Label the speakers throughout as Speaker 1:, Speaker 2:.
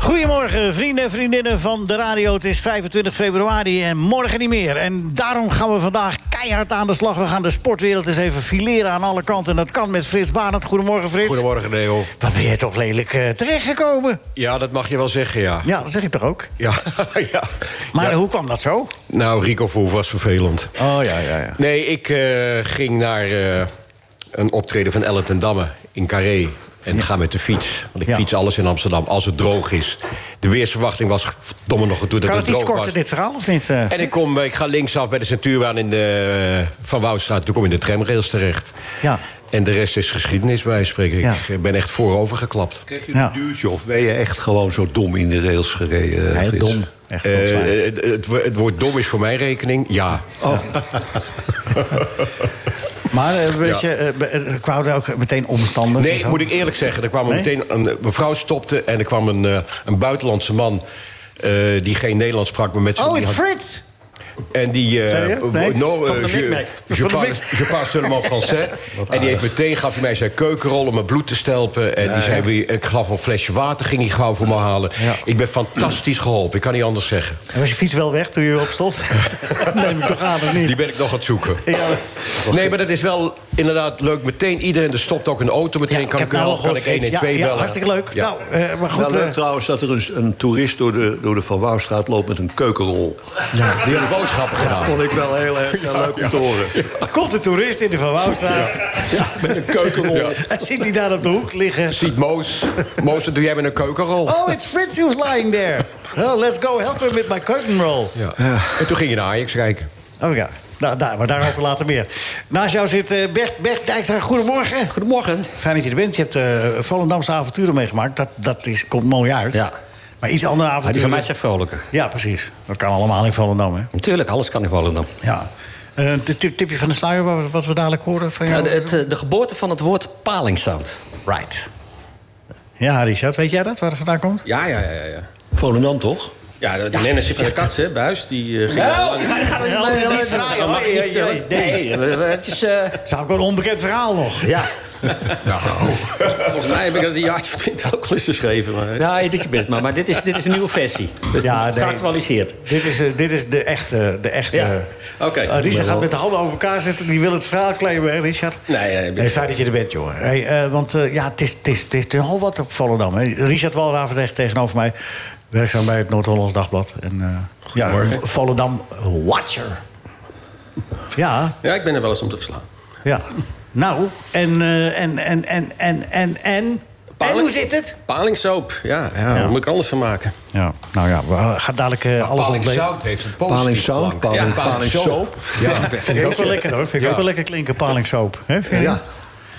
Speaker 1: Goedemorgen, vrienden en vriendinnen van de radio. Het is 25 februari en morgen niet meer. En daarom gaan we vandaag keihard aan de slag. We gaan de sportwereld eens even fileren aan alle kanten. En dat kan met Frits Barend. Goedemorgen, Frits.
Speaker 2: Goedemorgen, Leo.
Speaker 1: Wat ben je toch lelijk eh, terechtgekomen?
Speaker 2: Ja, dat mag je wel zeggen, ja.
Speaker 1: Ja, dat zeg ik toch ook?
Speaker 2: Ja, ja.
Speaker 1: Maar
Speaker 2: Ja.
Speaker 1: hoe kwam dat zo?
Speaker 2: Nou, Rico Verhoeven was vervelend.
Speaker 1: Oh ja, ja, ja.
Speaker 2: Nee, ik eh, ging naar eh, een optreden van Ellen ten Damme in Carré. En ga met de fiets. Want ik
Speaker 1: Ja.
Speaker 2: fiets alles in Amsterdam, als het droog is. De weersverwachting was domme nog goed dat
Speaker 1: Kan
Speaker 2: het
Speaker 1: het iets
Speaker 2: droog
Speaker 1: korter,
Speaker 2: was.
Speaker 1: dit verhaal, of niet? eh?
Speaker 2: En ik, kom, eh, ik ga linksaf bij de Centuurbaan in de, eh, van Woudstraat. Toen kom ik in de tramrails terecht.
Speaker 1: Ja.
Speaker 2: En de rest is geschiedenis bij wijze van spreken. Ik
Speaker 1: Ja.
Speaker 2: ben echt voorover geklapt.
Speaker 3: Kreeg je
Speaker 4: Nou.
Speaker 1: Ja.
Speaker 3: een duwtje of ben je echt gewoon zo dom in de rails gereden?
Speaker 1: Heel
Speaker 3: Frits?
Speaker 1: dom. Echt
Speaker 2: Eh,
Speaker 1: volgens mij.
Speaker 2: het, het wo- het woord dom is voor mijn rekening, ja.
Speaker 1: Maar eh, weet je, eh, be- eh, kwamen er ook meteen omstanders? en
Speaker 2: Nee,
Speaker 1: zo?
Speaker 2: moet ik eerlijk zeggen. Er kwam
Speaker 1: Nee?
Speaker 2: meteen een een mevrouw stopte en er kwam een, eh, een buitenlandse man. eh, die geen Nederlands sprak, maar met z'n-
Speaker 1: Oh,
Speaker 2: die
Speaker 1: het is
Speaker 2: had-
Speaker 1: Frits!
Speaker 2: En die. eh,
Speaker 1: Zei je?
Speaker 2: wo-
Speaker 1: Nee?
Speaker 2: no, eh,
Speaker 1: Van de
Speaker 2: je-
Speaker 1: Micmac.
Speaker 2: je
Speaker 1: Van de
Speaker 2: parle-
Speaker 1: Micmac.
Speaker 2: je parle seulement français. en die heeft meteen gaf hij mij zijn keukenrol om mijn bloed te stelpen. En die zei: "Wil je- Ik gaf een flesje water, ging hij gauw voor me halen.
Speaker 1: Ja.
Speaker 2: Ik ben fantastisch geholpen, ik kan niet anders zeggen.
Speaker 1: En was je fiets wel weg toen je erop stond? Neem ik toch aan, of niet?
Speaker 2: Die ben ik nog aan het zoeken.
Speaker 1: Ja.
Speaker 2: Nee, maar dat is wel inderdaad leuk. Meteen iedereen, er stopt ook een auto. Meteen kan ik, wel, kan
Speaker 1: nou gehoord,
Speaker 2: ik 1 en
Speaker 1: Frits.
Speaker 2: 2
Speaker 1: ja,
Speaker 2: bellen.
Speaker 1: Ja, hartstikke leuk.
Speaker 2: Ja.
Speaker 1: Nou, eh, maar goed.
Speaker 3: Wel leuk
Speaker 1: eh,
Speaker 3: trouwens dat er een, een toerist door de, door de Van Wouwstraat loopt met een keukenrol.
Speaker 2: Die hebben boodschappen
Speaker 3: Dat
Speaker 2: gedaan.
Speaker 3: vond ik wel heel erg heel leuk om te horen.
Speaker 1: komt de toerist in de Van Wouwstraat.
Speaker 3: Met een keukenrol.
Speaker 1: En ziet hij daar op de hoek liggen.
Speaker 2: Ziet Moos. Moos, dat doe jij met een keukenrol.
Speaker 1: Oh, it's Fritz who's lying there. Oh, let's go help him with my curtain roll.
Speaker 2: Ja. En toen ging je naar Ajax kijken.
Speaker 1: Oh ja, nou, daar, maar daarover later meer. Naast jou zit eh, Bert, Bert Dijkstra. Goedemorgen.
Speaker 5: Goedemorgen.
Speaker 1: Fijn dat je er bent. Je hebt eh Volendamse avonturen meegemaakt. Dat, dat is, komt mooi uit.
Speaker 5: Ja.
Speaker 1: Maar iets andere
Speaker 5: Maar die
Speaker 1: avonturen...
Speaker 5: van mij zijn vrolijker.
Speaker 1: Ja, precies. Dat kan allemaal in Volendam, hè?
Speaker 5: Natuurlijk, alles kan in Volendam.
Speaker 1: Ja. Eh, Het tip- tipje van de sluier, wat- wat we dadelijk horen van jou?
Speaker 5: Nou, de- het, eh, de geboorte van het woord palingsound.
Speaker 1: Right. Ja, Richard, weet jij dat, waar het vandaan komt?
Speaker 6: Ja, ja, ja, ja, ja.
Speaker 3: Volendam toch?
Speaker 6: Ja, de, de Nennis zit in de kast, hè, buis. Die eh, ging al
Speaker 5: Oh,
Speaker 6: langs.
Speaker 1: Ja, dat is draaien, hoor. Jee, jee, jee.
Speaker 5: Nee, we- we- eventjes... eh,
Speaker 1: Het is ook een onbekend verhaal nog.
Speaker 5: Ja,
Speaker 6: Volgens mij heb ik dat een jaartje of twintig ook al eens geschreven. Maar, eh, hè.
Speaker 5: nou, je doet je best maar. Maar dit is, dit is een nieuwe versie. Dus
Speaker 1: Ja,
Speaker 5: het is
Speaker 1: nee.
Speaker 5: geactualiseerd.
Speaker 1: Dit is, eh, dit is de echte. De echte
Speaker 5: Ja.
Speaker 6: Oké.
Speaker 1: Eh, Richard gaat met de handen over elkaar zitten. Die wil het verhaal claimen, hè, Richard?
Speaker 6: Nee, eh, nee,
Speaker 1: Hey, fijn dat je er bent, jongen. Hey, eh, want eh, ja, het is, het, is, het is nogal wat op Volendam. Hè. Richard Walravendrecht tegenover mij. Werkzaam bij het Noord-Hollands Dagblad. En, eh ja, Volendam Watcher. Ja,
Speaker 6: Ja, ik ben er wel eens om te verslaan.
Speaker 1: ja. Nou, en, eh, en, en, en, en, en, en... En
Speaker 6: Paling-
Speaker 1: hoe zit het?
Speaker 6: Palingsoop, ja. ja, Daar moet ik anders van maken.
Speaker 1: Ja, nou ja, we gaan dadelijk eh, alles
Speaker 2: Paling
Speaker 1: ontleven.
Speaker 2: zout heeft een
Speaker 3: Paling
Speaker 2: positief
Speaker 3: zout,
Speaker 2: belang.
Speaker 3: paling,
Speaker 6: Ja,
Speaker 3: paling soap.
Speaker 2: Ja,
Speaker 1: Vind ik ook wel lekker hoor. Vind ik ook wel lekker klinken, palingsoop. Hè, vind je?
Speaker 3: Ja,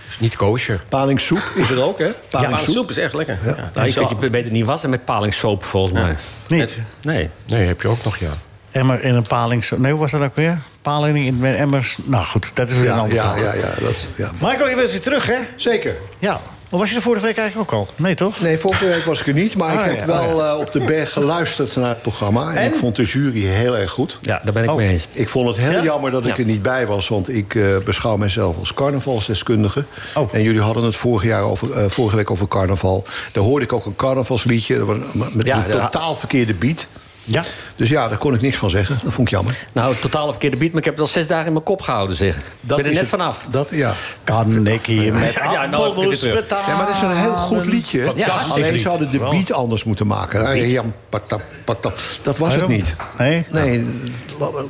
Speaker 2: is niet kosher.
Speaker 3: paling soep is er ook, hè? Paling soep.
Speaker 6: Palingsoep is echt lekker. Ja.
Speaker 5: Nou, je kunt je beter niet wassen met palingsoap, volgens mij.
Speaker 1: Niet.
Speaker 5: Nee.
Speaker 2: Nee, heb je ook nog, ja.
Speaker 1: Emmer in een palingsoop. Nee, hoe was dat ook weer? Paling in met emmers. Nou goed, dat is weer een
Speaker 3: Ja,
Speaker 1: ander
Speaker 3: ja,
Speaker 1: verhaal.
Speaker 3: ja, ja, dat, ja.
Speaker 1: Michael, je bent weer terug hè?
Speaker 3: Zeker.
Speaker 1: Ja. Maar was je er vorige week eigenlijk ook al? Nee toch?
Speaker 3: Nee, vorige week was ik er niet, maar
Speaker 1: Ah,
Speaker 3: ik heb
Speaker 1: ja,
Speaker 3: wel
Speaker 1: oh,
Speaker 3: eh, op de berg geluisterd naar het programma. En,
Speaker 1: En?
Speaker 3: ik vond de jury heel erg goed.
Speaker 5: Ja, daar ben
Speaker 1: Oh.
Speaker 5: ik mee eens.
Speaker 3: Ik vond het heel
Speaker 1: Ja?
Speaker 3: jammer dat ik
Speaker 5: Ja.
Speaker 3: er niet bij was, want ik eh, beschouw mezelf als carnavalsdeskundige.
Speaker 1: Oh.
Speaker 3: En jullie hadden het vorig jaar over, eh, vorige week over carnaval. Daar hoorde ik ook een carnavalsliedje dat was met
Speaker 5: Ja,
Speaker 3: een
Speaker 5: ja.
Speaker 3: totaal verkeerde beat.
Speaker 1: Ja.
Speaker 3: Dus ja, daar kon ik niks van zeggen. Dat vond ik jammer.
Speaker 5: Nou, totaal verkeerde beat, maar ik heb het al zes dagen in mijn kop gehouden, zeg. Ik ben er
Speaker 3: is
Speaker 5: net
Speaker 3: het-
Speaker 5: vanaf.
Speaker 3: Dat, ja.
Speaker 1: Kan ik hier met
Speaker 5: Ja, ja, nou heb ik het
Speaker 1: appelmoes
Speaker 5: weer terug.
Speaker 1: betalen?
Speaker 3: ja, maar dat is een heel goed liedje.
Speaker 5: Fantastisch
Speaker 3: Alleen
Speaker 5: lied.
Speaker 3: ze hadden de beat anders moeten maken.
Speaker 5: beat.
Speaker 3: Jam, patap, patap. Dat was het
Speaker 1: Waarom?
Speaker 3: niet.
Speaker 1: Nee?
Speaker 3: Nee,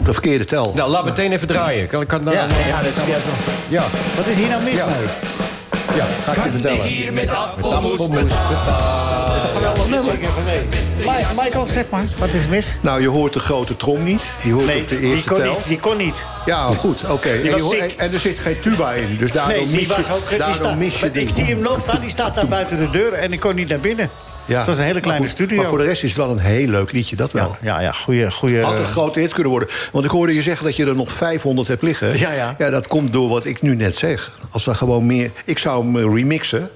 Speaker 3: de verkeerde tel.
Speaker 2: Nou, laat meteen even draaien. Kan, kan,
Speaker 5: Ja,
Speaker 2: ja.
Speaker 5: nee, ja, dat is
Speaker 2: ja.
Speaker 1: Wat is hier nou mis mee?
Speaker 3: ga ik je vertellen.
Speaker 1: Mi- Michael, zeg maar. Wat is mis?
Speaker 3: Nou, je hoort de grote trom niet. Je hoort
Speaker 1: Nee,
Speaker 3: ook de
Speaker 1: die
Speaker 3: eerste
Speaker 1: kon
Speaker 3: tel.
Speaker 1: niet. Die kon niet.
Speaker 3: Ja, goed, oké. En, je
Speaker 1: was
Speaker 3: hoort-
Speaker 1: ziek.
Speaker 3: en er zit geen tuba in, dus daarom
Speaker 1: Nee, die
Speaker 3: mis je,
Speaker 1: was ook goed. Die
Speaker 3: daarom
Speaker 1: staat-
Speaker 3: mis je
Speaker 1: maar ik
Speaker 3: de-
Speaker 1: zie hem nog staan. Die staat daar buiten de deur en ik kon niet naar binnen.
Speaker 3: Ja.
Speaker 1: Het was een hele
Speaker 3: Maar
Speaker 1: kleine
Speaker 3: goed,
Speaker 1: studio.
Speaker 3: Maar voor de rest is het wel een heel leuk liedje, dat wel.
Speaker 1: ja, eh, ja, ja, goede, goede.
Speaker 3: Had een grote hit kunnen worden. Want ik hoorde je zeggen dat je er nog 500 hebt liggen.
Speaker 1: Ja, ja.
Speaker 3: ja dat komt door wat ik nu net zeg. Als we gewoon meer... Ik zou hem eh, remixen.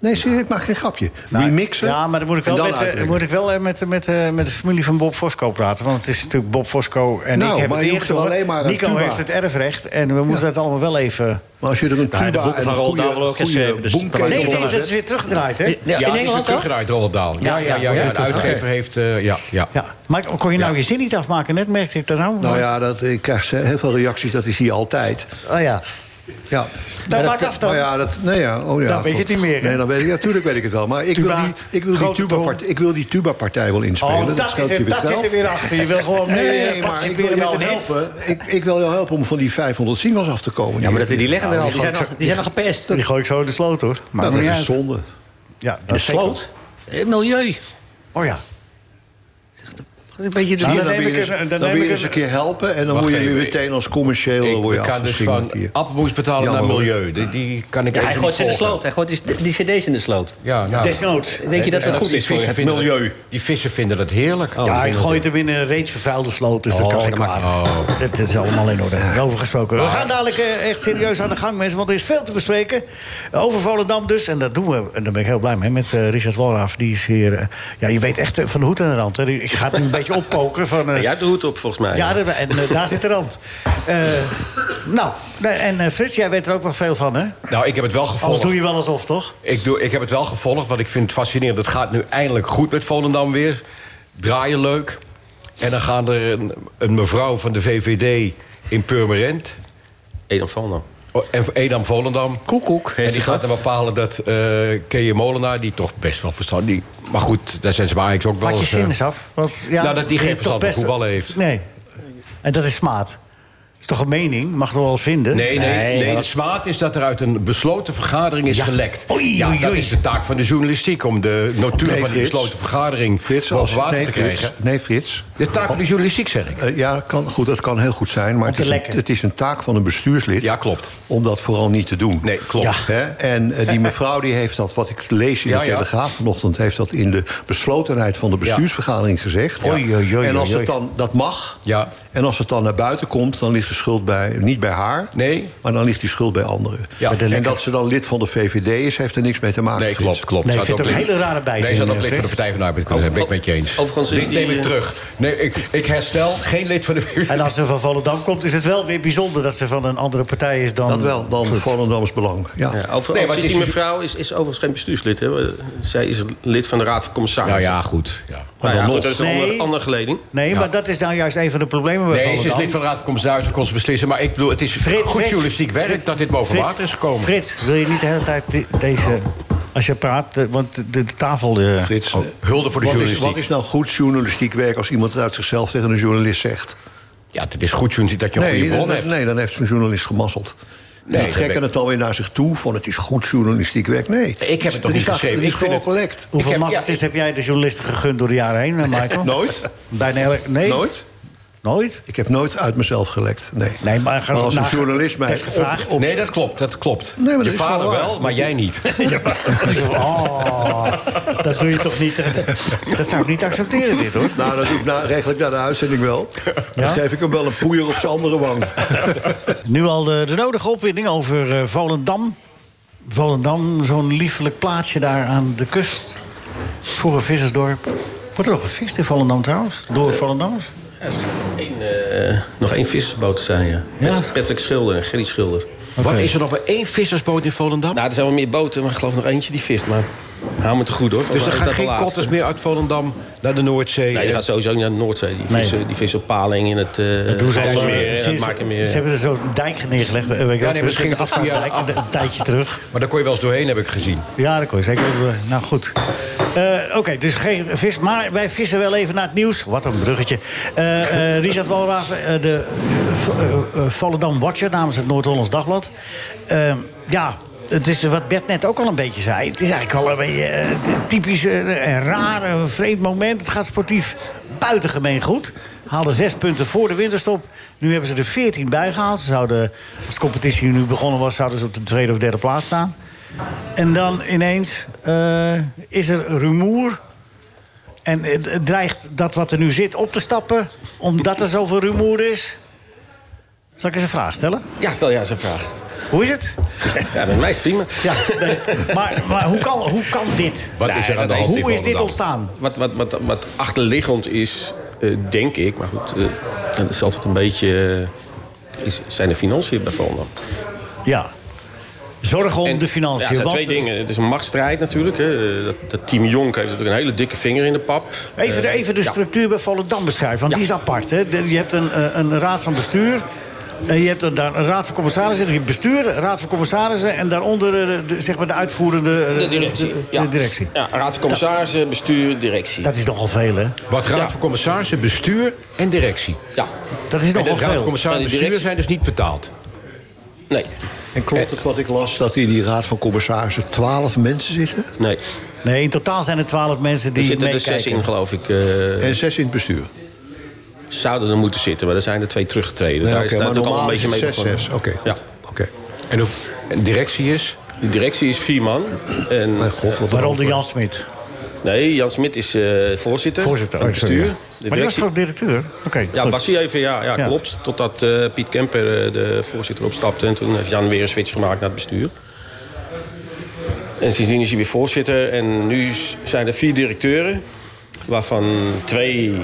Speaker 3: Nee, serieus, ik maak geen grapje. Remixen.
Speaker 1: Nou, Ja, maar dan moet ik
Speaker 3: en
Speaker 1: wel, met, eh,
Speaker 3: uitbrengen.
Speaker 1: moet ik wel eh, met, met, eh, met de familie van Bob Fosco praten. Want het is natuurlijk Bob Fosco en
Speaker 3: Nou,
Speaker 1: ik heb
Speaker 3: maar
Speaker 1: het
Speaker 3: je hoeft er
Speaker 1: ingezongen.
Speaker 3: alleen maar een
Speaker 1: Nico
Speaker 3: tuba.
Speaker 1: heeft het erfrecht en we moeten het allemaal wel even...
Speaker 3: Maar als je er een tuba
Speaker 7: Nou, de boeken
Speaker 3: en
Speaker 7: van
Speaker 3: een
Speaker 7: Roald
Speaker 3: goede,
Speaker 7: Dahl worden ook geschreven,
Speaker 3: goede
Speaker 7: dus
Speaker 3: boemketel
Speaker 1: Nee, nee,
Speaker 3: onder
Speaker 1: dat
Speaker 3: zet-
Speaker 1: is weer teruggedraaid, hè?
Speaker 5: Ja, in
Speaker 2: die is weer
Speaker 5: Engeland ook?
Speaker 2: teruggedraaid, Roald Dahl. Ja, ja, ja.
Speaker 1: ja, ja,
Speaker 2: de uitgever heeft... eh, ja, ja.
Speaker 1: Ja, maar kon je nou je zin niet afmaken? Net merkte ik dat nou.
Speaker 3: Nou ja, dat, ik krijg ze- heel veel reacties, dat is hier altijd.
Speaker 1: Oh ja.
Speaker 3: Ja.
Speaker 1: Dat maakt af dan.
Speaker 3: Nou ja, dat, nee, ja, oh ja,
Speaker 1: Dan weet je het niet meer, hè?
Speaker 3: Nee, dan weet ik, ja, tuurlijk weet ik het wel. Maar ik
Speaker 1: Tuba,
Speaker 3: wil die, ik wil die
Speaker 1: grote
Speaker 3: tuba
Speaker 1: trom.
Speaker 3: part, ik wil die tuba-partij wel inspelen.
Speaker 1: Oh, dat,
Speaker 3: scheelt
Speaker 1: is
Speaker 3: je
Speaker 1: het, dat
Speaker 3: wel.
Speaker 1: zit er weer achter. Je wil gewoon
Speaker 3: Nee,
Speaker 1: meer
Speaker 3: maar ik wil
Speaker 1: participeren met
Speaker 3: jou
Speaker 1: een hit.
Speaker 3: helpen. Ik, ik wil jou helpen om van die 500 singles af te komen.
Speaker 5: Ja, maar dat, die liggen
Speaker 3: Nou,
Speaker 5: er al.
Speaker 3: die
Speaker 5: Die zijn,
Speaker 3: gaan-
Speaker 5: al- die zijn al gepest.
Speaker 1: Die gooi ik zo in de sloot, hoor.
Speaker 3: Nou,
Speaker 1: Maakt me
Speaker 3: dat
Speaker 1: niet
Speaker 3: is
Speaker 1: uit.
Speaker 3: zonde.
Speaker 1: Ja, dat
Speaker 5: De
Speaker 1: is zeker.
Speaker 5: sloot? Eh, Milieu.
Speaker 1: Oh ja.
Speaker 5: Een beetje de...
Speaker 1: Nou,
Speaker 3: Hier,
Speaker 1: dan
Speaker 3: dan
Speaker 1: neem
Speaker 3: wil
Speaker 1: ik
Speaker 3: je eens-
Speaker 1: even- dan
Speaker 3: dan
Speaker 1: neem
Speaker 3: wil je
Speaker 1: ik
Speaker 3: eens een
Speaker 1: even-
Speaker 3: keer helpen... en dan
Speaker 2: Wacht
Speaker 3: word je
Speaker 2: even,
Speaker 3: weer
Speaker 2: ik-
Speaker 3: meteen als commercieel
Speaker 2: Ik
Speaker 3: word je
Speaker 2: kan dus van
Speaker 3: afgeschikt hier.
Speaker 2: appelmoes betalen
Speaker 3: Jammer,
Speaker 2: naar
Speaker 3: hoor.
Speaker 2: milieu. Die, die kan ik
Speaker 5: Ja, hij
Speaker 2: even
Speaker 5: gooit ze in de
Speaker 2: niet volgen.
Speaker 5: sloot. Hij gooit die, die cd's in de sloot.
Speaker 2: Ja,
Speaker 3: Ja.
Speaker 1: Desnoods.
Speaker 5: Denk je dat
Speaker 2: Ja,
Speaker 5: dat goed
Speaker 2: die
Speaker 5: is voor
Speaker 2: vissen
Speaker 5: het
Speaker 2: vinden dat-
Speaker 5: milieu? Oh,
Speaker 2: Die vissen vinden dat heerlijk.
Speaker 1: Ja, ik gooi het er binnen een reeds vervuilde sloot, dus dat kan geen kwaad. Het is allemaal in orde. Over gesproken. We gaan dadelijk eh, echt serieus aan de gang, mensen, want er is veel te bespreken. Over Volendam dus, en dat doen we. En daar ben ik heel blij mee, met eh, Richard Wolraaf. Die is hier... eh, ja, je weet echt eh, van de hoed aan de rand. Hè. Ik ga het nu een beetje oppoken van... eh,
Speaker 6: Jij hebt de hoed op, volgens mij.
Speaker 1: ja, dat- en eh, daar zit de rand. Eh, nou, nee, en eh, Frits, jij weet er ook wel veel van, hè?
Speaker 2: Nou, ik heb het wel
Speaker 5: Oh,
Speaker 1: Anders
Speaker 2: gevolgd.
Speaker 1: doe je wel alsof, toch?
Speaker 2: Ik, doe, ik heb het wel gevolgd, want ik vind het fascinerend. Het gaat nu eindelijk goed met Volendam weer. Draaien leuk. En dan gaan er een, een mevrouw van de VVD in Purmerend...
Speaker 6: Edam Valno.
Speaker 2: oh, En Edam Volendam.
Speaker 5: Koekoek.
Speaker 2: En die gaat dan bepalen dat eh Keje Molenaar, die toch best wel verstand... Die, maar goed, daar zijn ze bij Ajax ook wel
Speaker 1: Pak je
Speaker 2: eens... eh,
Speaker 1: zin eens af. Want, ja,
Speaker 2: Nou, dat die
Speaker 1: je
Speaker 2: geen
Speaker 1: hebt toch
Speaker 2: verstand van
Speaker 1: best-
Speaker 2: voetballen heeft.
Speaker 1: Nee. En dat is smaad. is toch een mening? Mag toch wel eens vinden?
Speaker 2: Nee, nee,
Speaker 5: Nee,
Speaker 2: nee,
Speaker 5: wat-
Speaker 2: de zwaard is dat er uit een besloten vergadering is gelekt.
Speaker 1: Oei,
Speaker 2: ja,
Speaker 1: oei,
Speaker 2: dat
Speaker 1: oei.
Speaker 2: is de taak van de journalistiek... om de notulen
Speaker 3: Nee,
Speaker 2: van die
Speaker 3: Frits.
Speaker 2: besloten vergadering
Speaker 3: Frits,
Speaker 2: boven
Speaker 3: als,
Speaker 2: water
Speaker 3: nee,
Speaker 2: te
Speaker 3: Frits,
Speaker 2: krijgen.
Speaker 3: nee, Frits.
Speaker 2: De taak van de journalistiek, zeg ik.
Speaker 3: Eh, ja, kan, goed, dat kan heel goed zijn. Maar
Speaker 1: Om
Speaker 3: het
Speaker 1: te
Speaker 3: is, een,
Speaker 1: lekken.
Speaker 3: het is een taak van een bestuurslid.
Speaker 2: Ja, klopt.
Speaker 3: Om dat vooral niet te doen.
Speaker 2: Nee, klopt.
Speaker 1: Ja.
Speaker 3: Hè? En eh, die mevrouw die heeft dat, wat ik lees in
Speaker 2: Ja,
Speaker 3: de
Speaker 2: ja.
Speaker 3: Telegraaf vanochtend... heeft dat in de beslotenheid van de bestuursvergadering gezegd.
Speaker 1: Oei, oei, oei,
Speaker 3: en als
Speaker 1: oei.
Speaker 3: het dan, dat mag.
Speaker 2: Ja.
Speaker 3: En als het dan naar buiten komt, dan ligt de schuld bij, niet bij haar.
Speaker 2: Nee.
Speaker 3: Maar dan ligt die schuld bij anderen.
Speaker 2: Ja. Bij de
Speaker 3: En
Speaker 2: lekker.
Speaker 3: dat ze dan lid van de VVD is, heeft er niks mee te maken.
Speaker 2: Nee,
Speaker 3: Frits.
Speaker 2: klopt, klopt.
Speaker 1: Nee, ik
Speaker 2: Zou
Speaker 1: vind het
Speaker 2: ook
Speaker 1: een
Speaker 2: lid-
Speaker 1: hele rare bijzin,
Speaker 2: Nee, zou ook
Speaker 1: eh,
Speaker 2: lid van de
Speaker 1: Frits.
Speaker 2: Partij van de Arbeid kunnen zijn. Ben ik met je eens.
Speaker 6: Overigens is
Speaker 2: Dit neem
Speaker 6: die-
Speaker 2: ik terug. Nee, ik, ik herstel. Geen lid van de
Speaker 1: En als ze van Volendam komt, is het wel weer bijzonder dat ze van een andere partij is dan.
Speaker 3: Dat wel, dan Volendams Belang. Ja.
Speaker 6: Ja, over,
Speaker 2: Nee, maar
Speaker 6: overigens
Speaker 2: het
Speaker 6: is
Speaker 2: is-
Speaker 6: die mevrouw is, is overigens geen bestuurslid. Hè? Zij is lid van de Raad van
Speaker 2: Nou
Speaker 6: Commissarissen.
Speaker 2: ja, goed. Ja.
Speaker 6: Nou ja,
Speaker 3: dan
Speaker 6: goed,
Speaker 3: nog.
Speaker 6: dat is een ander-
Speaker 1: Nee.
Speaker 6: andere geleding.
Speaker 1: Nee, maar dat is nou juist een van de problemen bij
Speaker 2: Nee, ze is
Speaker 1: Volendam.
Speaker 2: lid van de Raad van Commissarissen. kon ze beslissen. Maar ik bedoel, het is
Speaker 1: Frits,
Speaker 2: goed
Speaker 1: Frits.
Speaker 2: journalistiek werk... dat dit boven
Speaker 1: Frits,
Speaker 2: water is gekomen.
Speaker 1: Frits, wil je niet de hele tijd di- deze. Als je praat, eh, want de, de tafel. eh,
Speaker 3: Frits,
Speaker 2: Oh, hulde voor de
Speaker 3: wat is,
Speaker 2: journalistiek.
Speaker 3: wat is nou goed journalistiek werk als iemand het uit zichzelf tegen een journalist zegt?
Speaker 2: Ja, het is goed journalistiek dat je een goede
Speaker 3: dan,
Speaker 2: bron hebt.
Speaker 3: nee, dan heeft zo'n journalist gemasseld.
Speaker 2: Nee,
Speaker 3: Nee,
Speaker 2: dat
Speaker 3: die trekken
Speaker 2: ben-
Speaker 3: het alweer naar zich toe van het is goed journalistiek werk. Nee,
Speaker 2: Ik heb het toch
Speaker 3: Er is
Speaker 2: niet
Speaker 3: daar-
Speaker 2: geschreven.
Speaker 3: er is
Speaker 2: Ik vind
Speaker 3: gewoon
Speaker 2: het-
Speaker 3: gelekt.
Speaker 1: hoeveel
Speaker 2: heb- ja,
Speaker 1: masters
Speaker 2: ik-
Speaker 1: heb jij de journalisten gegund door de jaren heen, eh, Michael?
Speaker 3: Nooit?
Speaker 1: Bijna elk- nee.
Speaker 3: Nooit?
Speaker 1: Nooit?
Speaker 3: Ik heb nooit uit mezelf gelekt. Nee,
Speaker 1: Nee, maar ga-
Speaker 3: als een
Speaker 1: nou,
Speaker 3: journalist mij
Speaker 1: best gevraagd.
Speaker 3: op- op-
Speaker 2: Nee, dat klopt, dat klopt.
Speaker 3: Nee, maar dat
Speaker 2: je
Speaker 3: is wel
Speaker 2: vader
Speaker 3: waar.
Speaker 2: wel, maar jij niet.
Speaker 1: Oh, dat doe je toch niet? eh, Dat zou ik niet accepteren, dit hoor.
Speaker 3: Nou, dat doe ik na, regel ik na de uitzending wel. Dan geef ik hem wel een poeier op zijn andere wang.
Speaker 1: Nu al de, de nodige opwinding over eh, Volendam. Volendam, zo'n liefelijk plaatsje daar aan de kust. Vroeger vissersdorp. Wordt er nog gevist in Volendam trouwens? Door Volendammers?
Speaker 6: Ja, er schijnt nog één, eh, nog één vissersboot te zijn, ja.
Speaker 1: Ja.
Speaker 6: Met Patrick Schilder en Gerry Schilder.
Speaker 2: Wat is er nog maar één vissersboot in Volendam?
Speaker 6: Nou, er zijn wel meer boten, maar ik geloof nog eentje die vist. Maar hou me te goed, hoor.
Speaker 2: dus
Speaker 6: Volgens
Speaker 2: er
Speaker 6: mij is
Speaker 2: gaan
Speaker 6: dat de
Speaker 2: geen
Speaker 6: laatste.
Speaker 2: kotters meer uit Volendam naar de Noordzee.
Speaker 6: Nee, die
Speaker 2: Eh,
Speaker 6: gaat sowieso niet naar de Noordzee. Die
Speaker 1: Nee.
Speaker 6: vissen, die vissen op paling in het... eh dat
Speaker 1: Toen zijn ze-
Speaker 6: meer,
Speaker 1: ze-
Speaker 6: dat maakt hem
Speaker 1: ze- Ze
Speaker 6: meer.
Speaker 1: hebben er zo'n dijk neergelegd. eh, Weet ik wel,
Speaker 2: nee, maar ze gingen
Speaker 1: een afvaartdijk,
Speaker 2: via-
Speaker 1: een tijdje terug.
Speaker 2: Maar daar kon je wel eens doorheen, heb ik gezien.
Speaker 1: Ja, dat kon je zeker. wel, eh, Nou goed. Eh, Oké, dus geen vis. Maar wij vissen wel even naar het nieuws. Wat een bruggetje. Eh, eh, Richard Walraaf, eh, de eh, eh, eh, Volendam Watcher namens het Noord-Hollands Dagblad. Eh, ja, het is wat Bert net ook al een beetje zei. Het is eigenlijk wel een beetje eh, t- typisch eh, een raar, een vreemd moment. Het gaat sportief buitengemeen goed. Haalden zes punten voor de winterstop. Nu hebben ze er veertien bijgehaald. Ze zouden, als de competitie nu begonnen was, zouden ze op de tweede of derde plaats staan. En dan ineens eh, is er rumoer. En het het dreigt dat wat er nu zit op te stappen, omdat er zoveel rumoer is. Zal ik eens een vraag stellen?
Speaker 6: Ja, stel jij eens een vraag.
Speaker 1: Hoe is het?
Speaker 6: Ja, met mij is prima.
Speaker 1: Ja, nee. maar, maar hoe, kan, hoe kan dit?
Speaker 2: Wat is er aan de
Speaker 6: dat
Speaker 2: hand? in
Speaker 1: Hoe is dit
Speaker 2: Volendam?
Speaker 1: ontstaan?
Speaker 6: Wat, wat, wat, wat achterliggend is, eh, denk ik, maar goed, eh, dat is altijd een beetje. eh, is, zijn de financiën bij Volendam?
Speaker 1: Ja. Zorg om
Speaker 6: En-
Speaker 1: de financiën.
Speaker 6: Ja, het zijn
Speaker 1: want,
Speaker 6: twee dingen. Het is een machtsstrijd natuurlijk. Hè. Dat, dat team Jonk heeft natuurlijk een hele dikke vinger in de pap.
Speaker 1: Even de, even de
Speaker 6: Eh, ja.
Speaker 1: structuur bij Volendam beschrijven, want die is apart. Hè? De- Je hebt een, eh, een raad van bestuur. En je hebt een, daar een raad van commissarissen, je hebt bestuur, raad van commissarissen... en daaronder eh, de, de- zeg maar de uitvoerende eh,
Speaker 6: De directie.
Speaker 1: de-
Speaker 6: ja.
Speaker 1: de directie.
Speaker 6: Ja, raad van commissarissen, bestuur, directie.
Speaker 1: Dat is nogal veel, hè?
Speaker 2: Wat raad
Speaker 6: Ja.
Speaker 2: van commissarissen, bestuur en directie.
Speaker 6: Ja,
Speaker 1: Dat is
Speaker 2: En de
Speaker 1: nogal
Speaker 2: raad van
Speaker 1: veel.
Speaker 2: commissarissen
Speaker 6: Ja, Nou, die
Speaker 2: en bestuur
Speaker 6: directie-
Speaker 2: zijn dus niet betaald.
Speaker 6: nee.
Speaker 3: En klopt het wat ik las, dat in die raad van commissarissen twaalf mensen zitten?
Speaker 6: Nee.
Speaker 1: Nee, in totaal zijn er twaalf mensen
Speaker 6: Er
Speaker 1: die
Speaker 6: zitten er
Speaker 1: meekijken.
Speaker 6: zes in, geloof ik. eh,
Speaker 3: En zes in het bestuur?
Speaker 6: zouden er moeten zitten, maar er zijn er twee teruggetreden.
Speaker 3: Nee,
Speaker 6: Daar
Speaker 3: oké,
Speaker 6: is
Speaker 3: maar
Speaker 6: natuurlijk al een
Speaker 3: normaal is
Speaker 6: beetje
Speaker 3: het
Speaker 6: mee
Speaker 3: zes,
Speaker 6: begonnen.
Speaker 3: zes. Oké, goed.
Speaker 6: Ja.
Speaker 3: Oké.
Speaker 2: En de en directie is...
Speaker 6: De directie is vier man. En,
Speaker 3: Mijn god, wat een
Speaker 1: Waaronder
Speaker 3: antwoord.
Speaker 1: Jan Smit.
Speaker 6: nee, Jan Smit is eh, voorzitter,
Speaker 1: Voorzitter,
Speaker 6: van het
Speaker 1: oh, sorry,
Speaker 6: bestuur.
Speaker 1: ja.
Speaker 6: De
Speaker 1: Maar die was
Speaker 6: directie,
Speaker 1: toch ook directeur? Oké,
Speaker 6: ja,
Speaker 1: goed.
Speaker 6: was hij even, ja, ja,
Speaker 1: Ja.
Speaker 6: klopt. Totdat eh, Piet Kemper, eh, de voorzitter, opstapte. En toen heeft Jan weer een switch gemaakt naar het bestuur. En sindsdien is hij weer voorzitter. En nu s- zijn er vier directeuren. Waarvan twee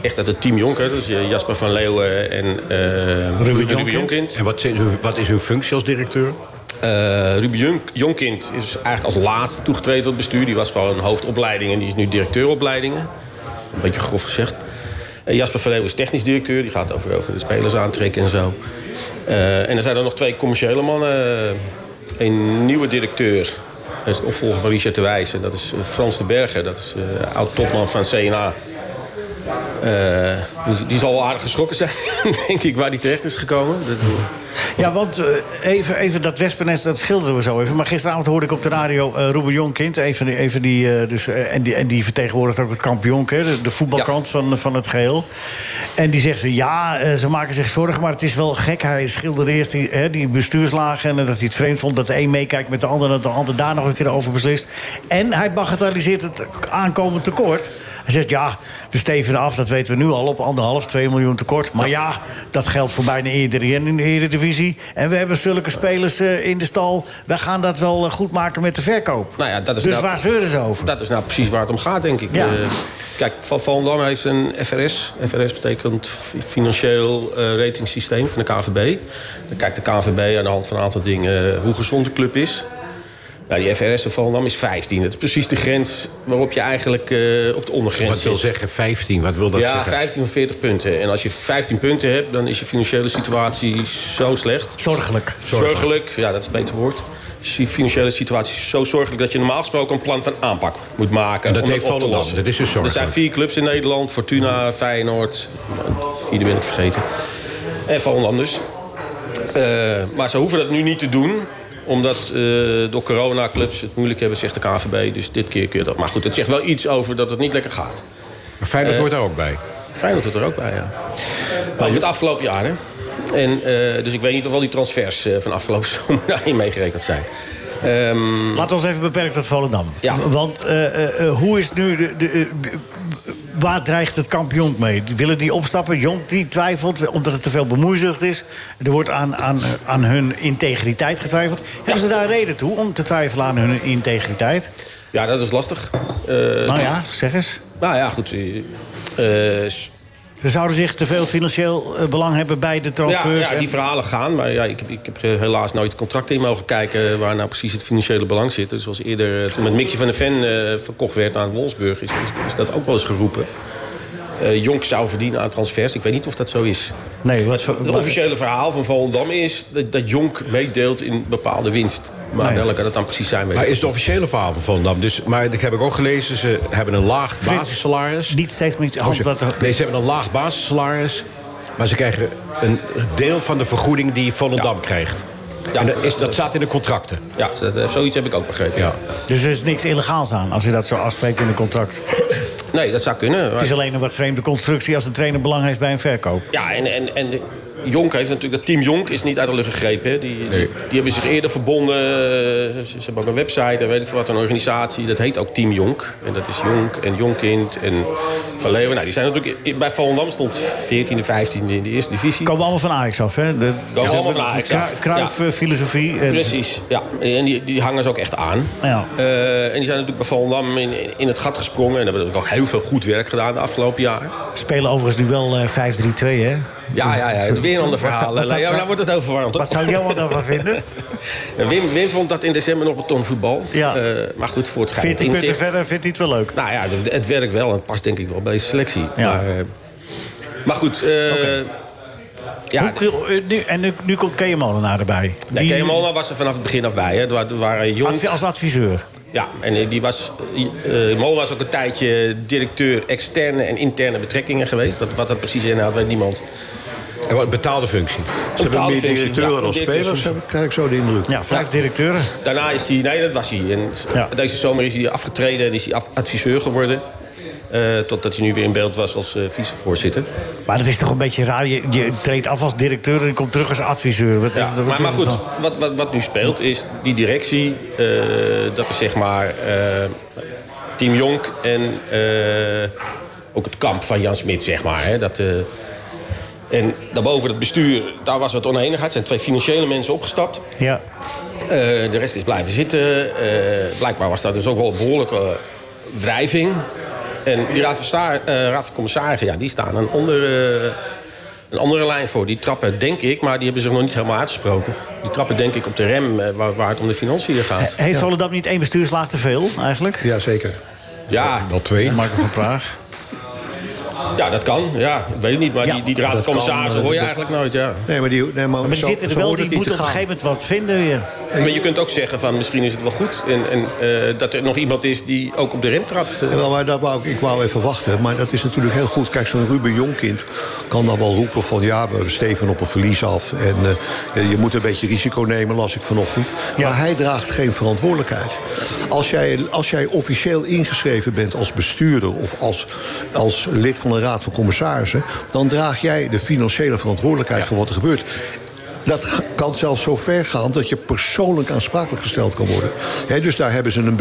Speaker 6: echt uit het team Jonker. Dus eh, Jasper van Leeuwen en eh Ruben
Speaker 1: Jonkind.
Speaker 6: Jonkind.
Speaker 2: En wat, zijn hun- wat is uw functie als directeur?
Speaker 6: Eh, Ruben Jonk- Jonkind is eigenlijk als laatste toegetreden tot het bestuur. Die was gewoon hoofdopleiding en die is nu directeuropleidingen. Een beetje grof gezegd. Eh, Jasper Verleeuw is technisch directeur. Die gaat over, over de spelers aantrekken en zo. Eh, en er zijn er nog twee commerciële mannen. Eh, Een nieuwe directeur. Dat is de opvolger van Richard de Wijs. En dat is eh, Frans de Berger. Dat is eh oud-topman van CNA. Eh, die- die zal wel aardig geschrokken zijn, denk ik, waar die terecht is gekomen. Dat,
Speaker 1: Ja, want eh, even, even dat wespennest, dat schilderen we zo even. Maar gisteravond hoorde ik op de radio eh Ruben Jonkind. Even, die- even die, eh, dus, eh, en, die, en die vertegenwoordigt ook het kampioen, hè, de, de voetbalkrant van, van het geheel. En die zegt, ja, eh, ze maken zich zorgen, maar het is wel gek. Hij schilderde eerst die, hè, die bestuurslagen en dat hij het vreemd vond... dat de een meekijkt met de ander en dat de ander daar nog een keer over beslist. En hij bagatelliseert het aankomend tekort. Hij zegt, ja, we stevenen af, dat weten we nu al, op anderhalf, twee miljoen tekort. Maar ja, dat geldt voor bijna iedereen in de Eredivisie. En we hebben zulke spelers eh, in de stal. Wij gaan dat wel eh, goed maken met de verkoop.
Speaker 6: Nou ja, dat is
Speaker 1: dus
Speaker 6: nou-
Speaker 1: waar zeuren ze over?
Speaker 6: Dat is nou precies waar het om gaat, denk ik.
Speaker 1: Ja.
Speaker 6: Eh, kijk, Van Volendam heeft een FRS. FRS betekent fi- financieel eh ratingsysteem van de KVB. Dan kijkt de KVB aan de hand van een aantal dingen eh, hoe gezond de club is. Nou, die FRS van Volendam is 15. Dat is precies de grens waarop je eigenlijk eh, op de ondergrens
Speaker 2: Wat wil
Speaker 6: zit.
Speaker 2: zeggen 15? Wat wil dat
Speaker 6: Ja,
Speaker 2: zeggen?
Speaker 6: 15 of 40 punten. En als je 15 punten hebt, dan is je financiële situatie zo slecht.
Speaker 1: Zorgelijk.
Speaker 6: Zorgelijk. ja, dat is het beter woord. Is Je financiële situatie is zo zorgelijk dat je normaal gesproken een plan van aanpak moet maken.
Speaker 2: En dat
Speaker 6: om
Speaker 2: heeft
Speaker 6: op te
Speaker 2: Volendam,
Speaker 6: lossen.
Speaker 2: dat is dus zorgelijk.
Speaker 6: Er zijn vier clubs in Nederland: Fortuna, Feyenoord. Vierde ben ik vergeten. En Volendam dus. Eh, maar ze hoeven dat nu niet te doen omdat eh, door corona clubs het moeilijk hebben, zegt de KVB. Dus dit keer kun je dat. Maar goed, het zegt wel iets over dat het niet lekker gaat.
Speaker 2: Maar Feyenoord
Speaker 1: eh,
Speaker 2: hoort daar ook bij.
Speaker 6: Feyenoord hoort er ook bij, ja. Over het afgelopen jaar, hè. En, eh, dus ik weet niet of al die transfers eh, van afgelopen zomer daarin meegerekend zijn. Ehm,
Speaker 1: Laten we ons even beperken tot Volendam.
Speaker 6: Ja.
Speaker 1: Want eh, eh, eh, hoe is nu de... de eh, b- b- Waar dreigt het kampioen mee? Willen die opstappen? Jong die twijfelt omdat het te veel bemoeizucht is. Er wordt aan, aan, eh, aan hun integriteit getwijfeld. Hebben ze daar reden toe om te twijfelen aan hun integriteit?
Speaker 6: ja, dat is lastig. Eh,
Speaker 1: nou ja, zeg eens.
Speaker 6: nou ja, goed. eh, eh, s-
Speaker 1: Ze zouden zich te veel financieel eh, belang hebben bij de
Speaker 6: ja,
Speaker 1: transfers.
Speaker 6: ja, die verhalen gaan. Maar ja, ik, heb- ik heb eh, helaas nooit contracten in mogen kijken... waar nou precies het financiële belang zit. Dus zoals eerder eh, toen met Mickey van der Ven eh, verkocht werd aan Wolfsburg... Is, is, is dat ook wel eens geroepen. Eh Jonk zou verdienen aan transfers. Ik weet niet of dat zo is.
Speaker 1: Nee, wat voor-
Speaker 6: Het officiële verhaal van Volendam is dat, dat Jonk meedeelt in bepaalde winst. Maar
Speaker 1: Nee.
Speaker 6: welke dat dan precies zijn, weet ik
Speaker 2: Maar is het officiële verhaal van Volendam. Dus, maar dat heb ik ook gelezen. Ze hebben een laag basissalaris.
Speaker 1: niet steeds meer
Speaker 2: Oh, ze-
Speaker 1: hand dat er-
Speaker 2: Nee, ze hebben een laag basissalaris. Maar ze krijgen een deel van de vergoeding die Volendam krijgt.
Speaker 6: Ja. eh,
Speaker 2: en dat, is, dat staat in de contracten.
Speaker 6: Ja, dat, eh, zoiets heb ik ook begrepen.
Speaker 2: Ja.
Speaker 1: Dus er is niks illegaals aan als je dat zo afspreekt in een contract.
Speaker 6: Nee, dat zou kunnen. maar-
Speaker 1: Het is alleen een wat vreemde constructie als een trainer belang heeft bij een verkoop.
Speaker 6: Ja, en, en, en Jonk heeft natuurlijk... Dat team Jonk is niet uit de lucht gegrepen. Hè. Die, die, die hebben zich eerder verbonden. eh, Ze, ze hebben ook een website en weet ik veel wat. Een organisatie. Dat heet ook Team Jonk. En dat is Jonk en Jonkind en Van Leeuwen. Nou, die zijn natuurlijk... i- Bij Volendam stond 14e, 15e in de eerste divisie.
Speaker 1: Komen allemaal van Ajax af, hè? De, eh,
Speaker 6: Komen allemaal van Ajax af, ja.
Speaker 1: filosofie. En,
Speaker 6: Precies, ja. En die, die hangen ze ook echt aan.
Speaker 1: Ja.
Speaker 6: Eh, en die zijn natuurlijk bij Volendam in, in het gat gesprongen. En hebben natuurlijk ook heel veel goed werk gedaan de afgelopen jaren.
Speaker 1: Spelen overigens nu wel eh, 5-3-2, hè?
Speaker 6: Ja, ja, ja. Het is weer een ander
Speaker 1: Wat
Speaker 6: verhaal.
Speaker 1: zou- wat zou-
Speaker 6: Leo, nou wordt het heel verwarrend,
Speaker 1: Wat
Speaker 6: hoor.
Speaker 1: zou Johan daarvan vinden?
Speaker 6: Wim, Wim vond dat in december nog betonvoetbal.
Speaker 1: Ja.
Speaker 6: Eh, maar goed, voor het geheim
Speaker 1: 14 punten
Speaker 6: inzicht.
Speaker 1: verder vindt hij het wel leuk.
Speaker 6: Nou ja, het, het werkt wel en past denk ik wel bij deze selectie.
Speaker 1: Ja.
Speaker 6: Maar, eh, maar goed, eh, ja,
Speaker 1: Hoe kun- eh, nu, en nu, nu komt Kea Molenaar erbij.
Speaker 6: ja,
Speaker 1: Die-
Speaker 6: Keemalna was er vanaf het begin af bij. Hè. Er wa- er waren jong,
Speaker 1: adv- als adviseur.
Speaker 6: Ja, en eh, die was, eh, eh, Mol was ook een tijdje directeur externe en interne betrekkingen geweest. Dat, wat dat precies inhoudt, weet niemand.
Speaker 2: En wat betaalde functie.
Speaker 3: Ze hebben
Speaker 6: Betaalde
Speaker 3: meer
Speaker 6: functie,
Speaker 3: directeuren
Speaker 6: ja,
Speaker 3: dan
Speaker 6: directeurs-
Speaker 3: spelers, heb ik, krijg ik zo de indruk.
Speaker 1: Ja, vijf directeuren.
Speaker 6: Daarna is hij, nee, dat was hij. En s-
Speaker 1: Ja.
Speaker 6: Deze zomer is hij afgetreden en is hij af- adviseur geworden. Eh, totdat hij nu weer in beeld was als eh, vicevoorzitter.
Speaker 1: Maar dat is toch een beetje raar. Je, je treedt af als directeur en je komt terug als adviseur. Wat is
Speaker 6: Ja,
Speaker 1: het- wat
Speaker 6: maar,
Speaker 1: is
Speaker 6: maar
Speaker 1: het
Speaker 6: goed,
Speaker 1: dan?
Speaker 6: wat, wat, wat nu speelt is die directie. eh, dat is zeg maar eh, Team Jonk en eh, ook het kamp van Jan Smit, zeg maar. Hè, dat, eh, en daarboven het bestuur, daar was wat oneenigheid. Er zijn twee financiële mensen opgestapt.
Speaker 1: Ja.
Speaker 6: Eh, de rest is blijven zitten. Eh, blijkbaar was daar dus ook wel een behoorlijke wrijving. En die raad van, sta- eh, raad van commissarissen, ja, die staan een andere, eh, een andere lijn voor. Die trappen, denk ik, maar die hebben zich nog niet helemaal uitgesproken. Die trappen, denk ik, op de rem eh, waar, waar het om de financiën gaat.
Speaker 1: Heeft Volendam niet één bestuurslaag te veel, eigenlijk?
Speaker 3: Eh, Ja, zeker.
Speaker 6: Ja,
Speaker 2: Wel twee.
Speaker 1: Marco van Praag.
Speaker 6: ja dat kan. Ja, ik weet het niet. Maar
Speaker 1: Ja,
Speaker 6: die, die raad van
Speaker 3: dat kan, eh,
Speaker 6: commissarissen hoor je
Speaker 3: dat-
Speaker 6: eigenlijk nooit, ja.
Speaker 3: Nee, maar die, nee, maar
Speaker 1: Maar die
Speaker 3: zo-
Speaker 1: zitten er
Speaker 3: zo
Speaker 1: wel,
Speaker 3: hoort
Speaker 1: die
Speaker 3: het niet
Speaker 1: moeten op
Speaker 3: te
Speaker 1: een gegeven
Speaker 3: gaan.
Speaker 1: moment wat vinden weer.
Speaker 6: Maar je kunt ook zeggen van misschien is het wel goed. En, en eh, dat er nog iemand is die ook op de rem trapt. eh.
Speaker 3: Jawel, maar dat wou ik, ik wou even wachten. Maar dat is natuurlijk heel goed. Kijk, zo'n Ruben Jongkind kan dan wel roepen van... ja, we steven op een verlies af. En eh, je moet een beetje risico nemen, las ik vanochtend.
Speaker 1: Ja.
Speaker 3: Maar hij draagt geen verantwoordelijkheid. Als jij, als jij officieel ingeschreven bent als bestuurder... of als, als lid van een raad van commissarissen... dan draag jij de financiële verantwoordelijkheid voor wat er gebeurt. Dat g- kan zelfs zo ver gaan dat je persoonlijk aansprakelijk gesteld kan worden. Hè, dus daar hebben ze een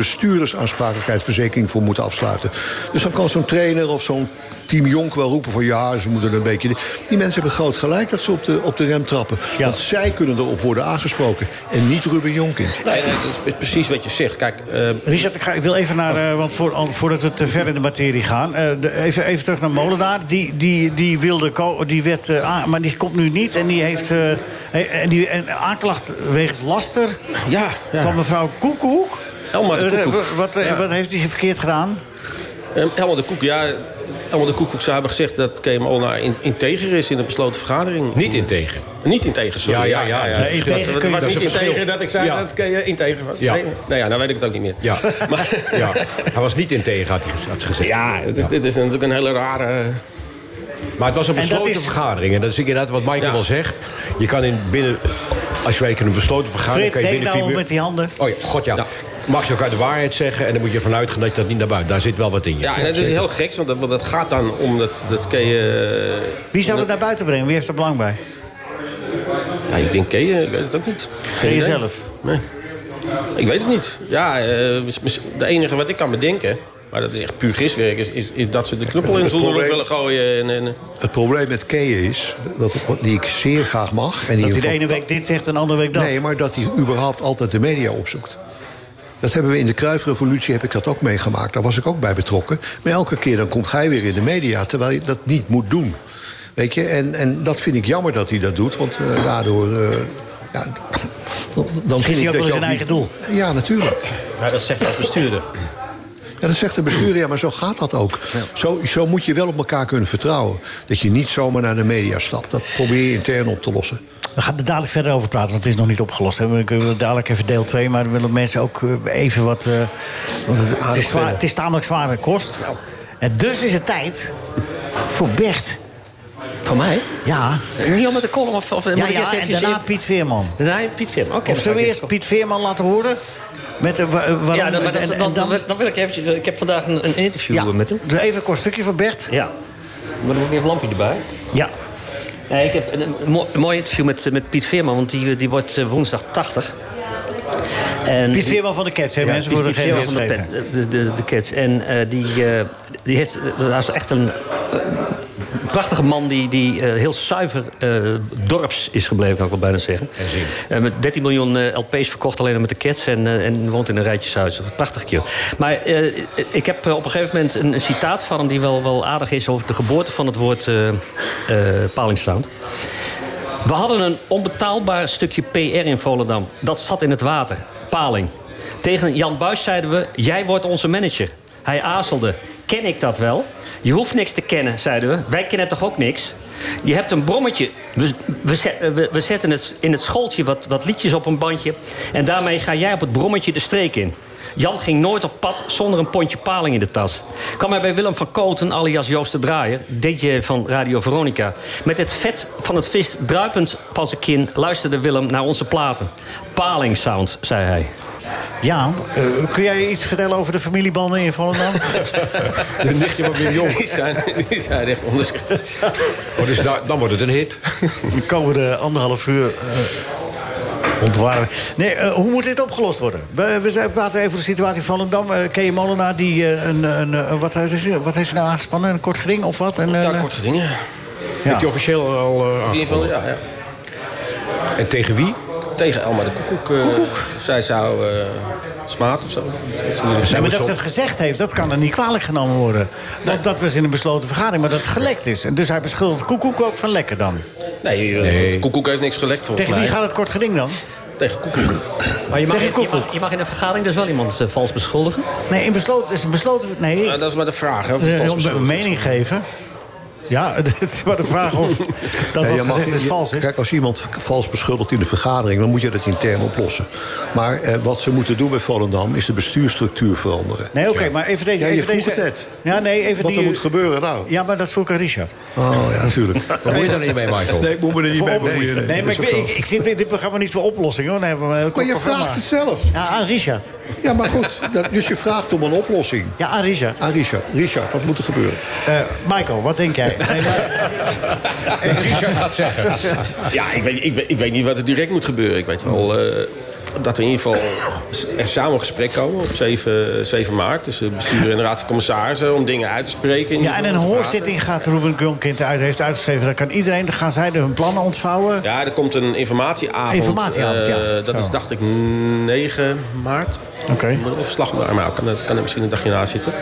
Speaker 3: bestuurdersaansprakelijkheidsverzekering voor moeten afsluiten. Dus dan kan zo'n trainer of zo'n team Jonk wel roepen van ja, ze moeten een beetje. Die mensen hebben groot gelijk dat ze op de, op de rem trappen.
Speaker 1: Ja.
Speaker 3: Want zij kunnen erop worden aangesproken en niet Ruben Jonkind.
Speaker 6: Nee, nee, eh, dat is precies wat je zegt. Kijk, eh,
Speaker 1: Richard, ik, ga, ik wil even naar, eh, want voor, al- voordat we te ver in de materie gaan, eh, de- even, even terug naar Molenaar. Die, die, die wilde, ko- die werd, eh, aan- maar die komt nu niet en die heeft eh, he- en die, een aanklacht wegens laster
Speaker 6: ja, ja.
Speaker 1: van mevrouw Koekoek.
Speaker 6: Elma de
Speaker 1: Eh,
Speaker 6: Koekoek.
Speaker 1: wa- Wat, eh, wat heeft hij verkeerd gedaan?
Speaker 6: Ehm, Helemaal de Koek, ja. Helemaal de Koek, zou hebben gezegd dat KMO naar nou in, integer is in de besloten vergadering.
Speaker 2: Niet integer.
Speaker 6: Niet integer, sorry.
Speaker 2: Ja, ja, ja, ja.
Speaker 1: Nee, integer
Speaker 6: Het was-
Speaker 1: kun je-
Speaker 6: Het
Speaker 1: dat
Speaker 6: was
Speaker 1: is
Speaker 6: niet
Speaker 2: een verschil.
Speaker 6: integer dat ik zei
Speaker 2: Ja.
Speaker 6: dat ik integer was.
Speaker 2: Ja.
Speaker 6: Nee? Nou ja, nou weet ik het ook niet meer.
Speaker 2: Ja.
Speaker 6: Maar,
Speaker 2: ja. Hij was niet integer, had hij gez- had ze gezegd.
Speaker 6: ja, het is, dit is natuurlijk een hele rare...
Speaker 2: Maar het was een
Speaker 1: dat
Speaker 2: besloten
Speaker 1: is-
Speaker 2: vergadering. En dat is inderdaad wat Michael
Speaker 6: Ja.
Speaker 2: wel zegt. Je kan in binnen... Als je werkt in een besloten vergadering...
Speaker 1: Frits,
Speaker 2: kan je
Speaker 1: denk
Speaker 2: binnen
Speaker 1: nou
Speaker 2: vier uur-
Speaker 1: met die handen.
Speaker 2: Oh ja, god ja.
Speaker 6: Ja.
Speaker 2: Mag je elkaar de waarheid zeggen en dan moet je ervan uitgaan dat je dat niet naar buiten... Daar zit wel wat in je.
Speaker 6: Ja, en dat is
Speaker 2: zeker.
Speaker 6: heel geks, want dat, want dat gaat dan om dat, dat eh, Keje...
Speaker 1: Wie zou het naar buiten brengen? Wie heeft er belang bij?
Speaker 6: Ja, ik denk Keje, ik weet het ook niet. Geen idee.
Speaker 1: Jezelf.
Speaker 6: Nee. Ik weet het niet. Ja, eh, mis- mis- de enige wat ik kan bedenken, maar dat is echt puur giswerk, is, is, is dat ze de knuppel in het
Speaker 3: Het
Speaker 6: roer
Speaker 3: probleem-
Speaker 6: willen gooien. En, eh, en,
Speaker 3: Het probleem met Kee is, dat, die ik zeer graag mag... En die
Speaker 1: Dat hij de
Speaker 3: van-
Speaker 1: ene week dit zegt en de andere week dat.
Speaker 3: Nee, maar dat hij überhaupt altijd de media opzoekt. Dat hebben we in de Kruifrevolutie heb ik dat ook meegemaakt. Daar was ik ook bij betrokken. Maar elke keer dan komt hij weer in de media, terwijl je dat niet moet doen. Weet je, en, en dat vind ik jammer dat hij dat doet, want eh, daardoor... eh, ja, dan, dan
Speaker 1: Schiet
Speaker 3: vind
Speaker 1: hij ook wel
Speaker 3: ik dat
Speaker 1: eens
Speaker 3: je
Speaker 1: een eigen
Speaker 3: niet-
Speaker 1: doel?
Speaker 3: Ja, natuurlijk.
Speaker 7: Maar dat zegt de bestuurder.
Speaker 3: Ja, dat zegt de bestuurder, ja, maar zo gaat dat ook. Zo, zo moet je wel op elkaar kunnen vertrouwen. Dat je niet zomaar naar de media stapt. Dat probeer je intern op te lossen.
Speaker 1: We gaan er dadelijk verder over praten, want het is nog niet opgelost. Hè. We kunnen dadelijk even deel 2, maar dan willen mensen ook eh, even wat... eh, want het, het is zwaar, het is tamelijk zware kost. En dus is het tijd voor Bert.
Speaker 7: Van mij?
Speaker 1: Ja,
Speaker 7: Jan met de column of, of
Speaker 1: ja,
Speaker 7: moet ik
Speaker 1: ja
Speaker 7: eerst
Speaker 1: en
Speaker 7: eventjes
Speaker 1: daarna
Speaker 7: in-
Speaker 1: Piet Veerman.
Speaker 7: daarna Piet Veerman. Oké.
Speaker 1: Of
Speaker 7: dan
Speaker 1: zullen
Speaker 7: ga
Speaker 1: we
Speaker 7: ik
Speaker 1: eerst Piet Veerman laten horen? Met, eh, wa- eh, waarom-
Speaker 7: Ja, dan, maar dat-
Speaker 1: en- en
Speaker 7: dan, dan, wil- dan wil ik eventjes... Ik heb vandaag een, een interview
Speaker 1: ja,
Speaker 7: eh, met hem.
Speaker 1: Even een kort stukje van Bert.
Speaker 7: Ja. Maar dan moet ik even een lampje erbij.
Speaker 1: Ja.
Speaker 5: Nee, ik heb een, een mo- een mooi interview met, eh, met Piet Veerman, want die, die wordt eh, woensdag 80. En
Speaker 1: Piet Veerman van de Cats, hè,
Speaker 5: Ja,
Speaker 1: mensen
Speaker 5: Piet-
Speaker 1: voor de
Speaker 5: Piet Veerman van de,
Speaker 1: gegeven.
Speaker 5: pet, de, de, de kids. En eh, die, eh, die heeft, dat is echt een eh, prachtige man die, die eh, heel zuiver eh, dorps is gebleven, kan ik wel bijna zeggen. Eh, met 13 miljoen eh, LP's verkocht alleen al met de Cats en, eh, en woont in een rijtjeshuis. Prachtig keer. Maar eh, ik heb eh, op een gegeven moment een, een citaat van hem die wel, wel aardig is over de geboorte van het woord eh eh, palingstaand. We hadden een onbetaalbaar stukje PR in Volendam. Dat zat in het water. Paling. Tegen Jan Buis zeiden we: Jij wordt onze manager. Hij aarzelde: Ken ik dat wel? Je hoeft niks te kennen, zeiden we. Wij kennen toch ook niks? Je hebt een brommetje. We, we, zet- eh, we- we zetten het in het schooltje wat, wat liedjes op een bandje. En daarmee ga jij op het brommetje de streek in. Jan ging nooit op pad zonder een pondje paling in de tas. Kwam hij bij Willem van Kooten, alias Joost de Draaier, DJ van Radio Veronica. Met het vet van het vis druipend van zijn kin luisterde Willem naar onze platen. Paling sound, zei hij.
Speaker 1: Ja, eh, kun jij iets vertellen over de familiebanden in Volendam?
Speaker 6: De nichtje van Wim Jong. Die zijn, die zijn echt onderzichtig.
Speaker 2: Oh, dus daar- dan wordt het een hit.
Speaker 1: de komende anderhalf uur eh ontwaren. Nee, eh, hoe moet dit opgelost worden? We, we zijn- praten even over de situatie van Volendam. Eh Ken je Molenaar die eh, een... een, eh, wat, heeft hij- wat heeft hij nou aangespannen? Een kort geding of wat? Een,
Speaker 6: Ja,
Speaker 1: eh,
Speaker 6: kort gedingen.
Speaker 2: Heeft hij officieel al... eh,
Speaker 6: In ieder geval, ja, ja.
Speaker 2: aan- en tegen wie?
Speaker 6: Tegen Elma de Koekoek. eh, Zij zou eh smaad of zo.
Speaker 1: Nee, maar dat ze het gezegd heeft, dat kan er niet kwalijk genomen worden. Want dat was in een besloten vergadering, maar dat het gelekt is. En dus hij beschuldigt Koekoek ook van lekker dan.
Speaker 6: Nee, eh, want Koekoek heeft niks gelekt volgens
Speaker 1: Tegen wie
Speaker 6: mij.
Speaker 1: gaat het kort geding dan?
Speaker 6: Tegen Koekoek.
Speaker 5: Maar je mag,
Speaker 1: Zeg
Speaker 5: je,
Speaker 1: ik ook
Speaker 5: mag, je mag in een vergadering dus wel iemand eh, vals beschuldigen.
Speaker 1: Nee, in besloten... Is een besloten nee,
Speaker 6: Nou, dat is maar de vraag. Hè, of het
Speaker 1: eh,
Speaker 6: vals
Speaker 1: om een
Speaker 6: beschuldigd is.
Speaker 1: mening geven. Ja, het is maar de vraag of dat
Speaker 3: Ja,
Speaker 1: wat
Speaker 3: je mag-
Speaker 1: gezegd is
Speaker 3: je-
Speaker 1: vals is.
Speaker 3: Kijk, als iemand v- vals beschuldigt in de vergadering, dan moet je dat intern oplossen. Maar eh, wat ze moeten doen bij Volendam is de bestuursstructuur veranderen.
Speaker 1: Nee, oké, maar even deze...
Speaker 3: Ja, je
Speaker 1: even
Speaker 3: vroeg
Speaker 1: deze-
Speaker 3: het net.
Speaker 1: Ja, nee, even
Speaker 3: Wat
Speaker 1: die...
Speaker 3: er moet gebeuren nou?
Speaker 1: Ja, maar dat vroeg aan Richard.
Speaker 3: Oh ja, natuurlijk.
Speaker 2: Daar moet je dan niet mee, Michael.
Speaker 3: Nee, ik moet me er niet mee
Speaker 1: Voor op-
Speaker 3: bemoeien.
Speaker 1: Nee, maar ik, weet- ik, ik zit in dit programma niet voor oplossingen. hoor. Nee, maar
Speaker 3: Maar je vraagt het zelf.
Speaker 1: Ja, aan Richard.
Speaker 3: Ja, maar goed. dat- dus je vraagt om een oplossing.
Speaker 1: Ja, aan Richard.
Speaker 3: Aan Richard. Richard, wat moet er gebeuren?
Speaker 1: Eh,
Speaker 3: Ah.
Speaker 1: Michael, wat denk jij? Nee, maar-
Speaker 2: En Richard gaat zeggen.
Speaker 6: Ja, ik weet, ik, weet, ik weet niet wat er direct moet gebeuren. Ik weet wel eh, dat er in ieder geval er samen een gesprek komen op 7, 7 maart. Dus de bestuurder en de raad van commissarissen om dingen uit te spreken. in
Speaker 1: Ja, en
Speaker 6: ieder
Speaker 1: een
Speaker 6: geval, te
Speaker 1: hoorzitting gaat Ruben Jonkind uit, heeft uitgeschreven. Dan kan iedereen, dan gaan zij hun plannen ontvouwen.
Speaker 6: praten. Ja, er komt een informatieavond.
Speaker 1: Informatieavond, ja.
Speaker 6: Eh, dat
Speaker 1: Zo.
Speaker 6: is, dacht ik, 9 maart.
Speaker 1: Oké.
Speaker 6: Ik moet er Of slag maar, maar kan, er- kan er misschien een dagje na zitten.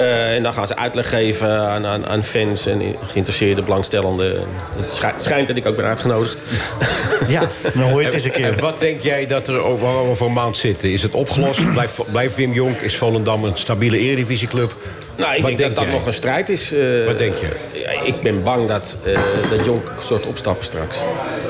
Speaker 6: Eh, en dan gaan ze uitleg geven aan, aan, aan fans en geïnteresseerden, belangstellenden. Het schijnt, schijnt dat ik ook ben uitgenodigd.
Speaker 1: Ja, dan hoor je het eens een
Speaker 2: En
Speaker 1: keer.
Speaker 2: wat denk jij dat er over waar we voor een maand zitten? Is het opgelost? Blijft blijft Wim Jonk? Is Volendam een stabiele eredivisieclub?
Speaker 6: Nou, ik
Speaker 2: Wat
Speaker 6: denk dat dat
Speaker 2: jij?
Speaker 6: nog een strijd is. eh,
Speaker 2: Wat denk je?
Speaker 6: Ja, Ik ben bang dat, eh, dat Jonk soort opstappen straks.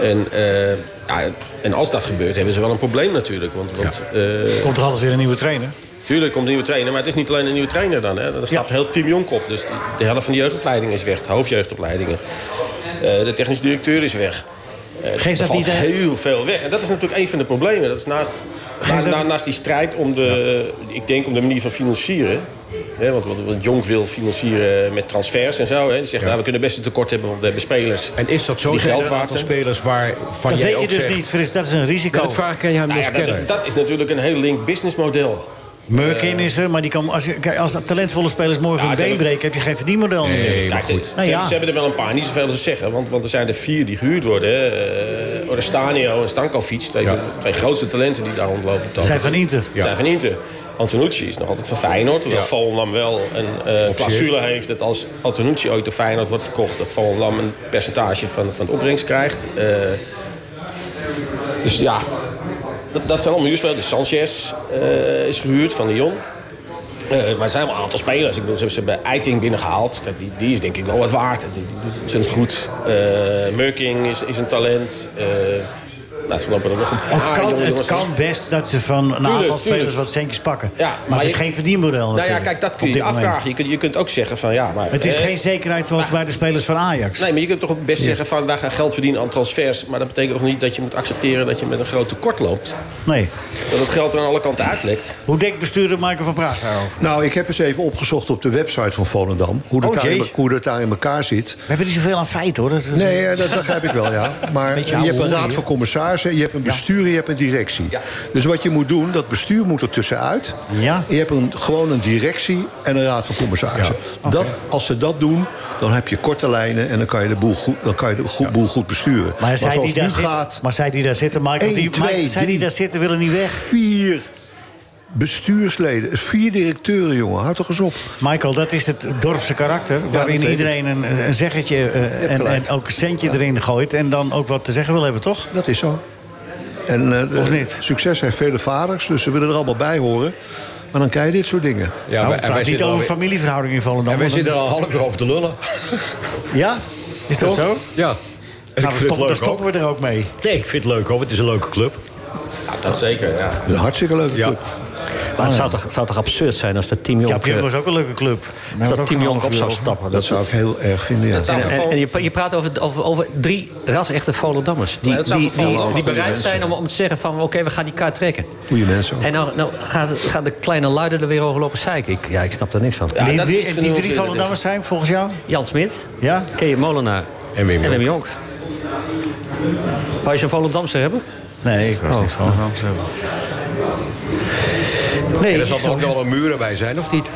Speaker 6: En, eh, ja, en als dat gebeurt, hebben ze wel een probleem natuurlijk. Want, want eh,
Speaker 1: Komt er altijd weer een nieuwe trainer?
Speaker 6: tuurlijk komt een nieuwe trainer, maar het is niet alleen een nieuwe trainer dan. Hè. Dan stapt heel Team Jonk op. Dus die- de helft van de jeugdopleiding is weg, de hoofdjeugdopleidingen. Eh, de technisch directeur is weg. Eh, dus
Speaker 1: Geeft
Speaker 6: er
Speaker 1: dat
Speaker 6: valt
Speaker 1: niet, eh,
Speaker 6: heel veel weg. En dat is natuurlijk een van de problemen. Dat is naast, naast,
Speaker 1: dat-
Speaker 6: naast die strijd om de, ik denk om de manier van financieren. Hè, want, want, want Jonk wil financieren met transfers en zo. Hè. Die zegt, nou, we kunnen best een tekort hebben, want we hebben spelers.
Speaker 2: En is dat zo?
Speaker 6: Die
Speaker 2: Zijn er
Speaker 6: geld
Speaker 2: een
Speaker 6: waard
Speaker 2: aantal
Speaker 6: zijn?
Speaker 2: spelers waar van
Speaker 1: Dat
Speaker 2: jij
Speaker 1: weet je
Speaker 2: ook
Speaker 1: dus
Speaker 2: zegt-
Speaker 1: niet, Oh. Frits. Dat is een
Speaker 2: Ja,
Speaker 1: risico.
Speaker 2: dat vraag kan je hem
Speaker 6: Nou
Speaker 2: dus
Speaker 6: ja, dat, is,
Speaker 2: kennen.
Speaker 6: dat is natuurlijk een heel link businessmodel.
Speaker 1: Merkin is er, maar die kan, als, je, kijk, als talentvolle spelers morgen
Speaker 6: Ja,
Speaker 1: een
Speaker 6: ze
Speaker 1: been
Speaker 6: hebben-
Speaker 1: breken... heb je geen verdienmodel natuurlijk.
Speaker 6: Kijk, ze, ze-
Speaker 1: Nou ja.
Speaker 6: ze hebben er wel een paar, niet zoveel te zeggen. Want, want er zijn er vier die gehuurd worden. hè. Eh Orestanio en Stankovic, twee, twee grootste talenten die daar rondlopen. op dat
Speaker 1: Zijn van Inter.
Speaker 6: zijn van Inter. Antonucci is nog altijd van Feyenoord. Hoewel
Speaker 2: Ja.
Speaker 6: Volendam wel een eh clausule heeft dat als Antonucci ooit door Feyenoord wordt verkocht... dat Volendam een percentage van, van de opbrengst krijgt. Eh, dus ja, dat, dat zijn allemaal huurspelers. Dus Sanchez eh, is gehuurd van Lyon. Eh, maar er zijn wel een aantal spelers. Ik bedoel, ze ze hebben Eiting binnengehaald. Kijk, die, die is denk ik wel wat waard. Die, die, die zijn het goed. Eh Murking is, is een talent. Eh, Nou, ze lopen er nog een
Speaker 1: Het
Speaker 6: paar
Speaker 1: kan,
Speaker 6: jonge
Speaker 1: het
Speaker 6: jongens
Speaker 1: kan
Speaker 6: in.
Speaker 1: best dat ze van een aantal
Speaker 6: tuurlijk.
Speaker 1: spelers wat centjes pakken.
Speaker 6: Ja,
Speaker 1: maar,
Speaker 6: maar
Speaker 1: het is
Speaker 6: je-
Speaker 1: geen verdienmodel.
Speaker 6: Nou ja,
Speaker 1: natuurlijk,
Speaker 6: kijk, dat kun
Speaker 1: op
Speaker 6: je je
Speaker 1: dit moment.
Speaker 6: afvragen. Je kunt, je kunt ook zeggen van ja, maar...
Speaker 1: Het is
Speaker 6: eh,
Speaker 1: geen zekerheid zoals bij de spelers van Ajax.
Speaker 6: Nee, maar je kunt toch ook best zeggen van wij gaan geld verdienen aan transfers. Maar dat betekent ook niet dat je moet accepteren dat je met een groot tekort loopt.
Speaker 1: Nee.
Speaker 6: Dat het geld aan alle kanten uitlekt.
Speaker 1: Hoe denkt bestuurder Michael van Praag daarover?
Speaker 3: Nou, ik heb eens even opgezocht op de website van Volendam... hoe dat,
Speaker 1: Oh,
Speaker 3: daar, in,
Speaker 1: jee.
Speaker 3: hoe dat daar in elkaar zit.
Speaker 1: We hebben niet zoveel aan feiten, hoor. Dat is-
Speaker 3: Nee, eh, dat begrijp ik wel, ja. Maar
Speaker 1: Beetje
Speaker 3: je hebt een
Speaker 1: oude
Speaker 3: raad
Speaker 1: hoer,
Speaker 3: van commissarissen, je hebt een bestuur en je hebt een directie. Dus wat je moet doen, dat bestuur moet er tussenuit.
Speaker 1: Ja.
Speaker 3: Je hebt een, gewoon een directie en een raad van commissarissen. dat, als ze dat doen, dan heb je korte lijnen en dan kan je de boel goed, dan kan je de goed, boel goed besturen.
Speaker 1: Maar zij,
Speaker 3: zoals
Speaker 1: die daar
Speaker 3: nu
Speaker 1: zitten,
Speaker 3: gaat,
Speaker 1: maar zij die daar zitten, Michael,
Speaker 3: Eén,
Speaker 1: die,
Speaker 3: twee,
Speaker 1: Michael, zij die
Speaker 3: drie.
Speaker 1: daar zitten willen niet weg.
Speaker 3: vier bestuursleden, vier directeuren, jongen, houd toch eens op.
Speaker 1: Michael, dat is het dorpse karakter.
Speaker 3: dat
Speaker 1: Waarin
Speaker 3: weet
Speaker 1: iedereen een, een zeggetje eh, en,
Speaker 3: gelijk.
Speaker 1: en ook een centje erin gooit. En dan ook wat te zeggen wil hebben, toch?
Speaker 3: Dat is zo. En eh,
Speaker 1: Of niet?
Speaker 3: succes heeft vele vaders, dus ze willen er allemaal bij horen. Maar dan krijg je dit soort dingen.
Speaker 2: Ja,
Speaker 1: nou,
Speaker 2: wij-
Speaker 1: we praten niet
Speaker 2: zitten
Speaker 1: over
Speaker 2: alweer-
Speaker 1: familieverhoudingen in Volendam.
Speaker 2: en wij
Speaker 1: want
Speaker 2: zitten er al half uur over te lullen.
Speaker 1: dan- Ja? Is dat zo?
Speaker 2: Ja. En
Speaker 1: Nou, we
Speaker 2: ik vind het
Speaker 1: stoppen, dan
Speaker 2: leuk
Speaker 1: stoppen
Speaker 2: ook.
Speaker 1: we er ook mee.
Speaker 5: Nee, ik vind het leuk hoor. Het is een leuke club.
Speaker 6: Ja, dat zeker, ja.
Speaker 3: Een hartstikke leuke
Speaker 2: Ja.
Speaker 3: club.
Speaker 5: Maar het zou toch, het zou toch absurd zijn als dat Team
Speaker 1: Oh Ja,
Speaker 5: Jong, eh,
Speaker 1: Pjunk was ook een leuke club.
Speaker 5: als
Speaker 1: Maar
Speaker 5: dat team
Speaker 1: ook
Speaker 5: Jong
Speaker 1: een
Speaker 5: op zou
Speaker 1: half uur
Speaker 5: stappen.
Speaker 3: Dat
Speaker 5: Dat
Speaker 3: zou ik heel erg vinden, ja.
Speaker 6: zou-
Speaker 5: en, en je, je praat over, over, over drie rasechte Volendammers. Die,
Speaker 6: Maar het zou
Speaker 5: die, die,
Speaker 6: vervallen
Speaker 5: die
Speaker 6: allemaal goede
Speaker 5: bereid
Speaker 6: mensen.
Speaker 5: zijn om, om te zeggen van... oké, we gaan die kaart trekken.
Speaker 3: Goeie mensen ook.
Speaker 5: En nou, nou gaan, gaan de kleine luiden er weer over lopen zeiken. Ik, ja, ik snap daar niks van.
Speaker 6: Ja,
Speaker 1: Die,
Speaker 6: dat
Speaker 1: die-
Speaker 6: is
Speaker 1: die
Speaker 6: genuanceerder,
Speaker 1: drie Volendammers zijn volgens jou?
Speaker 5: Jan Smit,
Speaker 1: Ja?
Speaker 5: Kees Molenaar
Speaker 2: En Wim Jonk.
Speaker 5: Jonk. Wou je een Volendamse hebben?
Speaker 1: Nee, ik was niet van.
Speaker 5: Nee,
Speaker 2: En er zal toch ook nog wel een muren bij zijn, of niet?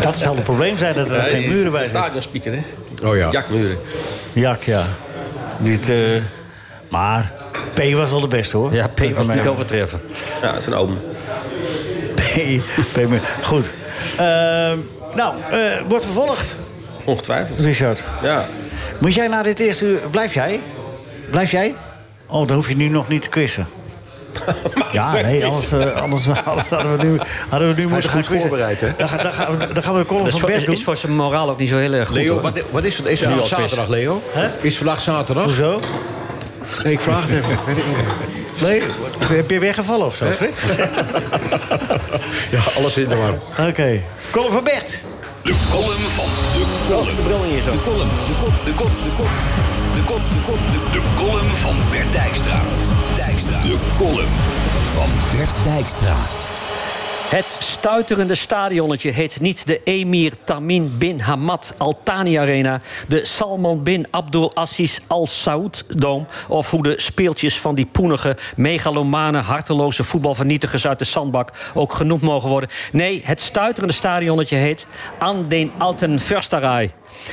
Speaker 1: Dat zal het probleem zijn, dat er
Speaker 6: Ja,
Speaker 1: geen
Speaker 6: die-
Speaker 1: muren bij
Speaker 6: de
Speaker 1: zijn.
Speaker 6: Stadionspeaker, hè?
Speaker 2: Oh ja.
Speaker 6: Jack Muren.
Speaker 1: Jak, ja. Niet, eh, maar P was wel de beste, hoor.
Speaker 5: Ja, P was niet te overtreffen.
Speaker 6: Ja, dat is een oom.
Speaker 1: Nee, nee, maar Goed. Ehm, nou, eh, wordt vervolgd,
Speaker 6: Ongetwijfeld.
Speaker 1: Richard.
Speaker 6: Ja.
Speaker 1: Moet jij na dit eerste uur... Blijf jij? Blijf jij? Oh, dan hoef je nu nog niet te quizzen. Ja,
Speaker 6: straks
Speaker 1: nee,
Speaker 6: quizzen.
Speaker 1: anders, eh, anders, anders hadden we nu, hadden we nu moeten
Speaker 3: is
Speaker 1: gaan
Speaker 3: goed
Speaker 1: quizzen.
Speaker 3: voorbereid, hè?
Speaker 1: Dan, ga- dan, gaan we- dan gaan we de column
Speaker 5: Dat
Speaker 1: van
Speaker 5: is, voor,
Speaker 1: Bert
Speaker 5: is,
Speaker 1: doen.
Speaker 5: is voor zijn moraal ook niet zo heel erg goed.
Speaker 2: Leo,
Speaker 5: hoor.
Speaker 2: wat, wat is het? Is vandaag zaterdag, Leo?
Speaker 1: Hè?
Speaker 2: Is vandaag zaterdag?
Speaker 1: Hoezo?
Speaker 2: Nee, ik vraag het even. Weet ik niet.
Speaker 1: Nee, heb je weer gevallen of zo, Frits? Oké,
Speaker 2: Ja, alles in de war.
Speaker 1: column van Bert.
Speaker 4: De column van de column. De column, de kop, de kop, de kop. De kop, de kop, de De column van Bert Dijkstra. Dijkstra. De column van Bert Dijkstra.
Speaker 5: Het stuiterende stadionnetje heet niet de Emir Tamim bin Hamad Al Thani Arena, de Salman bin Abdul Aziz Al Saud Dome of hoe de speeltjes van die poenige, megalomane, harteloze voetbalvernietigers uit de zandbak ook genoemd mogen worden. Nee, het stuiterende stadionnetje heet An den Alten Försterei.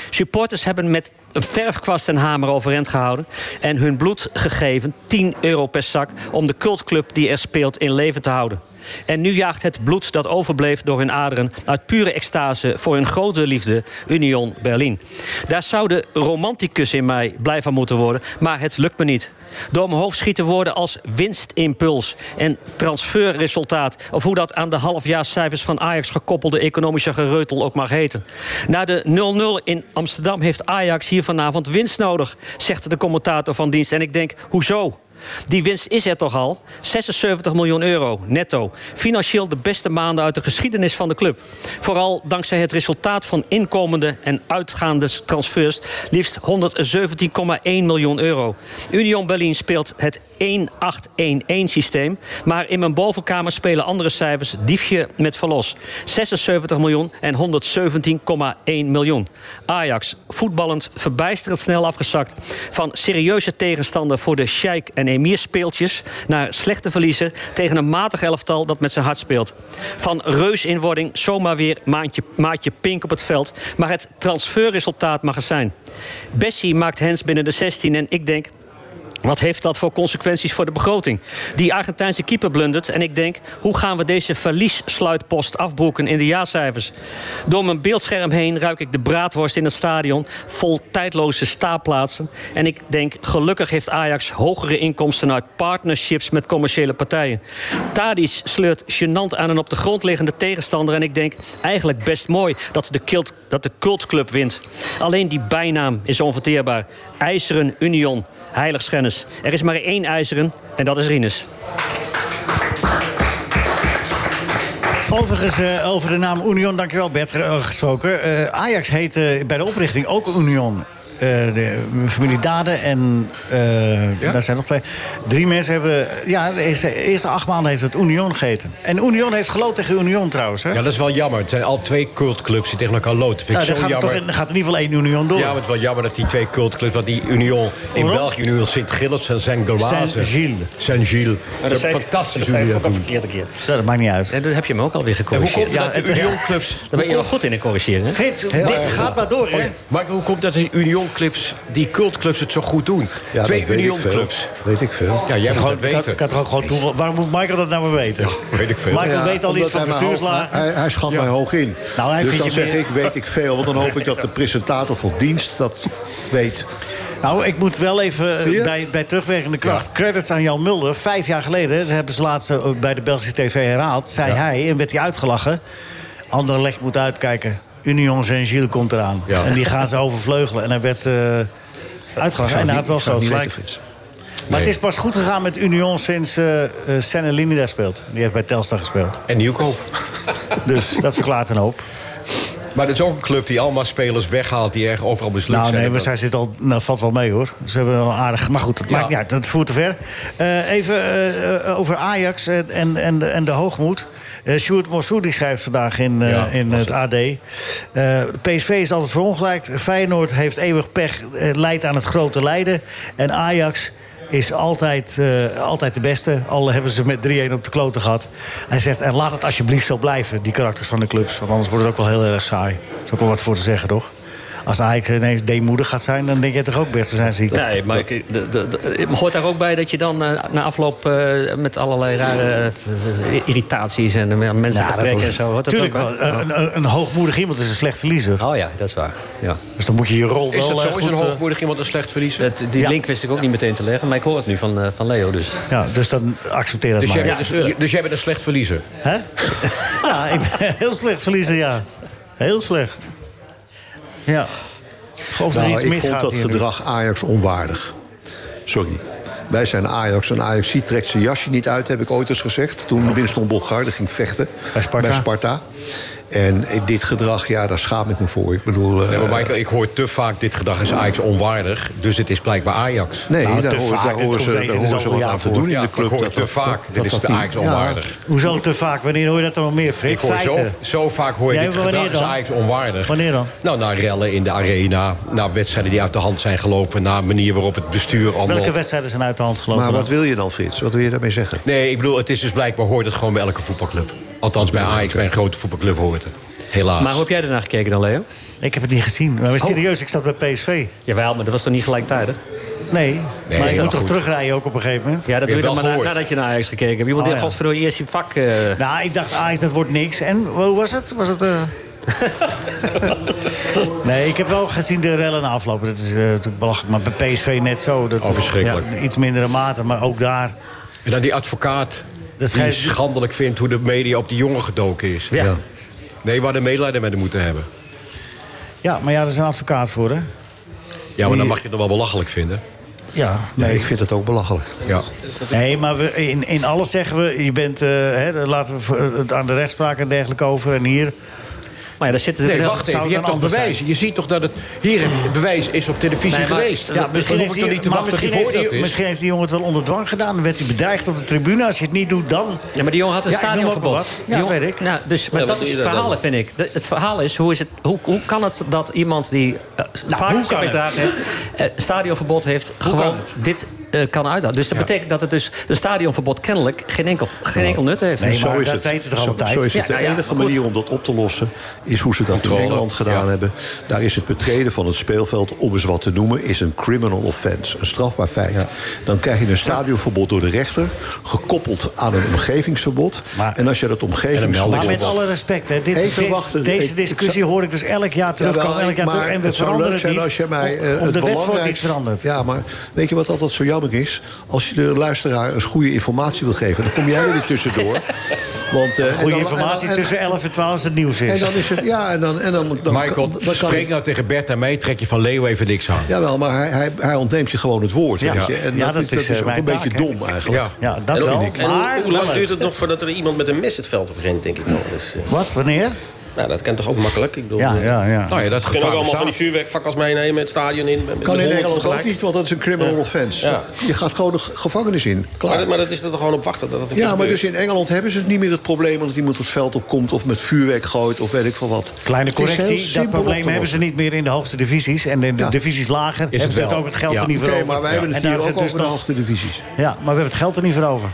Speaker 5: Supporters hebben met een verfkwast en hamer overeind gehouden... en hun bloed gegeven, 10 euro per zak... om de cultclub die er speelt in leven te houden. En nu jaagt het bloed dat overbleef door hun aderen... uit pure extase voor hun grote liefde, Union Berlin. Daar zou de romanticus in mij blij van moeten worden... maar het lukt me niet. Door mijn hoofd schieten woorden als winstimpuls en transferresultaat... of hoe dat aan de halfjaarscijfers van Ajax gekoppelde economische gereutel ook mag heten. Na de 0-0 in Amsterdam heeft Ajax hier vanavond winst nodig, zegt de commentator van dienst. En ik denk, hoezo? Die winst is er toch al? 76 miljoen euro netto. Financieel de beste maanden uit de geschiedenis van de club. Vooral dankzij het resultaat van inkomende en uitgaande transfers liefst 117,1 miljoen euro. Union Berlin speelt het 1-8-1-1 systeem, maar in mijn bovenkamer spelen andere cijfers diefje met verlos. 76 miljoen en 117,1 miljoen. Ajax, voetballend verbijsterend snel afgezakt. Van serieuze tegenstander voor de Sheikh en Emir speeltjes... naar slechte verliezer tegen een matig elftal dat met zijn hart speelt. Van reusinwording zomaar weer maandje, maatje pink op het veld. Maar het transferresultaat mag er zijn. Bessie maakt hands binnen de 16 en ik denk... Wat heeft dat voor consequenties voor de begroting? Die Argentijnse keeper blundert en ik denk... hoe gaan we deze verliessluitpost afbroeken in de jaarcijfers? Door mijn beeldscherm heen ruik ik de braadworst in het stadion... vol tijdloze staanplaatsen. En ik denk, gelukkig heeft Ajax hogere inkomsten... uit partnerships met commerciële partijen. Tadic sleurt gênant aan een op de grond liggende tegenstander... en ik denk, eigenlijk best mooi dat de, kilt, dat de cultclub wint. Alleen die bijnaam is onverteerbaar. IJzeren Union. heiligschennis. Er is maar één ijzeren en dat is Rinus.
Speaker 1: Overigens, eh, over de naam Union, dankjewel Bert, eh, gesproken. Eh, Ajax heette bij de oprichting ook Union. Eh, de familie Daden en eh, daar zijn nog twee. Drie mensen hebben... Ja, de eerste, de eerste acht maanden heeft het Union geheten. En Union heeft geloot tegen Union trouwens. Hè?
Speaker 2: Ja, dat is wel jammer. Het zijn al twee cultclubs die tegen elkaar loten. Vind
Speaker 1: nou,
Speaker 2: ik
Speaker 1: dan
Speaker 2: zo
Speaker 1: gaat, er toch
Speaker 2: jammer.
Speaker 1: in, dan gaat in ieder geval één Union door.
Speaker 2: Ja, maar het is wel jammer dat die twee cultclubs... want die Union in
Speaker 1: Waarom?
Speaker 2: België, Union Sint-Gilles en Saint-Gilles...
Speaker 1: Saint-Gilles.
Speaker 2: Saint-Gilles. Dat is
Speaker 5: zei-
Speaker 2: fantastisch
Speaker 5: dat
Speaker 2: hoe
Speaker 5: zei
Speaker 2: die dat
Speaker 5: ik ook al
Speaker 2: doen.
Speaker 5: verkeerd een keer.
Speaker 1: Ja, Nou, dat maakt niet uit.
Speaker 5: En dat heb je hem ook alweer
Speaker 2: En hoe
Speaker 5: gecorrigeerd.
Speaker 1: Ja,
Speaker 2: komt het dat de
Speaker 1: het-
Speaker 2: Union-clubs...
Speaker 5: Daar ben je wel goed in, in corrigeren. hè?
Speaker 1: Frits, dit
Speaker 3: erg
Speaker 1: gaat maar
Speaker 2: Oh,
Speaker 1: door, hè?
Speaker 2: Maar hoe komt dat de Union-clubs, die cultclubs het zo goed doen? twee
Speaker 3: Ja, dat weet ik veel.
Speaker 2: Union-clubs.
Speaker 3: Weet ik veel.
Speaker 2: Ja, jij moet
Speaker 1: Gewoon,
Speaker 2: het
Speaker 1: kan,
Speaker 2: weten.
Speaker 1: kan toch ook gewoon toeval. Waarom moet Michael dat nou weer weten?
Speaker 2: Weet ik veel.
Speaker 1: Michael
Speaker 3: Ja,
Speaker 1: weet al
Speaker 3: omdat
Speaker 1: iets van
Speaker 3: hij mij hoog-
Speaker 1: bestuurslagen.
Speaker 3: Hij, hij schat mij hoog in.
Speaker 1: Nou, hij
Speaker 3: dus
Speaker 1: vindt
Speaker 3: dan
Speaker 1: je
Speaker 3: zeg
Speaker 1: meer-
Speaker 3: ik, weet ik veel. Want dan hoop ik dat de presentator van dienst dat weet.
Speaker 1: Nou, ik moet wel even eh,
Speaker 3: Zie je?
Speaker 1: bij, bij terugwerkende kracht. Credits aan Jan Mulder. Vijf jaar geleden, dat hebben ze laatst eh, bij de Belgische TV herhaald... zei hij, en werd hij uitgelachen... Anderlecht moet uitkijken. Union Saint-Gilles komt eraan.
Speaker 2: Ja.
Speaker 1: En die gaan ze overvleugelen. En hij werd eh, uitgelachen. En hij had wel
Speaker 3: Ik zou
Speaker 1: groot
Speaker 3: het niet
Speaker 1: gelijk.
Speaker 3: weten, Frits.
Speaker 1: Maar het is pas goed gegaan met Union sinds eh eh, Sennelini daar speelt. Die heeft bij Telstar gespeeld.
Speaker 2: En Nieuwkoop.
Speaker 1: Dus dat verklaart een hoop.
Speaker 2: Maar dat is ook een club die allemaal spelers weghaalt... die erg overal besluit
Speaker 1: Nou,
Speaker 2: zijn.
Speaker 1: nee, maar
Speaker 2: Dat-
Speaker 1: zij zit al. Nou, valt wel mee hoor. Ze hebben wel aardig. Maar goed, dat maakt niet uit. Dat voert te ver. Eh, even eh, eh, over Ajax en, en, en, de, en de hoogmoed. Eh Sjoerd Mossoudi schrijft vandaag in, eh,
Speaker 2: Ja,
Speaker 1: in
Speaker 2: was
Speaker 1: het
Speaker 2: het.
Speaker 1: AD. eh, PSV is altijd verongelijkt. Feyenoord heeft eeuwig pech. eh, leidt aan het grote lijden. En Ajax is altijd, eh, altijd de beste. Al hebben ze met 3-1 op de kloten gehad. Hij zegt, en laat het alsjeblieft zo blijven, die karakters van de clubs. Want anders wordt het ook wel heel erg saai. Er is ook wel wat voor te zeggen, toch? Als Ajax ineens deemoedig gaat zijn, dan denk je toch ook best te zijn ziek.
Speaker 5: Nee, maar ik- de- de- de- Eh, hoort daar ook bij dat je dan eh, na afloop eh, met allerlei rare eh, irritaties en eh, mensen
Speaker 1: Ja,
Speaker 5: te
Speaker 1: dat
Speaker 5: trekken
Speaker 1: hoort-
Speaker 5: en zo. Hoort eh, dat
Speaker 1: Tuurlijk
Speaker 5: ook
Speaker 1: wel. Een, een- een hoogmoedig iemand is een slecht verliezer.
Speaker 5: bij? Oh ja, dat is waar. Ja.
Speaker 1: Dus dan moet je je rol
Speaker 2: Is
Speaker 1: wel
Speaker 2: dat
Speaker 1: eh,
Speaker 2: zo? Is
Speaker 1: goed, eh,
Speaker 2: een hoogmoedig iemand een slecht verliezer?
Speaker 5: Dat, die
Speaker 1: Ja.
Speaker 5: link wist ik ook niet meteen te leggen, maar ik hoor het nu van, eh, van Leo dus.
Speaker 1: Ja, dus dan accepteer dat
Speaker 2: Dus jij,
Speaker 1: maar.
Speaker 2: bent een- dus jij bent een slecht verliezer.
Speaker 1: Hè? ja, ik ben heel slecht verliezer, ja. Heel slecht. Ja. Of er
Speaker 3: Nou,
Speaker 1: iets
Speaker 3: ik
Speaker 1: misgaat
Speaker 3: vond dat
Speaker 1: hier nu.
Speaker 3: gedrag Ajax onwaardig. Sorry. Wij zijn Ajax en Ajax trekt zijn jasje niet uit, heb ik ooit eens gezegd. Toen Winston Bogarde ging vechten
Speaker 1: Bij Sparta.
Speaker 3: Sparta. En eh, dit gedrag, ja, daar schaam ik me voor. Ik bedoel, eh,
Speaker 2: Nee, maar Michael, ik hoor te vaak dit gedrag is Ajax onwaardig. Dus het is blijkbaar Ajax.
Speaker 3: nee,
Speaker 1: Nou,
Speaker 3: daar
Speaker 1: te
Speaker 3: horen
Speaker 1: vaak.
Speaker 3: daar
Speaker 1: Dit
Speaker 3: horen
Speaker 1: komt
Speaker 3: ze,
Speaker 1: eens in
Speaker 3: daar
Speaker 1: de
Speaker 3: horen ze
Speaker 1: zoveel
Speaker 3: wat
Speaker 1: jaar
Speaker 3: aan te
Speaker 1: voor.
Speaker 3: doen in
Speaker 2: Ja,
Speaker 3: de
Speaker 2: ik
Speaker 3: club.
Speaker 2: hoor
Speaker 3: dat
Speaker 2: te
Speaker 3: dat-
Speaker 2: vaak.
Speaker 3: dat
Speaker 2: dit is
Speaker 3: dat
Speaker 2: de
Speaker 3: niet-
Speaker 2: Ajax
Speaker 3: ja,
Speaker 2: onwaardig.
Speaker 1: Hoezo te vaak? Wanneer hoor je dat dan nog meer, eh,
Speaker 2: Ik
Speaker 1: Frits?
Speaker 2: hoor zo,
Speaker 1: Feiten.
Speaker 2: zo vaak hoor je
Speaker 1: Ja,
Speaker 2: dit
Speaker 1: maar wanneer
Speaker 2: gedrag is
Speaker 1: dan?
Speaker 2: Ajax onwaardig.
Speaker 1: Wanneer dan?
Speaker 2: Nou, na rellen in de arena, na wedstrijden die uit de hand zijn gelopen... na een manier waarop het bestuur
Speaker 1: Welke
Speaker 2: handelt.
Speaker 1: wedstrijden zijn uit de hand gelopen?
Speaker 3: Maar
Speaker 1: dan?
Speaker 3: wat wil je dan, Frits? Wat wil je daarmee zeggen?
Speaker 2: Nee, ik bedoel, het is dus blijkbaar hoort het gewoon bij elke voetbalclub. Althans, bij Ajax, bij een grote voetbalclub hoort het. Helaas.
Speaker 5: Maar hoe heb jij ernaar gekeken dan, Leo?
Speaker 1: Ik heb het niet gezien. Maar serieus, ik zat bij PSV.
Speaker 5: Jawel, maar dat was toch niet gelijktijdig?
Speaker 1: Nee,
Speaker 2: Nee,
Speaker 1: maar je
Speaker 2: maar
Speaker 1: moet toch
Speaker 2: goed.
Speaker 1: terugrijden ook op een gegeven moment?
Speaker 5: Ja, dat doe je
Speaker 2: hebt
Speaker 5: dan maar
Speaker 2: wel
Speaker 5: na-
Speaker 2: gehoord.
Speaker 5: nadat je naar Ajax gekeken hebt. Iemand
Speaker 1: Oh,
Speaker 5: die
Speaker 1: ja.
Speaker 5: heeft godverdorie eerst je vak... eh,
Speaker 1: Nou, ik dacht, Ajax, dat wordt niks. En hoe was het? Was het eh? nee, ik heb wel gezien de rellen na aflopen. Dat is eh, natuurlijk belachelijk. Maar bij PSV net zo. Dat is
Speaker 2: Oh, verschrikkelijk.
Speaker 1: ja, iets mindere mate, maar ook daar.
Speaker 2: En dan die advocaat
Speaker 1: Dat
Speaker 2: die
Speaker 1: schijnt-
Speaker 2: schandelijk vindt hoe de media op die jongen gedoken is.
Speaker 5: ja.
Speaker 2: Nee, waar de medelijden met hem moeten hebben.
Speaker 1: Ja, maar ja, er is een advocaat voor, hè?
Speaker 2: Ja, maar dan mag je het nog wel belachelijk vinden.
Speaker 1: Ja.
Speaker 3: Nee, ik vind het ook belachelijk.
Speaker 2: Ja.
Speaker 1: Nee, maar we, in, in alles zeggen we, je bent, eh, hè, laten we voor- eh, het aan de rechtspraak en dergelijke over. En hier,
Speaker 5: Maar ja, daar zitten
Speaker 2: Nee,
Speaker 5: natuurlijk
Speaker 2: wacht
Speaker 1: zou
Speaker 2: even.
Speaker 1: het
Speaker 2: Je hebt
Speaker 1: dan
Speaker 2: toch
Speaker 1: anders
Speaker 2: bewijs? Je ziet toch dat het... Hier, heb je- het bewijs is op televisie
Speaker 5: Nee, maar-
Speaker 2: geweest.
Speaker 5: Ja,
Speaker 2: Dan hoef ik
Speaker 1: die-
Speaker 2: toch niet te
Speaker 1: maar
Speaker 2: wachten
Speaker 1: misschien,
Speaker 2: tot die
Speaker 1: heeft
Speaker 2: veroordeeld
Speaker 1: die,
Speaker 2: is.
Speaker 1: misschien heeft die jongen het wel onder dwang gedaan. Dan werd hij bedreigd op de tribune. Als je het niet doet, dan...
Speaker 5: heel- Ja, maar die jongen had een
Speaker 1: Ja, ik noem ook
Speaker 5: stadionverbod.
Speaker 1: maar wat. Ja,
Speaker 5: Die jongen-
Speaker 1: weet ik.
Speaker 5: Nou, dus, maar
Speaker 6: Ja,
Speaker 5: dat
Speaker 6: wat
Speaker 5: is het
Speaker 6: doe je
Speaker 5: verhaal,
Speaker 6: dan?
Speaker 5: vind ik. De- het verhaal is, hoe, is het, hoe, hoe kan het dat iemand die eh, vaak
Speaker 1: Nou, hoe kan
Speaker 5: gesprekken
Speaker 1: het?
Speaker 5: heeft, eh, stadionverbod heeft, gewoon
Speaker 1: kan het?
Speaker 5: dit eh, kan uiten? Dus dat betekent dat het dus een stadionverbod kennelijk geen enkel, geen enkel nut heeft. Dus
Speaker 1: Nee,
Speaker 3: zo
Speaker 1: maar
Speaker 3: is
Speaker 1: dat
Speaker 3: het.
Speaker 1: weten we toch
Speaker 3: zo,
Speaker 1: altijd?
Speaker 3: zo is het.
Speaker 5: Ja,
Speaker 3: de
Speaker 5: nou ja,
Speaker 3: enige
Speaker 5: maar goed.
Speaker 3: manier om dat op te lossen is hoe ze dat
Speaker 2: Controle,
Speaker 3: in Engeland gedaan
Speaker 2: ja.
Speaker 3: hebben. Daar is het betreden van het speelveld, om eens wat te noemen, is een criminal offense, een strafbaar feit. Dan krijg je een stadionverbod door de rechter, gekoppeld aan een omgevingsverbod.
Speaker 1: Maar-
Speaker 3: en als je dat
Speaker 1: Maar
Speaker 3: omgevingsverbod
Speaker 1: met alle respect, hè, dit,
Speaker 3: Even
Speaker 1: dit-
Speaker 3: wachten.
Speaker 1: deze
Speaker 3: Ik- ik
Speaker 1: discussie
Speaker 3: zou-
Speaker 1: hoor ik dus elk jaar terugkomen.
Speaker 3: Jawel,
Speaker 1: elk jaar
Speaker 3: maar
Speaker 1: terug, en we
Speaker 3: het zou leuk
Speaker 1: veranderen
Speaker 3: zijn
Speaker 1: niet.
Speaker 3: als je mij eh,
Speaker 1: om- om
Speaker 3: het
Speaker 1: de wet wordt
Speaker 3: belangrijkste-
Speaker 1: niks veranderd.
Speaker 3: Ja, maar weet je wat altijd zo overweldiging is als je de luisteraar eens goede informatie wil geven. Dan kom jij er weer tussendoor. Want, eh, en
Speaker 1: Goede
Speaker 3: dan-
Speaker 1: informatie
Speaker 3: en dan-
Speaker 1: tussen 11 en 12 als het nieuws
Speaker 3: En
Speaker 1: is.
Speaker 3: dan is het, ja, en dan... En dan, dan
Speaker 2: Michael,
Speaker 3: dan kan
Speaker 2: spreek
Speaker 3: ik-
Speaker 2: nou tegen Bert en mij, trek je van Leo even niks aan.
Speaker 3: Jawel, maar hij, hij, hij ontneemt je gewoon het woord.
Speaker 1: Ja.
Speaker 3: weet je. En
Speaker 1: Ja,
Speaker 3: dat,
Speaker 1: dat
Speaker 3: is, dat
Speaker 1: is,
Speaker 3: is
Speaker 1: eh,
Speaker 3: ook
Speaker 1: mijn
Speaker 3: een beetje
Speaker 1: taak, hè.
Speaker 3: dom eigenlijk.
Speaker 2: Ja.
Speaker 1: Ja, dat
Speaker 6: En hoe-
Speaker 1: wel.
Speaker 6: en hoe-
Speaker 1: Maar
Speaker 6: hoe lang
Speaker 1: wel
Speaker 6: duurt het
Speaker 1: leuk.
Speaker 6: nog voordat er iemand met een mes het veld op rent, denk ik nog. Dus, eh,
Speaker 1: Wat, wanneer?
Speaker 6: nou, dat kent toch ook makkelijk? Ik bedoel,
Speaker 1: Ja, ja, ja.
Speaker 2: Nou ja, dat
Speaker 6: We kunnen ook
Speaker 2: gevaar
Speaker 6: allemaal van die
Speaker 2: bestaat.
Speaker 6: vuurwerkvakkers meenemen, het stadion in. met- met
Speaker 3: Kan
Speaker 6: de
Speaker 3: in
Speaker 6: honderd
Speaker 3: Nederland ook
Speaker 6: tegelijk.
Speaker 3: niet, want dat is een criminal offense.
Speaker 6: Ja.
Speaker 3: Je gaat gewoon de ge- gevangenis in.
Speaker 6: Maar dat,
Speaker 3: Klaar.
Speaker 6: maar dat is er toch gewoon op wachten dat het een keer
Speaker 3: Ja, maar
Speaker 6: gebeurt.
Speaker 3: dus in Engeland hebben ze het niet meer het probleem... dat iemand het veld opkomt of met vuurwerk gooit of weet ik veel wat.
Speaker 1: Kleine
Speaker 3: Het is heel
Speaker 1: correctie,
Speaker 3: simpel
Speaker 1: dat
Speaker 3: op te
Speaker 1: probleem hebben ze
Speaker 3: lossen.
Speaker 1: niet meer in de hoogste divisies. En in de
Speaker 3: Ja.
Speaker 1: divisies lager
Speaker 2: het
Speaker 1: hebben ze het
Speaker 2: wel.
Speaker 1: ook het geld
Speaker 2: Ja.
Speaker 1: er niet voor
Speaker 3: Oké,
Speaker 1: over.
Speaker 3: maar wij hebben
Speaker 1: En
Speaker 3: het
Speaker 1: daar
Speaker 3: hier
Speaker 1: is dus
Speaker 3: ook over de
Speaker 1: nog-
Speaker 3: hoogste divisies.
Speaker 1: Ja, maar we hebben het geld er niet voor over.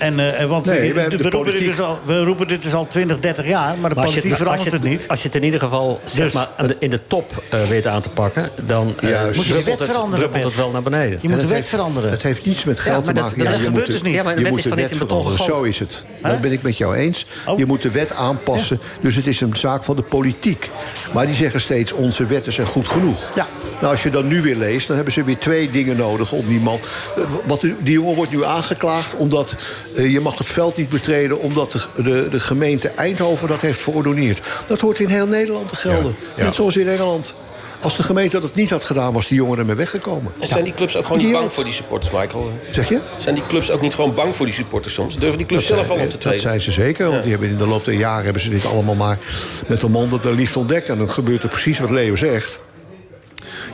Speaker 1: En, eh, want
Speaker 3: Nee, we
Speaker 1: we,
Speaker 3: hebben de
Speaker 1: roepen dit
Speaker 3: politiek.
Speaker 1: dus al, we roepen dit dus al 20, 30 jaar, maar de
Speaker 5: Maar als je
Speaker 1: politiek
Speaker 5: het, als je
Speaker 1: verandert
Speaker 5: het,
Speaker 1: het niet.
Speaker 5: als je het in ieder geval zeg
Speaker 1: Dus-
Speaker 5: maar, aan de- in de top eh, weet aan te pakken, dan eh,
Speaker 3: Juist.
Speaker 5: moet je
Speaker 1: De wet
Speaker 5: het,
Speaker 1: veranderen,
Speaker 5: druppelt
Speaker 1: Bert.
Speaker 5: het wel naar beneden.
Speaker 1: Je moet de wet
Speaker 3: heeft-
Speaker 1: veranderen.
Speaker 3: Het heeft niets met geld
Speaker 5: maar
Speaker 3: te
Speaker 5: dat-
Speaker 3: maken.
Speaker 5: dat
Speaker 3: je
Speaker 5: gebeurt
Speaker 3: moet de-
Speaker 5: dus niet. Ja, maar de
Speaker 3: je
Speaker 5: wet
Speaker 3: moet
Speaker 5: is dan
Speaker 3: wet
Speaker 5: niet in beton
Speaker 3: veranderen.
Speaker 5: gegoten?
Speaker 3: Zo is het. Dat ben ik met jou eens.
Speaker 1: Oh.
Speaker 3: Je moet de wet aanpassen. Dus het is een zaak van de politiek. Maar die zeggen steeds, onze wetten zijn goed genoeg.
Speaker 1: Ja.
Speaker 3: Nou, als je dan nu weer leest, dan hebben ze weer twee dingen nodig om die man... Eh, Wat, die die jongen wordt nu aangeklaagd omdat eh, je mag het veld niet betreden... omdat de, de, de gemeente Eindhoven dat heeft verordoneerd. Dat hoort in heel Nederland te gelden.
Speaker 2: Ja.
Speaker 3: Net zoals in Engeland. Als de gemeente dat niet had gedaan, was die jongen ermee weggekomen.
Speaker 6: En zijn die clubs ook gewoon niet
Speaker 3: Idioot.
Speaker 6: bang voor die supporters, Michael?
Speaker 3: Zeg je?
Speaker 6: Zijn die clubs ook niet gewoon bang voor die supporters soms? Durven die clubs zelf al op te
Speaker 3: Dat
Speaker 6: treden?
Speaker 3: zijn ze zeker, want die hebben in de loop der jaren hebben ze dit allemaal maar met de mond de liefde ontdekt. En dan gebeurt er precies wat Leo zegt.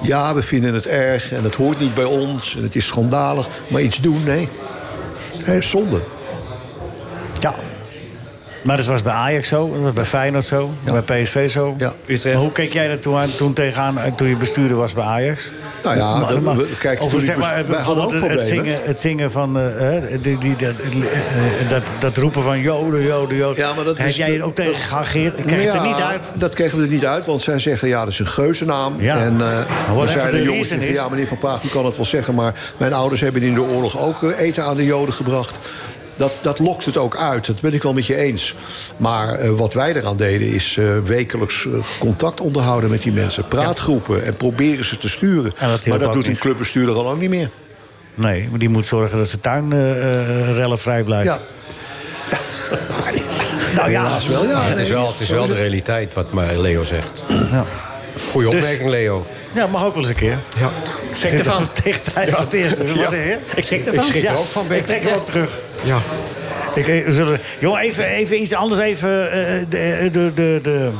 Speaker 3: Ja, we vinden het erg en het hoort niet bij ons en het is schandalig, maar iets doen, nee. Hè, zonde.
Speaker 1: Ja. Maar dat was bij Ajax zo, dat was bij Feyenoord zo, bij PSV zo.
Speaker 3: Ja.
Speaker 1: Maar hoe keek jij er toen, aan, toen tegenaan eh, toen je bestuurder was bij Ajax?
Speaker 3: Nou ja,
Speaker 1: Maar-
Speaker 3: dat-
Speaker 1: maar-
Speaker 3: we- kijk,
Speaker 1: of
Speaker 3: toen
Speaker 1: zeg
Speaker 3: ik bes-
Speaker 1: maar,
Speaker 3: wij hadden
Speaker 1: bijvoorbeeld
Speaker 3: ook
Speaker 1: het- het,
Speaker 3: problemen.
Speaker 1: zingen, het zingen van eh, eh, die, die, dat, eh, dat, dat roepen van joden, joden, joden.
Speaker 3: Ja, maar dat
Speaker 1: Heb
Speaker 3: is-
Speaker 1: jij er ook tegen geageerd? Ik kreeg het er
Speaker 3: Ja,
Speaker 1: niet uit.
Speaker 3: Dat kregen we er niet uit, want zij zeggen ja, dat is een geuzennaam.
Speaker 1: Ja. Nou,
Speaker 3: En
Speaker 1: Maar
Speaker 3: eh
Speaker 1: whatever
Speaker 3: dan zeiden
Speaker 1: the
Speaker 3: de jongens,
Speaker 1: reason
Speaker 3: die
Speaker 1: is-
Speaker 3: ja meneer Van Praag, u kan het wel zeggen... maar mijn ouders hebben in de oorlog ook eh, eten aan de Joden gebracht... Dat, dat lokt het ook uit, dat ben ik wel met je eens. Maar eh, wat wij eraan deden is eh, wekelijks eh, contact onderhouden met die mensen. Praatgroepen en proberen ze te sturen.
Speaker 1: En dat hielp
Speaker 3: maar dat
Speaker 1: ook
Speaker 3: doet een
Speaker 1: niet.
Speaker 3: clubbestuurder al lang niet meer.
Speaker 1: Nee, maar die moet zorgen dat zijn tuin eh eh, rellenvrij blijft.
Speaker 3: Ja,
Speaker 1: Nou ja,
Speaker 3: helaas wel. Ja,
Speaker 2: Het is
Speaker 3: nee,
Speaker 2: wel, het is
Speaker 3: zo
Speaker 2: wel
Speaker 3: is
Speaker 2: de
Speaker 3: het.
Speaker 2: realiteit wat maar Leo zegt. Goeie
Speaker 1: Dus-
Speaker 2: opmerking, Leo.
Speaker 1: ja, mag ook wel eens een keer.
Speaker 2: Ja.
Speaker 5: Schrik ervan.
Speaker 1: Tegen tijd van het eerste. Wat
Speaker 2: Ja.
Speaker 1: zeg je?
Speaker 5: Ik schrik
Speaker 2: Ik
Speaker 5: ervan.
Speaker 2: schrik
Speaker 1: Ja,
Speaker 2: er ook van,
Speaker 1: ik
Speaker 2: Bert.
Speaker 1: trek hem ook terug.
Speaker 2: Ja.
Speaker 1: Ik, eh, we zullen, jongen, even, even iets anders. Even eh, de, de, de, de...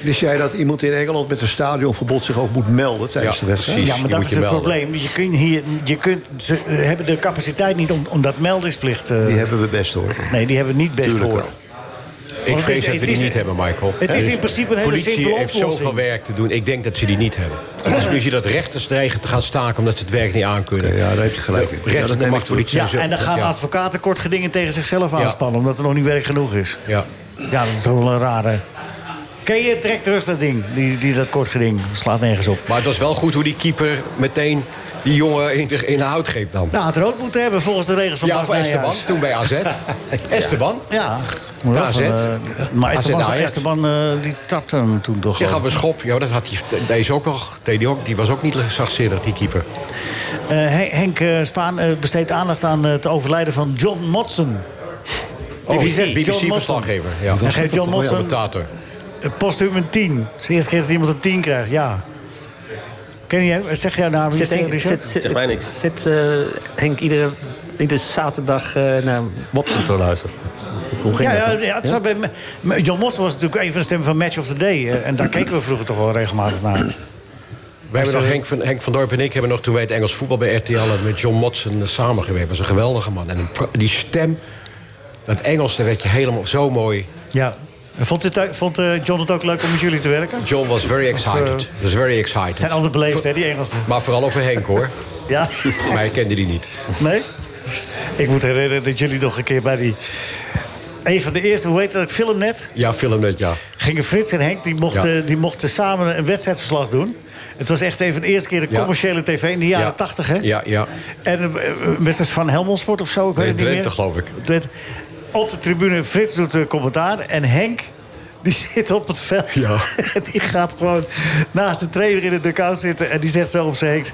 Speaker 3: Wist jij dat iemand in Engeland met een stadionverbod zich ook moet melden tijdens
Speaker 2: Ja,
Speaker 3: de wedstrijd?
Speaker 2: precies.
Speaker 1: Ja, maar
Speaker 2: je
Speaker 1: dat
Speaker 2: moet
Speaker 1: is
Speaker 2: je
Speaker 1: het
Speaker 2: melden.
Speaker 1: probleem. Je kunt hier, je kunt, ze eh, hebben de capaciteit niet om, om dat meldingsplicht... eh,
Speaker 3: Die hebben we best hoor.
Speaker 1: Nee, die hebben we niet best
Speaker 3: Tuurlijk
Speaker 1: gehoord.
Speaker 3: wel.
Speaker 2: Ik
Speaker 1: het
Speaker 2: vrees
Speaker 1: is-
Speaker 2: dat we
Speaker 1: het
Speaker 2: die
Speaker 1: is-
Speaker 2: niet hebben, Michael. Eh,
Speaker 1: Het is in principe een hele
Speaker 2: politie
Speaker 1: simpele
Speaker 2: heeft zoveel
Speaker 1: oplossing.
Speaker 2: werk te doen. Ik denk dat ze die niet hebben. Dus nu zie je dat rechters dreigen te gaan staken omdat ze het werk niet aankunnen.
Speaker 3: Ja, daar heb je gelijk in. Ja, dat
Speaker 2: Rechterlijke
Speaker 3: neem ik
Speaker 2: macht,
Speaker 3: terug.
Speaker 2: politie.
Speaker 1: Ja, en dan gaan
Speaker 2: Ja.
Speaker 1: advocaten kort gedingen tegen zichzelf aanspannen... omdat er nog niet werk genoeg is.
Speaker 2: Ja.
Speaker 1: Ja, dat is toch wel een rare... Ken je, trek terug dat ding, die, die, dat kort geding. Slaat nergens op.
Speaker 2: Maar het was wel goed hoe die keeper meteen die jongen in de, in de hout greep dan.
Speaker 1: Nou, had er ook moeten hebben volgens de regels van
Speaker 2: Ja,
Speaker 1: Bas
Speaker 2: voor Esteban,
Speaker 1: Nijhuis.
Speaker 2: toen bij AZ. Esteban,
Speaker 1: Ja, moet wel
Speaker 2: AZ.
Speaker 1: van, eh, maar
Speaker 2: AZ
Speaker 1: Esteban,
Speaker 2: Ajax.
Speaker 1: Esteban eh, die trapte hem toen toch
Speaker 2: je
Speaker 1: wel.
Speaker 2: gaf een schop. Ja, dat had die, deze ook al, deed die, ook, die was ook niet zachtzinnig, die keeper.
Speaker 1: Eh, Hen- Henk eh, Spaan eh, besteedt aandacht aan eh, het overlijden van John Motson.
Speaker 2: Oh,
Speaker 1: BBC, John Motson.
Speaker 2: BBC-verslaggever. Ja.
Speaker 1: Hij geeft John Motson
Speaker 2: Commentator.
Speaker 1: eh, postuum een 10. Het is de eerste keer dat iemand een 10 krijgt, ja. Ken je hem? Zeg jouw naam,
Speaker 5: Zit,
Speaker 1: Richard?
Speaker 5: Henk, zit,
Speaker 6: Zeg
Speaker 5: zit,
Speaker 6: mij niks.
Speaker 5: zit, eh, Henk iedere, iedere zaterdag eh, naar Watson te luisteren? Hoe ging
Speaker 1: ja, ja,
Speaker 5: dat? dan?
Speaker 1: ja, het zat bij me- me- John Motson was natuurlijk een van de stemmen van Match of the Day. eh, en daar keken we vroeger toch wel regelmatig naar.
Speaker 2: We hebben nog Henk, van, Henk van Dorp en ik hebben nog toen wij het Engels voetbal bij RTL hadden met John Motson eh, samengewerkt. Dat was een geweldige man. En een pra- die stem, dat Engels, daar werd je helemaal zo mooi.
Speaker 1: Ja. En Vond, dit, ook- vond eh, John het ook leuk om met jullie te werken?
Speaker 2: John was very excited. Was very excited.
Speaker 1: eh, Zijn altijd beleefd, hè, die Engelsen.
Speaker 2: Maar vooral over Henk hoor.
Speaker 1: Ja?
Speaker 2: Maar hij kende die niet.
Speaker 1: Nee? Ik moet herinneren dat jullie nog een keer bij die... Een van de eerste, hoe heet dat film net?
Speaker 2: Ja, film net, ja.
Speaker 1: Gingen Frits en Henk, die mochten,
Speaker 2: Ja.
Speaker 1: die mochten samen een wedstrijdverslag doen. Het was echt even de eerste keer de
Speaker 2: Ja.
Speaker 1: commerciële tv in de jaren
Speaker 2: Ja.
Speaker 1: 80, hè?
Speaker 2: Ja, ja.
Speaker 1: En eh, eh, wedstrijd van Helmond Sport of zo, ik
Speaker 2: Nee,
Speaker 1: weet het niet
Speaker 2: Drenthe,
Speaker 1: meer.
Speaker 2: geloof ik.
Speaker 1: Drenthe. Op de tribune, Frits doet eh, commentaar en Henk... Die zit op het veld. die gaat gewoon naast de trainer in de dugout zitten. En die zegt zo op zijn heks...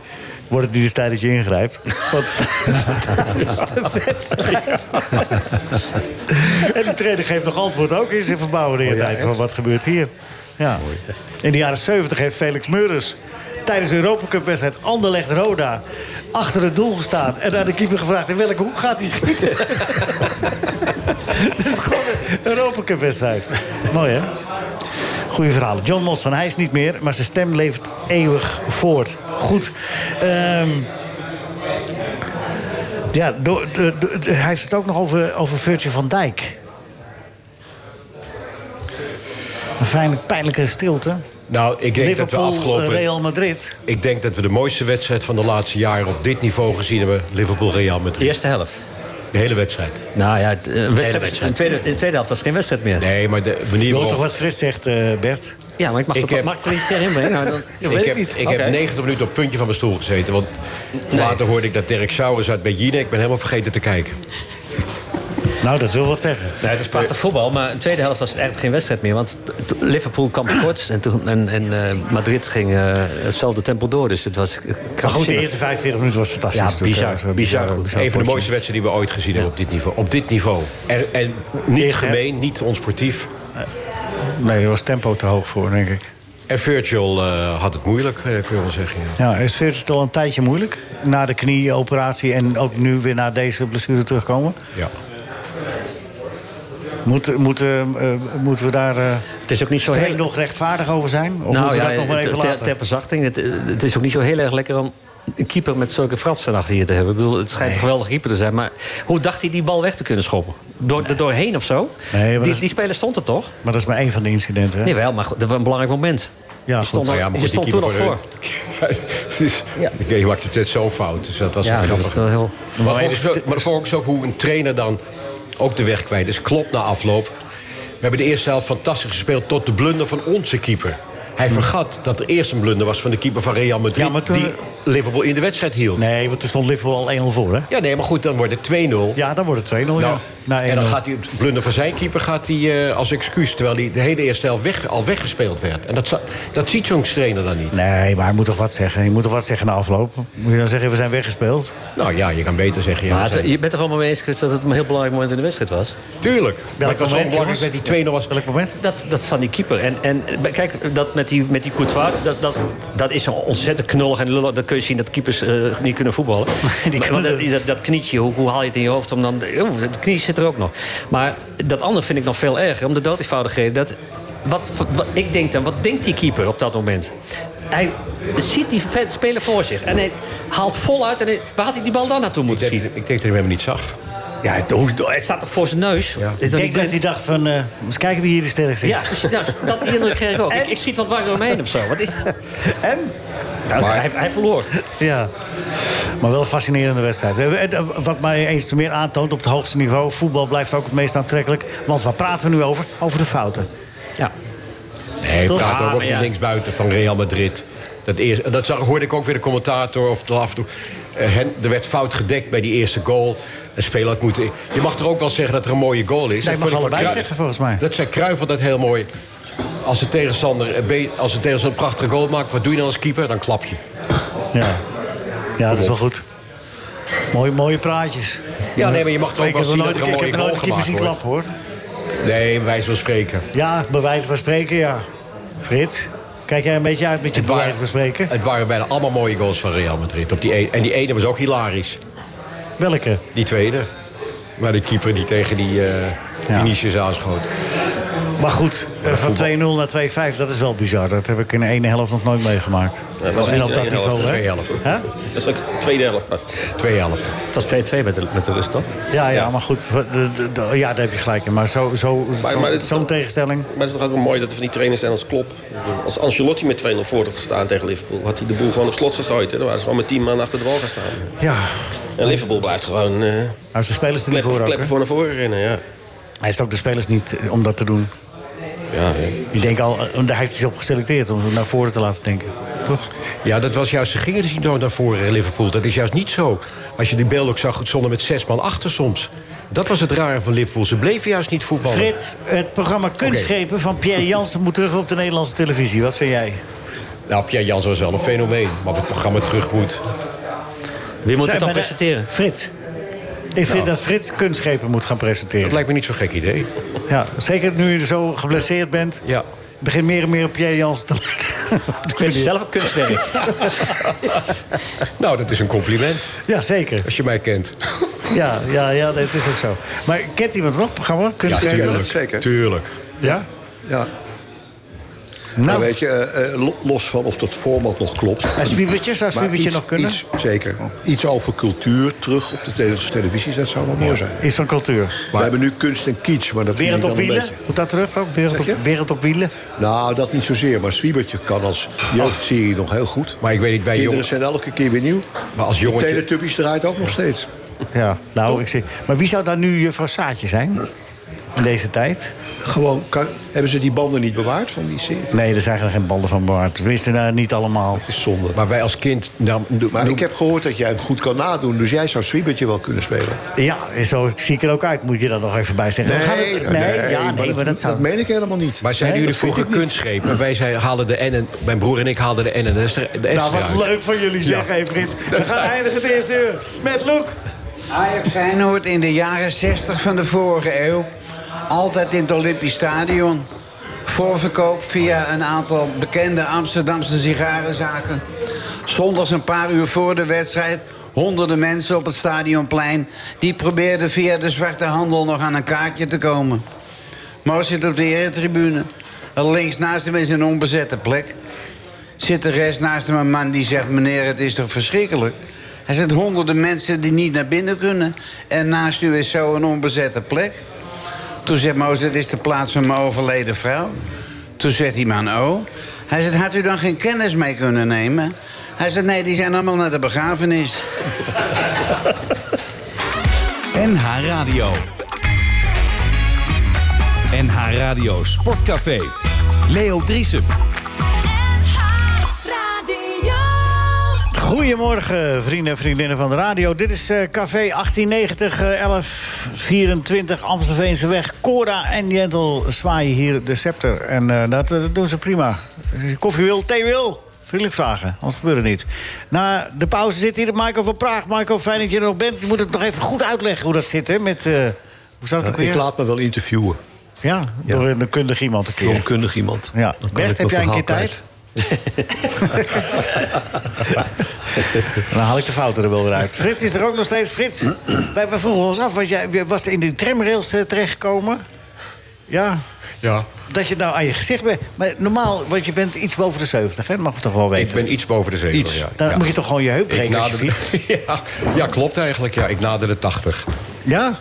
Speaker 1: Wordt het niet eens tijd dat je ingrijpt? Want tijdens de wedstrijd. en die trainer geeft nog antwoord ook in zijn verbouwende tijd. Van wat gebeurt hier? Ja. In de jaren 70 heeft Felix Meurders tijdens de Europacup-wedstrijd Anderlecht-Roda achter het doel gestaan en aan de keeper gevraagd in welke hoek gaat hij schieten. Dat is gewoon een Europacup-wedstrijd. Mooi, hè? Goeie verhalen. John Mosson, hij is niet meer, maar zijn stem leeft eeuwig voort. Goed. Ehm, ja, door- de- de- de- hij heeft het ook nog over, over Virgil van Dijk. Een fijne, pijnlijke stilte.
Speaker 2: Nou, ik denk
Speaker 1: Liverpool,
Speaker 2: dat we afgelopen...
Speaker 1: eh, Real Madrid.
Speaker 2: Ik denk dat we de mooiste wedstrijd van de laatste jaren op dit niveau gezien hebben. Liverpool-Real Madrid.
Speaker 5: Eerste helft.
Speaker 2: De hele wedstrijd.
Speaker 5: Nou ja, het, eh, een wedstrijd,
Speaker 2: wedstrijd.
Speaker 5: een tweede, in de tweede helft was geen wedstrijd meer.
Speaker 2: Nee, maar de manier
Speaker 1: Je hoort toch
Speaker 2: waarop...
Speaker 1: wat Frits zegt, eh, Bert?
Speaker 5: Ja, maar ik mag,
Speaker 2: Ik
Speaker 5: dat,
Speaker 2: heb-
Speaker 5: mag ik er niet tegen inbrengen. Nou, dan-
Speaker 1: weet
Speaker 2: ik
Speaker 1: ik
Speaker 2: heb,
Speaker 1: niet.
Speaker 2: ik
Speaker 5: Oké.
Speaker 2: heb 90 minuten op het puntje van mijn stoel gezeten. Want later hoorde ik dat Dirk Sauer uit bij Jine. Ik ben helemaal vergeten te kijken.
Speaker 1: Nou, dat wil wat zeggen.
Speaker 5: Nee, het is prachtig voetbal, maar in de tweede helft was het eigenlijk geen wedstrijd meer. Want t- t- Liverpool kwam tekort en, toen, en, en eh, Madrid ging eh, hetzelfde tempo door. Dus het was eh,
Speaker 1: Maar goed, de
Speaker 5: krankzinnig.
Speaker 1: eerste 45 minuten was fantastisch.
Speaker 5: Ja,
Speaker 1: natuurlijk,
Speaker 5: bizar,
Speaker 1: hè. Dat eh, was een
Speaker 5: bizar
Speaker 1: bizarre-
Speaker 5: goed.
Speaker 1: bizarre
Speaker 2: Eh, Een van de
Speaker 1: potje.
Speaker 2: mooiste wedstrijden die we ooit gezien hebben op dit niveau. Op dit niveau. En, en niet
Speaker 1: Eerst, hè?
Speaker 2: gemeen, niet onsportief.
Speaker 1: Nee, er was tempo te hoog voor, denk ik.
Speaker 2: En Virgil eh, had het moeilijk, eh, kun je wel zeggen. ja.
Speaker 1: Ja, is Virtus al een tijdje moeilijk? Na de knieoperatie en ook nu weer na deze blessure terugkomen?
Speaker 2: Ja.
Speaker 1: Moet, moet, eh, eh, moeten we daar eh
Speaker 5: Het is ook niet zo
Speaker 1: streng
Speaker 5: heel...
Speaker 1: nog rechtvaardig over zijn?
Speaker 2: Nou
Speaker 1: Of moeten we dat nog maar
Speaker 5: ter-
Speaker 1: even
Speaker 5: Nou eh, ter,
Speaker 1: laten?
Speaker 5: ter verzachting, het, het is ook niet zo heel erg lekker om een keeper met zulke fratsen achter je te hebben. Ik bedoel, het schijnt een geweldige keeper te zijn, maar hoe dacht hij die bal weg te kunnen schoppen? Door, er doorheen of zo?
Speaker 1: Nee, maar dat
Speaker 5: die,
Speaker 1: is-
Speaker 5: die speler stond er toch?
Speaker 1: Maar dat is maar één van de incidenten. Hè?
Speaker 5: Nee, wel, maar goed, dat was een belangrijk moment.
Speaker 1: Ja,
Speaker 5: je
Speaker 1: goed.
Speaker 5: stond,
Speaker 2: Nou
Speaker 5: al-
Speaker 2: ja, maar
Speaker 5: je
Speaker 2: goed, die
Speaker 5: stond toen nog
Speaker 2: keeper
Speaker 5: voor.
Speaker 2: van de- Dus, Je maakte het net zo fout, dus dat was
Speaker 5: Ja,
Speaker 2: een
Speaker 5: dat
Speaker 2: grappig.
Speaker 5: was wel heel...
Speaker 2: Maar,
Speaker 1: Maar
Speaker 2: volgens,
Speaker 1: even-
Speaker 2: maar volgens ook hoe een trainer dan ook de weg kwijt is. Klopt na afloop. We hebben de eerste helft fantastisch gespeeld tot de blunder van onze keeper. Hij vergat dat er eerst een blunder was van de keeper van Real Madrid...
Speaker 1: Hmm. Ja, maar toen-
Speaker 2: die Liverpool in de wedstrijd hield.
Speaker 1: Nee, want toen stond Liverpool al 1-0 voor, hè?
Speaker 2: Ja, nee, maar goed, dan wordt het 2-0.
Speaker 1: Ja, dan wordt het 2-0,
Speaker 2: Nou,
Speaker 1: ja. Na 1-0.
Speaker 2: en dan gaat hij, het blunder van zijn keeper gaat hij, eh, als excuus... terwijl hij de hele eerste helft weg, al weggespeeld werd. En dat, za- dat ziet zo'n trainer dan niet.
Speaker 1: Nee, maar hij moet toch wat zeggen? Je moet toch wat zeggen na afloop? Moet je dan zeggen, we zijn weggespeeld?
Speaker 2: Nou ja, je kan beter zeggen... Ja,
Speaker 5: Maar
Speaker 2: we
Speaker 5: het-
Speaker 2: zijn-
Speaker 5: je bent toch allemaal mee eens Chris, dat het een heel belangrijk moment in de wedstrijd was?
Speaker 2: Tuurlijk. Maar het was
Speaker 1: moment,
Speaker 2: zo belangrijk dat
Speaker 1: jongens?
Speaker 2: die 2-0 was.
Speaker 1: Welk moment?
Speaker 5: Dat, dat van die keeper. En, en kijk, dat met die, met die Courtois, dat, dat, dat is zo ontzettend knullig en lullig. Dan kun je zien dat keepers eh, niet kunnen voetballen. Maar- maar dat, dat, dat knietje, hoe, hoe haal je het in je hoofd om dan... Oeh, de knie zit er ook nog. Maar dat andere vind ik nog veel erger, om de doodeenvoudigheid. Dat, wat, wat, ik denk dan, wat denkt die keeper op dat moment? Hij ziet die vet speler voor zich en hij haalt voluit. En hij- waar had hij die bal dan naartoe moeten
Speaker 2: Ik denk
Speaker 5: schieten?
Speaker 2: ik denk dat hij hem niet zag.
Speaker 5: Ja, het, hoe, het staat toch voor zijn neus? Is dat
Speaker 1: Ik
Speaker 5: niet
Speaker 1: denk dat
Speaker 5: blind?
Speaker 1: hij dacht van, eh, eens kijken wie hier de sterren zit.
Speaker 5: Ja, dus, nou, dat die indruk kreeg ik ook. Ik, ik schiet wat dwars door me heen of zo. Wat is het?
Speaker 1: En?
Speaker 5: Nou,
Speaker 2: Maar-
Speaker 5: hij, hij verloor.
Speaker 1: Ja, maar wel een fascinerende wedstrijd. Eh, eh, Wat mij eens te meer aantoont op het hoogste niveau... voetbal blijft ook het meest aantrekkelijk. Want waar praten we nu over? Over de fouten.
Speaker 5: Ja.
Speaker 2: Nee,
Speaker 1: Toch?
Speaker 2: praat
Speaker 1: Ah,
Speaker 2: ook over
Speaker 5: maar
Speaker 2: die
Speaker 5: ja.
Speaker 2: linksbuiten van Real Madrid. Dat, eerst, dat zag, hoorde ik ook weer de commentator of de af en toe. Eh, Hen- er werd fout gedekt bij die eerste goal. Een speler had moeten... Je mag er ook wel zeggen dat er een mooie goal is.
Speaker 1: Nee,
Speaker 2: Dat
Speaker 1: mag
Speaker 2: vond ik van
Speaker 1: allebei
Speaker 2: Cruijff-
Speaker 1: zeggen, volgens mij.
Speaker 2: Dat zei Kruijver dat heel mooi. Als de tegenstander, eh, be- als de tegenstander een prachtige goal maakt... wat doe je dan als keeper? Dan klap je.
Speaker 1: Ja, ja dat is wel goed. Mooie, mooie praatjes.
Speaker 2: Ja, nee, maar je mag er ook
Speaker 1: Ik
Speaker 2: wel
Speaker 1: heb
Speaker 2: zien
Speaker 1: nog
Speaker 2: dat
Speaker 1: nooit
Speaker 2: er een
Speaker 1: ik heb nog
Speaker 2: mooie
Speaker 1: nooit
Speaker 2: goal
Speaker 1: een keeper
Speaker 2: gemaakt
Speaker 1: zien
Speaker 2: wordt.
Speaker 1: klappen, hoor.
Speaker 2: Nee, wij zullen spreken.
Speaker 1: Ja, bij wijze van spreken, ja. Frits, kijk jij een beetje uit met je bij wijze van spreken?
Speaker 2: het waren bijna allemaal mooie goals van Real Madrid. Op die e- en die ene was ook hilarisch.
Speaker 1: Welke?
Speaker 2: Die tweede. Maar de keeper die tegen die eh Vinicius aanschoot.
Speaker 1: Maar goed, eh, van 2-0 naar 2-5, dat is wel bizar. Dat heb ik in de ene helft nog nooit meegemaakt.
Speaker 6: dat was
Speaker 1: en
Speaker 6: niet
Speaker 1: op
Speaker 6: de
Speaker 1: dat
Speaker 6: ene
Speaker 1: niveau,
Speaker 6: helft,
Speaker 2: de
Speaker 1: hè?
Speaker 2: tweede helft.
Speaker 1: Hè?
Speaker 6: Dat is ook tweede helft pas.
Speaker 2: Twee helft.
Speaker 5: Het was 2-2 met de, met de rust, toch?
Speaker 1: Ja, ja, maar goed. de- de- de- ja, daar heb je gelijk in. Maar zo'n zo,
Speaker 6: Maar-
Speaker 1: zo-
Speaker 6: maar dit is
Speaker 1: zo'n
Speaker 6: toch-
Speaker 1: tegenstelling.
Speaker 6: Maar het is toch ook wel mooi dat er van die trainers zijn als Klopp. Als Ancelotti met 2-0 voor had gestaan tegen Liverpool... had hij de boel gewoon op slot gegooid. Hè. Dan waren ze gewoon met 10 man achter de bal gaan staan.
Speaker 1: Ja,
Speaker 6: En Liverpool blijft gewoon eh
Speaker 1: hij heeft de spelers er niet
Speaker 6: kleppen,
Speaker 1: voor ook.
Speaker 6: kleppen
Speaker 1: hè?
Speaker 6: voor naar voren rennen. Ja.
Speaker 1: Hij heeft ook de spelers niet eh, om dat te doen.
Speaker 6: Ja, ja. Oh.
Speaker 1: Ik denk al, eh, daar heeft hij ze op geselecteerd om ze naar voren te laten denken.
Speaker 8: toch?
Speaker 2: Ja, dat was juist. Ze gingen dus niet nooit naar voren in Liverpool. Dat is juist niet zo. Als je die beelden ook zag, het stonden met zes man achter soms. Dat was het rare van Liverpool. Ze bleven juist niet voetballen.
Speaker 1: Frits, het programma Kunstschepen van Pierre Jansen moet terug op de Nederlandse televisie. Wat vind jij?
Speaker 9: Nou, Pierre Jans was wel een fenomeen. Maar het programma terug moet.
Speaker 5: Wie moet
Speaker 1: Zij,
Speaker 5: het dan
Speaker 1: maar de-
Speaker 5: presenteren? Nou.
Speaker 1: Frits. Ik vind dat Frits kunstschepen moet gaan
Speaker 2: Dat
Speaker 1: presenteren.
Speaker 2: lijkt me niet zo'n gek idee.
Speaker 1: Ja, zeker nu je zo geblesseerd bent.
Speaker 2: Ja.
Speaker 1: Begin meer en meer op Pierre Jansen te
Speaker 5: Geef
Speaker 1: lijken.
Speaker 5: zelf een kunstwerk.
Speaker 2: Nou, dat is een compliment.
Speaker 1: ja, zeker.
Speaker 2: Als je mij kent.
Speaker 1: Ja, ja, ja, dat is ook zo. Maar kent iemand nog het programma kunstschepen?
Speaker 3: tuurlijk. zeker.
Speaker 2: Tuurlijk.
Speaker 1: Ja?
Speaker 3: Ja. Nou,
Speaker 1: Nou,
Speaker 3: weet je, eh, eh, lo- los van of dat format nog klopt.
Speaker 1: en zwiebertje, zou
Speaker 3: maar
Speaker 1: zwiebertje
Speaker 3: iets-
Speaker 1: nog kunnen? Iets,
Speaker 3: Iets, zeker. Iets over cultuur terug op de Nederlandse televisie, dat zou wel mooi zijn.
Speaker 1: van cultuur.
Speaker 3: We hebben nu kunst en kitsch, maar dat vind ik
Speaker 1: Wereld
Speaker 3: dan
Speaker 1: op
Speaker 3: een
Speaker 1: wielen?
Speaker 3: beetje...
Speaker 1: Moet dat terug ook? Wereld
Speaker 3: Zeg
Speaker 1: op,
Speaker 3: je?
Speaker 1: wereld op wielen?
Speaker 3: Nou, dat niet zozeer, maar Zwiebertje kan als
Speaker 1: Ah.
Speaker 3: jeugdserie nog heel goed.
Speaker 2: Maar ik weet
Speaker 1: eh,
Speaker 2: niet, wij
Speaker 3: Kinderen
Speaker 2: jongen-
Speaker 3: zijn elke keer weer nieuw.
Speaker 2: Maar als
Speaker 3: De
Speaker 2: jongetje-
Speaker 3: Teletubbies draait ook nog steeds.
Speaker 1: Ja, nou, ik zie. Maar wie zou daar nu juffrouw Saatje zijn? In deze tijd?
Speaker 3: Gewoon, kan- hebben ze die banden niet bewaard van die serie?
Speaker 1: Nee, er zijn er geen banden van bewaard. Tenminste, nou, niet allemaal.
Speaker 3: Dat is zonde.
Speaker 2: Maar wij als kind... Nou,
Speaker 3: Maar ik heb gehoord dat jij hem goed kan nadoen, dus jij zou Zwiebertje wel kunnen spelen.
Speaker 1: Ja, zo zie ik er ook uit. Moet je daar nog even bij zeggen. We gaan het- nee, ja, nee, maar dat zou...
Speaker 3: meen ik helemaal niet.
Speaker 2: Maar zeiden
Speaker 1: Nee,
Speaker 2: jullie vroeger kunstschepen? Wij zijn, haalden de N en... Mijn broer en ik haalden de N en de S er- de S
Speaker 1: Nou,
Speaker 2: eruit.
Speaker 1: wat leuk van jullie zeggen, hè, Frits. We gaan eindigen het eerste uur met Loek.
Speaker 6: Ajax Feyenoord in de jaren 60 van de vorige eeuw. Altijd in het Olympisch Stadion. Voorverkoop via een aantal bekende Amsterdamse sigarenzaken. Zondags een paar uur voor de wedstrijd. Honderden mensen op het stadionplein. Die probeerden via de zwarte handel nog aan een kaartje te komen. Mo zit op de eretribune. Links naast hem is een onbezette plek zit de rest naast hem een man die zegt... meneer, het is toch verschrikkelijk? Er zitten honderden mensen die niet naar binnen kunnen. En naast u is zo een onbezette plek. Toen zegt Mozes, dit is de plaats van mijn overleden vrouw. Toen zegt die man, oh. Hij zegt, had u dan geen kennis mee kunnen nemen? Hij zegt, nee, die zijn allemaal naar de begrafenis.
Speaker 4: NH Radio. NH Radio Sportcafé. Leo Driesen.
Speaker 1: Goedemorgen, vrienden en vriendinnen van de radio. Dit is eh, Café 1890, eh, 1124 Amstelveense weg. Cora en Jentel zwaaien hier de scepter. En eh, dat, eh, dat doen ze prima. Als je Koffie wil, thee wil. Vriendelijk vragen, anders gebeurt het niet. Na de pauze zit hier Michael van Praag. Michael, fijn dat je er nog bent. Je moet het nog even goed uitleggen hoe dat zit, hè? Met, eh, hoe zat het ook
Speaker 3: ik
Speaker 1: weer?
Speaker 3: laat me wel interviewen
Speaker 1: Ja, door een kundig iemand een
Speaker 3: door een
Speaker 1: keer.
Speaker 3: kundig iemand.
Speaker 1: Ja.
Speaker 3: Dan kan
Speaker 1: Bert,
Speaker 3: ik
Speaker 1: heb
Speaker 3: mijn
Speaker 1: jij een keer
Speaker 3: verhaal
Speaker 1: tijd? Dan haal ik de fouten er wel weer uit. Frits is er ook nog steeds. Frits, wij, wij vroegen ons af, want jij was in die tramrails eh, terechtgekomen. Ja,
Speaker 2: Ja.
Speaker 1: dat je nou aan je gezicht bent. Maar normaal, want je bent iets boven de 70, hè? Dat mag ik toch wel
Speaker 2: Ik
Speaker 1: weten.
Speaker 2: ben iets boven de zetel,
Speaker 3: Iets.
Speaker 2: ja.
Speaker 1: Dan
Speaker 2: Ja.
Speaker 1: moet je toch gewoon je heup
Speaker 2: Ik
Speaker 1: breken als je
Speaker 2: nader-
Speaker 1: fietst?
Speaker 2: ja. ja, klopt eigenlijk. Ja. Ik nader de 80.
Speaker 1: Ja?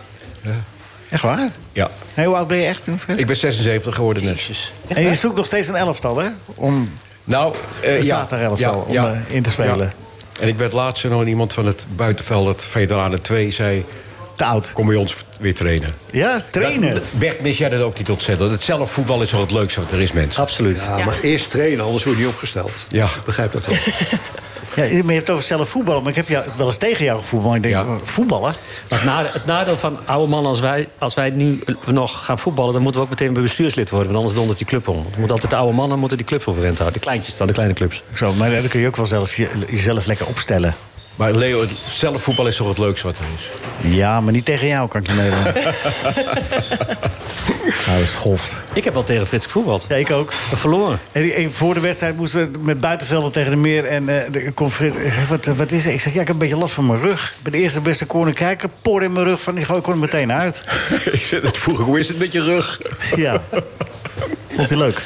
Speaker 1: Echt waar?
Speaker 2: Ja.
Speaker 1: Hey, hoe oud ben je echt toen, Frits?
Speaker 2: Ik ben 76 geworden net.
Speaker 1: En je zoekt nog steeds een elftal, hè? Om
Speaker 2: Nou, eh,
Speaker 1: Er
Speaker 2: ja.
Speaker 1: staat er elftal om, eh, in te spelen.
Speaker 2: En ik werd laatst nog iemand van het buitenveld, het Veteranen 2, zei...
Speaker 1: te oud.
Speaker 2: kom bij ons weer trainen.
Speaker 1: Ja, trainen.
Speaker 2: Dat- Bert, mis jij dat ook niet ontzettend? Het zelf voetbal is wel het leukste wat er is,
Speaker 1: Ah.
Speaker 2: mensen.
Speaker 5: Absoluut.
Speaker 3: kwijt. Ja, maar eerst trainen, anders word je niet opgesteld.
Speaker 2: Ja.
Speaker 3: Ik begrijp dat wel.
Speaker 1: Ja, maar je hebt het over zelf voetballen. Maar ik heb jou, wel eens tegen jou gevoetbald. Ik denk,
Speaker 2: Ja.
Speaker 1: eh, voetballen?
Speaker 5: Maar het nade- het nadeel van oude mannen als wij, als wij nu eh, nog gaan voetballen... dan moeten we ook meteen bij bestuurslid worden, want anders dondert die club om. Want moet altijd de oude mannen moeten die clubs overeind houden. De kleintjes dan, de kleine clubs.
Speaker 1: Zo, maar dan kun je ook wel zelf je- jezelf lekker opstellen.
Speaker 2: Maar Leo, het zelf voetbal is toch het leukste wat er is?
Speaker 1: Ja, maar niet tegen jou kan ik je meedoen. Hij is schoft.
Speaker 5: Ik heb wel tegen Frits gevoetbald.
Speaker 1: Ja, ik ook.
Speaker 5: Verloren.
Speaker 1: En, en voor de wedstrijd moesten we met buitenvelden tegen de meer. En eh de kon Frits- hij zegt, wat, wat is er? Ik zeg, ja, ik heb een beetje last van mijn rug. Bij de eerste beste corner kijken, por in mijn rug. Van, die gooi ik kon er meteen uit.
Speaker 2: Ik zei net Vroeger, hoe is het met je rug?
Speaker 1: Ja. Vond hij leuk.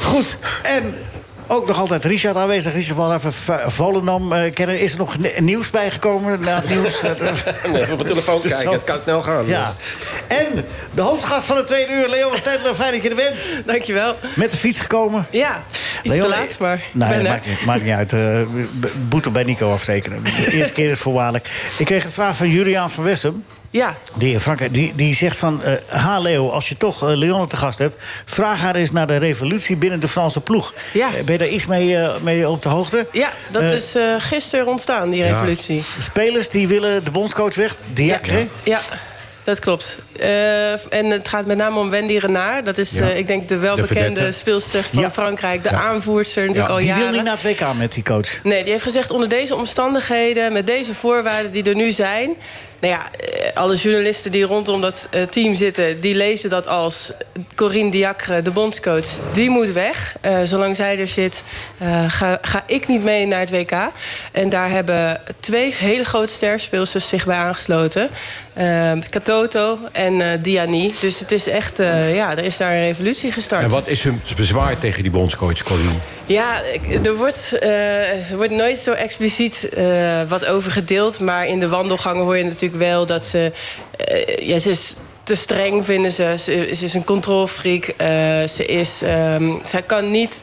Speaker 1: Goed. En ook nog altijd Richard aanwezig. Richard van even V- Volendam eh, kennen. Is er nog ni- nieuws bijgekomen na het nieuws?
Speaker 9: Even op mijn telefoon
Speaker 1: Dus
Speaker 9: kijken,
Speaker 1: zo-
Speaker 9: het kan snel gaan.
Speaker 1: ja. En de hoofdgast van het tweede uur, Leon van Stedtler. Fijn dat je er bent.
Speaker 10: Dankjewel.
Speaker 1: Met de fiets gekomen. eh,
Speaker 10: Ja,
Speaker 6: Iets te laat, maar ik
Speaker 1: Nee,
Speaker 6: ben
Speaker 1: dat
Speaker 6: er.
Speaker 1: maakt niet, maakt niet uit. Eh, b- boete bij Nico afrekenen. De eerste keer is voorwaardelijk. Ik kreeg een vraag van Juliaan van Wessem.
Speaker 6: Ja,
Speaker 1: Die, in Frankrijk, die, die zegt van, eh ha Leo, als je toch eh, Leonne te gast hebt... vraag haar eens naar de revolutie binnen de Franse ploeg.
Speaker 6: Ja.
Speaker 1: Eh, ben je daar iets mee, eh, mee op de hoogte?
Speaker 6: ja dat
Speaker 1: Eh,
Speaker 6: is eh, gisteren ontstaan, die revolutie.
Speaker 1: Spelers die willen de bondscoach weg, Diacre.
Speaker 6: Ja, dat klopt. Eh, en het gaat met name om Wendy Renard. Dat is, eh, ik denk, de welbekende
Speaker 2: vedette.
Speaker 6: speelster van
Speaker 1: Ja.
Speaker 6: Frankrijk. De aanvoerster natuurlijk al
Speaker 1: Die
Speaker 6: jaren.
Speaker 1: wil niet naar het WK met die coach.
Speaker 6: Nee, die heeft gezegd onder deze omstandigheden, met deze voorwaarden die er nu zijn. Nou ja, eh, alle journalisten die rondom dat eh, team zitten, die lezen dat als Corinne Diacre, de bondscoach, die moet weg. Eh, zolang zij er zit, eh, ga, ga ik niet mee naar het WK. En daar hebben twee hele grote sterspeelsters zich bij aangesloten. Eh, Katoto en eh, Diani. Dus het is echt, eh, ja, er is daar een revolutie gestart.
Speaker 2: En wat is hun bezwaar tegen die bondscoach, Corinne?
Speaker 6: Ja, ik- er wordt, eh, er wordt nooit zo expliciet eh, wat over gedeeld. Maar in de wandelgangen hoor je natuurlijk wel dat ze... eh, ja, ze is te streng, vinden ze. Ze, ze is een controlfreak. Eh, ze is, ehm, zij kan niet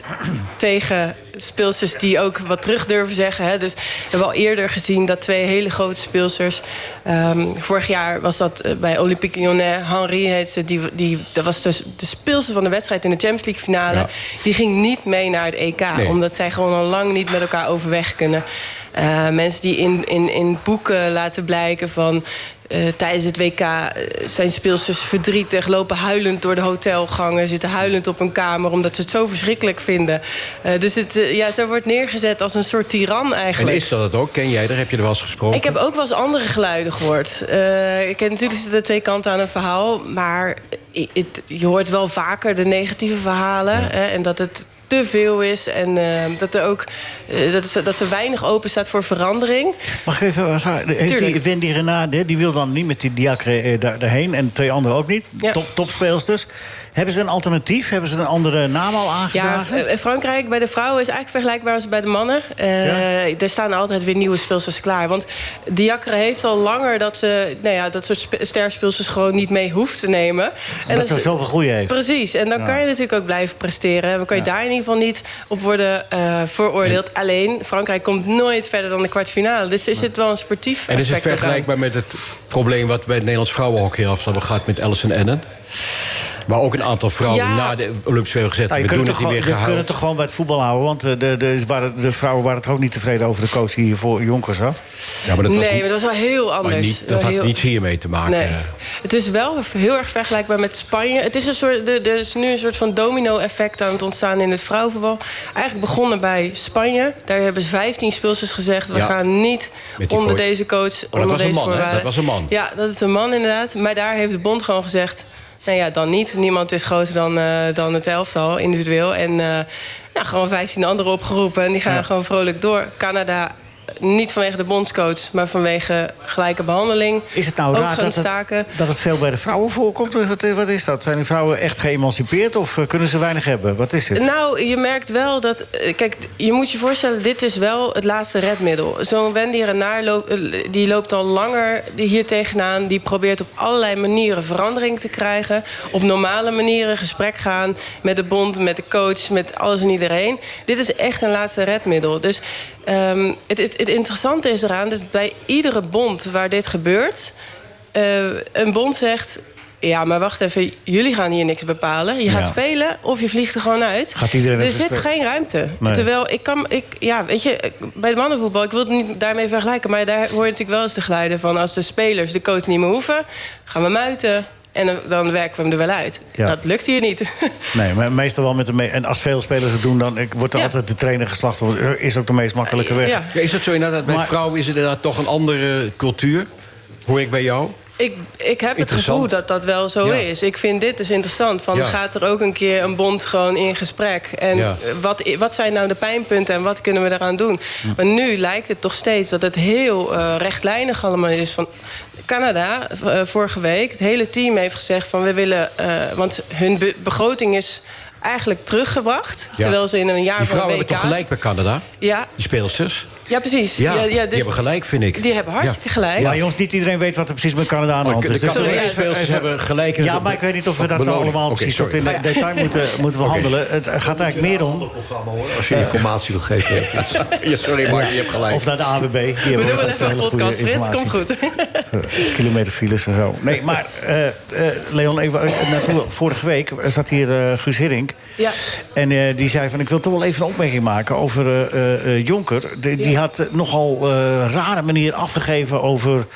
Speaker 6: tegen speelsters die ook wat terug durven zeggen. Hè. Dus we hebben al eerder gezien dat twee hele grote speelsters... ehm, vorig jaar was dat eh, bij Olympique Lyonnais. Henri heet ze. Die, die, dat was dus de speelster van de wedstrijd in de Champions League finale.
Speaker 2: Ja.
Speaker 6: Die ging niet mee naar het EK.
Speaker 2: Nee.
Speaker 6: Omdat zij gewoon al lang niet met elkaar overweg kunnen. Eh, mensen die in, in, in boeken laten blijken van... eh, tijdens het WK eh, zijn speelsters verdrietig... lopen huilend door de hotelgangen, zitten huilend op hun kamer... omdat ze het zo verschrikkelijk vinden. Eh, dus het, eh, ja, ze wordt neergezet als een soort tiran
Speaker 2: En
Speaker 6: eigenlijk.
Speaker 2: is dat het ook? Ken jij er? Heb je er wel eens gesproken?
Speaker 6: Ik heb ook wel eens andere geluiden gehoord. Eh, ik ken natuurlijk de twee kanten aan een verhaal. Maar i- het- je hoort wel vaker de negatieve verhalen. hè, en dat het te veel is. En eh, dat, er ook, eh, dat, ze, dat ze weinig open staat voor verandering.
Speaker 1: Mag ik even, wat haar- heeft die
Speaker 6: Tuurlijk.
Speaker 1: Wendy Renade, die wil dan niet met die Diacre eh, daar, daarheen... en twee anderen ook niet,
Speaker 6: Ja.
Speaker 1: top, topspeelsters. Hebben ze een alternatief? Hebben ze een andere naam al
Speaker 6: Ja,
Speaker 1: aangedragen?
Speaker 6: eh, Frankrijk bij de vrouwen is eigenlijk vergelijkbaar als bij de mannen. Eh, Er staan altijd weer nieuwe speelsters klaar. Want Diakre heeft al langer dat ze nou ja, dat soort spe- sterspeelsters gewoon niet mee hoeft te nemen. En
Speaker 1: dat ze
Speaker 6: is-
Speaker 1: zoveel goeie heeft.
Speaker 6: Precies, en dan kan je natuurlijk ook blijven presteren. En dan kan je daar in ieder geval niet op worden eh, veroordeeld. Alleen, Frankrijk komt nooit verder dan de kwartfinale. Dus is het wel een sportief
Speaker 2: en is het
Speaker 6: aspect ook aan.
Speaker 2: vergelijkbaar met het probleem wat bij het Nederlands vrouwenhockey af hebben gehad met Alison Ennen? Waar ook een aantal vrouwen
Speaker 6: Ja.
Speaker 2: na de Olympische Spelen gezet
Speaker 1: Nou, je
Speaker 2: we
Speaker 1: kunt het,
Speaker 2: doen het
Speaker 1: toch
Speaker 2: niet
Speaker 1: gewoon, je
Speaker 2: meer
Speaker 1: kunt het
Speaker 2: gehouden.
Speaker 1: toch gewoon bij het voetbal houden? Want eh, de, de, waren, de vrouwen waren toch ook niet tevreden over de coach die hier voor Jonkers had?
Speaker 2: Ja, maar dat was
Speaker 6: nee,
Speaker 2: niet-
Speaker 6: maar dat is wel heel
Speaker 2: maar
Speaker 6: anders.
Speaker 2: niet,
Speaker 6: Wel
Speaker 2: dat had
Speaker 6: heel-
Speaker 2: niets hiermee te maken. eh.
Speaker 6: Nee. Het is wel heel erg vergelijkbaar met Spanje. Het is een soort, er er is nu een soort van domino-effect aan het ontstaan in het vrouwenvoetbal. Eigenlijk begonnen bij Spanje. Daar hebben ze 15 speelsters gezegd: we
Speaker 2: Ja.
Speaker 6: gaan niet
Speaker 2: Met die
Speaker 6: onder
Speaker 2: coach. Oh,
Speaker 6: deze coach.
Speaker 2: dat
Speaker 6: onder
Speaker 2: was een
Speaker 6: deze
Speaker 2: man, hè?
Speaker 6: voorwaarden.
Speaker 2: Dat was een man.
Speaker 6: Ja, dat is een man inderdaad. Maar daar heeft de bond gewoon gezegd... nou ja, dan niet. Niemand is groter dan, eh, dan het elftal, individueel. En eh, nou, gewoon 15 anderen opgeroepen. En die gaan gewoon vrolijk door. Canada, eh, niet vanwege de bondscoach... maar vanwege gelijke behandeling.
Speaker 1: Is het nou
Speaker 6: Ook
Speaker 1: raar
Speaker 6: gaan
Speaker 1: dat het,
Speaker 6: staken.
Speaker 1: dat het veel bij de vrouwen voorkomt? Wat, eh, wat is dat? Zijn die vrouwen echt geëmancipeerd of eh, kunnen ze weinig hebben? Wat is het?
Speaker 6: Nou, je merkt wel dat... eh, Kijk, je moet je voorstellen, dit is wel het laatste redmiddel. Zo'n Wendy Renaar loopt, eh, die loopt al langer hier tegenaan. Die probeert op allerlei manieren verandering te krijgen. Op normale manieren gesprek gaan met de bond, met de coach, met alles en iedereen. Dit is echt een laatste redmiddel. Dus ehm, het, het, het interessante is eraan... Dus bij iedere bond waar dit gebeurt... eh, een bond zegt... Ja, maar wacht even, jullie gaan hier niks bepalen. Je gaat
Speaker 1: Ja.
Speaker 6: spelen of je vliegt er gewoon uit.
Speaker 1: Gaat iedereen
Speaker 6: er
Speaker 1: even
Speaker 6: zit
Speaker 1: stuk.
Speaker 6: geen ruimte.
Speaker 1: Nee.
Speaker 6: Terwijl ik kan, ik, ja, weet je, ik- bij het mannenvoetbal, ik wil het niet daarmee vergelijken, maar daar hoor je natuurlijk wel eens te glijden van als de spelers de coach niet meer hoeven, gaan we muiten en dan, dan werken we hem er wel uit.
Speaker 1: Ja.
Speaker 6: Dat lukt hier niet.
Speaker 1: Nee, maar meestal wel met de... Me en als veel spelers het doen, dan eh, wordt er
Speaker 6: Ja. Eh,
Speaker 1: altijd de trainer geslacht. want er Is ook de meest makkelijke weg.
Speaker 6: ja.
Speaker 2: Ja, is dat zo inderdaad? Bij
Speaker 1: Maar-
Speaker 2: vrouwen is het inderdaad toch een andere cultuur? Hoor ik bij jou?
Speaker 6: Ik, ik heb het
Speaker 2: Interessant.
Speaker 6: gevoel dat dat wel zo
Speaker 2: Ja.
Speaker 6: is. Ik vind dit dus interessant. Van
Speaker 2: Ja.
Speaker 6: gaat er ook een keer een bond gewoon in gesprek? En
Speaker 2: Ja.
Speaker 6: eh, wat, i- wat zijn nou de pijnpunten en wat kunnen we daaraan doen? Maar nu lijkt het toch steeds dat het heel eh, rechtlijnig allemaal is. Van Canada, v- eh, vorige week, het hele team heeft gezegd van we willen. eh, want hun be- begroting is eigenlijk teruggebracht.
Speaker 2: Ja.
Speaker 6: Terwijl ze in een jaar
Speaker 2: Die
Speaker 6: van de
Speaker 2: vrouwen
Speaker 6: WK.
Speaker 2: hebben toch gelijk bij Canada?
Speaker 6: Ja,
Speaker 2: Die speelsters?
Speaker 6: Ja, precies.
Speaker 2: Ja,
Speaker 6: ja, dus
Speaker 2: die hebben gelijk, vind ik.
Speaker 6: Die hebben hartstikke gelijk.
Speaker 1: Ja, jongens, niet iedereen weet wat er precies met Canada aan de
Speaker 2: Maar
Speaker 1: hand
Speaker 2: de
Speaker 1: is. Dus dat-
Speaker 2: Canadese
Speaker 1: even-
Speaker 2: spelers
Speaker 1: even-
Speaker 2: hebben gelijk in
Speaker 1: Ja,
Speaker 2: het-
Speaker 1: maar ik weet niet of we dat nou
Speaker 2: beloning.
Speaker 1: allemaal
Speaker 2: Oké,
Speaker 1: precies
Speaker 2: sorry.
Speaker 1: tot in de detail moeten, moeten behandelen. Het gaat eigenlijk meer om...
Speaker 3: Als je informatie wil geven. even iets.
Speaker 2: Ja, sorry, Mark, je hebt gelijk.
Speaker 1: Of naar de AWB.
Speaker 6: We doen wel even een podcast, Frits. Komt goed.
Speaker 1: Kilometerfiles en zo. Nee, maar eh, eh, Leon, even eh, naartoe. Vorige week zat hier eh, Guus Hiddink.
Speaker 6: Ja.
Speaker 1: En eh, die zei van, ik wil toch wel even een opmerking maken over eh, eh, eh, Jonker. Die, die
Speaker 6: Ja.
Speaker 1: had eh, nogal eh, rare manier afgegeven over